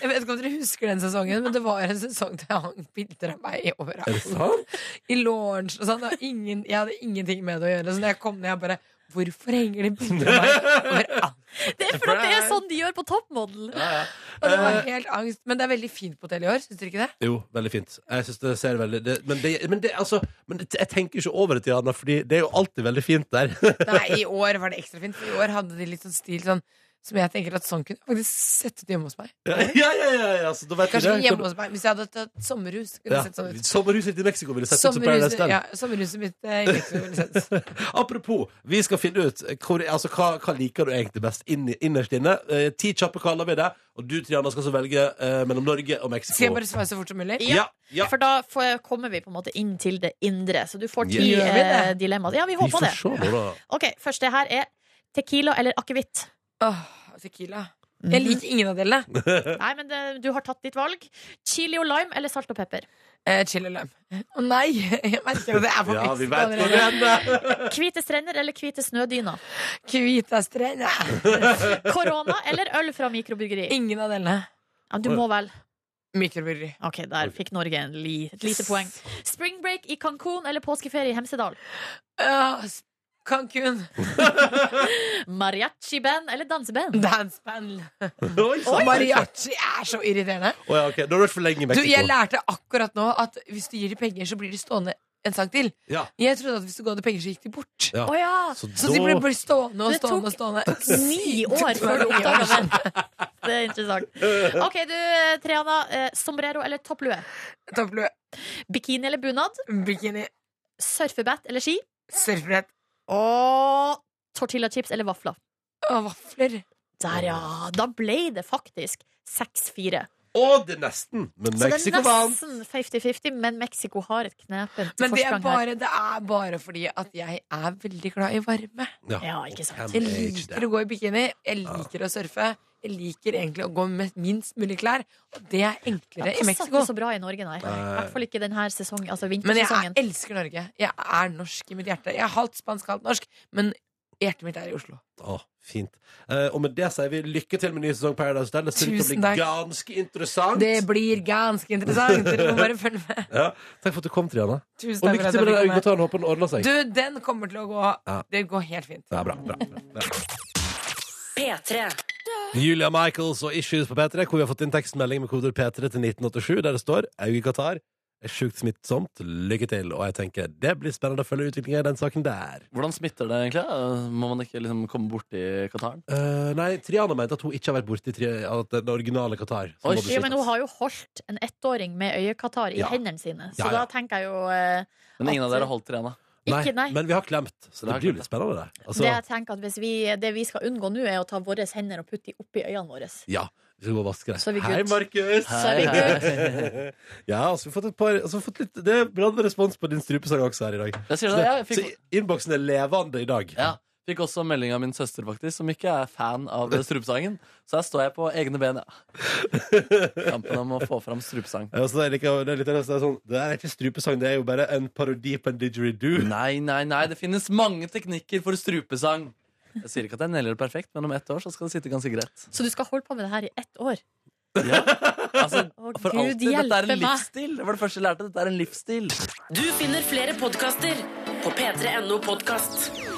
Speaker 9: jeg vet ikke om dere husker den sesongen, men det var en sesong der jeg hang bilder av meg i
Speaker 2: Er det
Speaker 9: overalt.
Speaker 2: sant?
Speaker 9: I launch og sånn. det var Ingen, jeg hadde ingenting med det å gjøre. Så når jeg kom ned, jeg bare Hvorfor henger det bilder av meg overalt?
Speaker 3: Det er for at det er sånn de gjør på Top Model!
Speaker 9: Og det var helt angst. Men det er veldig fint på hotell i år, syns dere ikke det?
Speaker 2: Jo, veldig fint. Jeg synes det ser veldig det, Men, det, men, det, altså, men det, jeg tenker ikke over det, Triana, Fordi det er jo alltid veldig fint der.
Speaker 9: Nei, i år var det ekstra fint. For i år hadde de litt sånn stil sånn som jeg tenker at sånn kunne jeg faktisk sett ut hjemme hos meg.
Speaker 2: ja, ja, ja, ja, ja, så da vet vi
Speaker 9: Kanskje
Speaker 2: det.
Speaker 9: ikke hjemme hos meg, men Hvis jeg hadde tatt sommerhus, kunne det
Speaker 2: Ja.
Speaker 9: sett sånn ut.
Speaker 2: Sommerhuset i Mexico ville sett ut som Paradise
Speaker 9: Sommerhuset,
Speaker 2: Hotel.
Speaker 9: ja, sommerhuset mitt eh, i Mexico ville sett ut.
Speaker 2: Apropos, vi skal finne ut hvor, altså, hva, hva liker du egentlig best inn, innerst inne. Eh, ti kjappe kaller vi det, og du Triana skal så velge eh, mellom Norge og Mexico.
Speaker 9: Skal jeg bare svare så fort som mulig?
Speaker 2: Ja, ja.
Speaker 3: For da får, kommer vi på en måte inn til det indre, så du får ti
Speaker 9: Gjør vi
Speaker 3: eh,
Speaker 9: det?
Speaker 3: dilemmaer. Ja, vi
Speaker 2: Vi
Speaker 3: håper
Speaker 2: får
Speaker 3: det.
Speaker 2: se nå, da.
Speaker 3: Ok, Første her er tequila eller akevitt.
Speaker 9: Åh, tequila. Jeg liker ingen av delene.
Speaker 3: Nei, men det, du har tatt ditt valg. Chili og lime eller salt og pepper?
Speaker 9: Eh, chill og lime. Å nei! Jeg merker at det er for
Speaker 2: Ja, vi
Speaker 9: Mexico
Speaker 2: vet hvor det
Speaker 9: allerede.
Speaker 2: ender.
Speaker 3: Hvite strender eller hvite snødyner?
Speaker 9: Kvita strenda.
Speaker 3: Korona eller øl fra mikrobryggeri?
Speaker 9: Ingen av delene.
Speaker 3: Ja, du må vel.
Speaker 9: Mikrobryggeri.
Speaker 3: Ok, der fikk Norge en li, et lite poeng. Spring break i Cancún eller påskeferie i Hemsedal?
Speaker 9: Åh, s- Cancun.
Speaker 3: Mariachi-band eller danseband?
Speaker 9: Danceband.
Speaker 2: Oi, sant.
Speaker 9: Mariachi er så irriterende.
Speaker 2: Å, ja, ok. Da har du vært for lenge i
Speaker 9: Du,
Speaker 2: Mexico.
Speaker 9: jeg lærte akkurat nå at hvis du gir dem penger, så blir de stående en sang til.
Speaker 2: Ja.
Speaker 9: Jeg trodde at hvis du ga dem penger, så gikk de bort.
Speaker 2: Ja.
Speaker 3: Å ja!
Speaker 2: Så
Speaker 9: Så de ble
Speaker 2: da
Speaker 9: bare stående og
Speaker 3: Det tok
Speaker 9: stående og stående.
Speaker 3: Ni år før du oppdaga den. Det er interessant. OK, du Triana. eh, Sombrero eller topplue?
Speaker 9: Topplue,
Speaker 3: Bikini eller bunad?
Speaker 9: bikini,
Speaker 3: Surfebrett eller ski?
Speaker 9: surfbrett
Speaker 3: Og tortillachips eller vafler?
Speaker 9: og vafler.
Speaker 3: Der, ja. Da ble det faktisk 6-4.
Speaker 2: Å, det er nesten! Men
Speaker 3: Så det
Speaker 2: Mexico
Speaker 3: er
Speaker 2: vant.
Speaker 3: nesten 50-50, men Mexico har et knepent
Speaker 9: Men det er,
Speaker 3: forsprang her.
Speaker 9: bare, det er bare fordi at jeg er veldig glad i varme.
Speaker 3: Ja, ikke sant.
Speaker 2: og
Speaker 9: Jeg
Speaker 2: hvem er ikke
Speaker 9: liker å gå i bikini, jeg liker å surfe. Jeg liker egentlig å gå med minst mulig klær, og det er
Speaker 3: Det
Speaker 9: enklere i
Speaker 3: passer
Speaker 9: Mexico.
Speaker 3: ikke så bra i Norge, nei. I hvert fall ikke denne sesongen, altså
Speaker 9: Men jeg er,
Speaker 3: vintersesongen.
Speaker 9: elsker Norge. Jeg er norsk i mitt hjerte. Jeg er halvt spansk, halvt norsk, men hjertet mitt er i Oslo.
Speaker 2: Å, fint. Eh, og med det sier vi lykke til med ny sesong Paradise Hotel. Det ser ut til å bli
Speaker 9: Tusen takk.
Speaker 2: ganske interessant.
Speaker 9: Det blir ganske interessant. Dere må bare følge med.
Speaker 2: Ja. Takk for at du kom, Triana.
Speaker 9: Tusen
Speaker 2: Og
Speaker 9: takk for
Speaker 2: lykke
Speaker 9: at
Speaker 2: til med den
Speaker 9: jeg fikk komme.
Speaker 2: øyeblikket. Håper den ordner seg.
Speaker 9: Du, den kommer til å gå
Speaker 2: Ja.
Speaker 9: Det går helt fint.
Speaker 2: Ja, bra, bra, bra.
Speaker 1: P3.
Speaker 2: Julia Michaels og Issues på P3, hvor vi har fått inn tekstmelding med koder P3 til 1987, der det står Auge Qatar er sjukt smittsomt, lykke til. Og jeg tenker det blir spennende å følge utviklingen i den saken der.
Speaker 4: Hvordan smitter det egentlig? Eh, Må man ikke liksom komme borti Qataren?
Speaker 2: Eh, nei, Triana mente at hun ikke har vært borti tri at den originale Qatar. som
Speaker 4: Oi,
Speaker 2: var beskyttet.
Speaker 3: Jo, men hun har jo holdt en ettåring med øyekatarr i
Speaker 2: Ja.
Speaker 3: hendene sine, så
Speaker 2: Ja, ja.
Speaker 3: da tenker jeg jo eh,
Speaker 4: Men ingen av
Speaker 3: At-
Speaker 4: dere holdt Triana.
Speaker 2: Nei,
Speaker 3: ikke, nei.
Speaker 2: Men vi har klemt, så
Speaker 4: Vi
Speaker 2: det
Speaker 4: har
Speaker 2: blir
Speaker 4: klemt,
Speaker 2: litt spennende, det.
Speaker 3: Det
Speaker 2: Altså,
Speaker 3: jeg tenker at hvis vi, det vi skal unngå nå, er å ta våre hender og putte de oppi øynene våre.
Speaker 2: ja, vi skal gå og vaske
Speaker 3: Så er vi
Speaker 2: det. Hei,
Speaker 3: good.
Speaker 2: Markus!
Speaker 3: Så er vi good.
Speaker 2: Ja, altså, vi har fått et par altså, vi har fått litt, Det er bra respons på din strupesang også her i dag.
Speaker 4: Jeg sier
Speaker 2: Så,
Speaker 4: det, ja, jeg
Speaker 2: så
Speaker 4: fikk...
Speaker 2: innboksen er levende i dag.
Speaker 4: ja. Fikk også melding av min søster, faktisk, som ikke er fan av strupesangen. Så her står jeg på egne ben, ja. Kampen om å få fram strupesang.
Speaker 2: Ja, så det, er like, det, er litt, det, er sånn, det er ikke strupesang, det er jo bare en parodi på en didgeridoo.
Speaker 4: Nei, nei, nei, det finnes mange teknikker for strupesang. Jeg sier ikke at jeg neller det perfekt, men om ett år så skal det sitte ganske greit.
Speaker 3: Så du skal holde på med det her i ett år?
Speaker 4: Altså,
Speaker 3: Å,
Speaker 4: for
Speaker 3: Gud
Speaker 4: alltid. Dette er
Speaker 3: hjelpe
Speaker 4: en
Speaker 3: meg!
Speaker 4: livsstil. Det var det første jeg lærte. Dette er en livsstil.
Speaker 1: Du finner flere podkaster på p3.no podkast.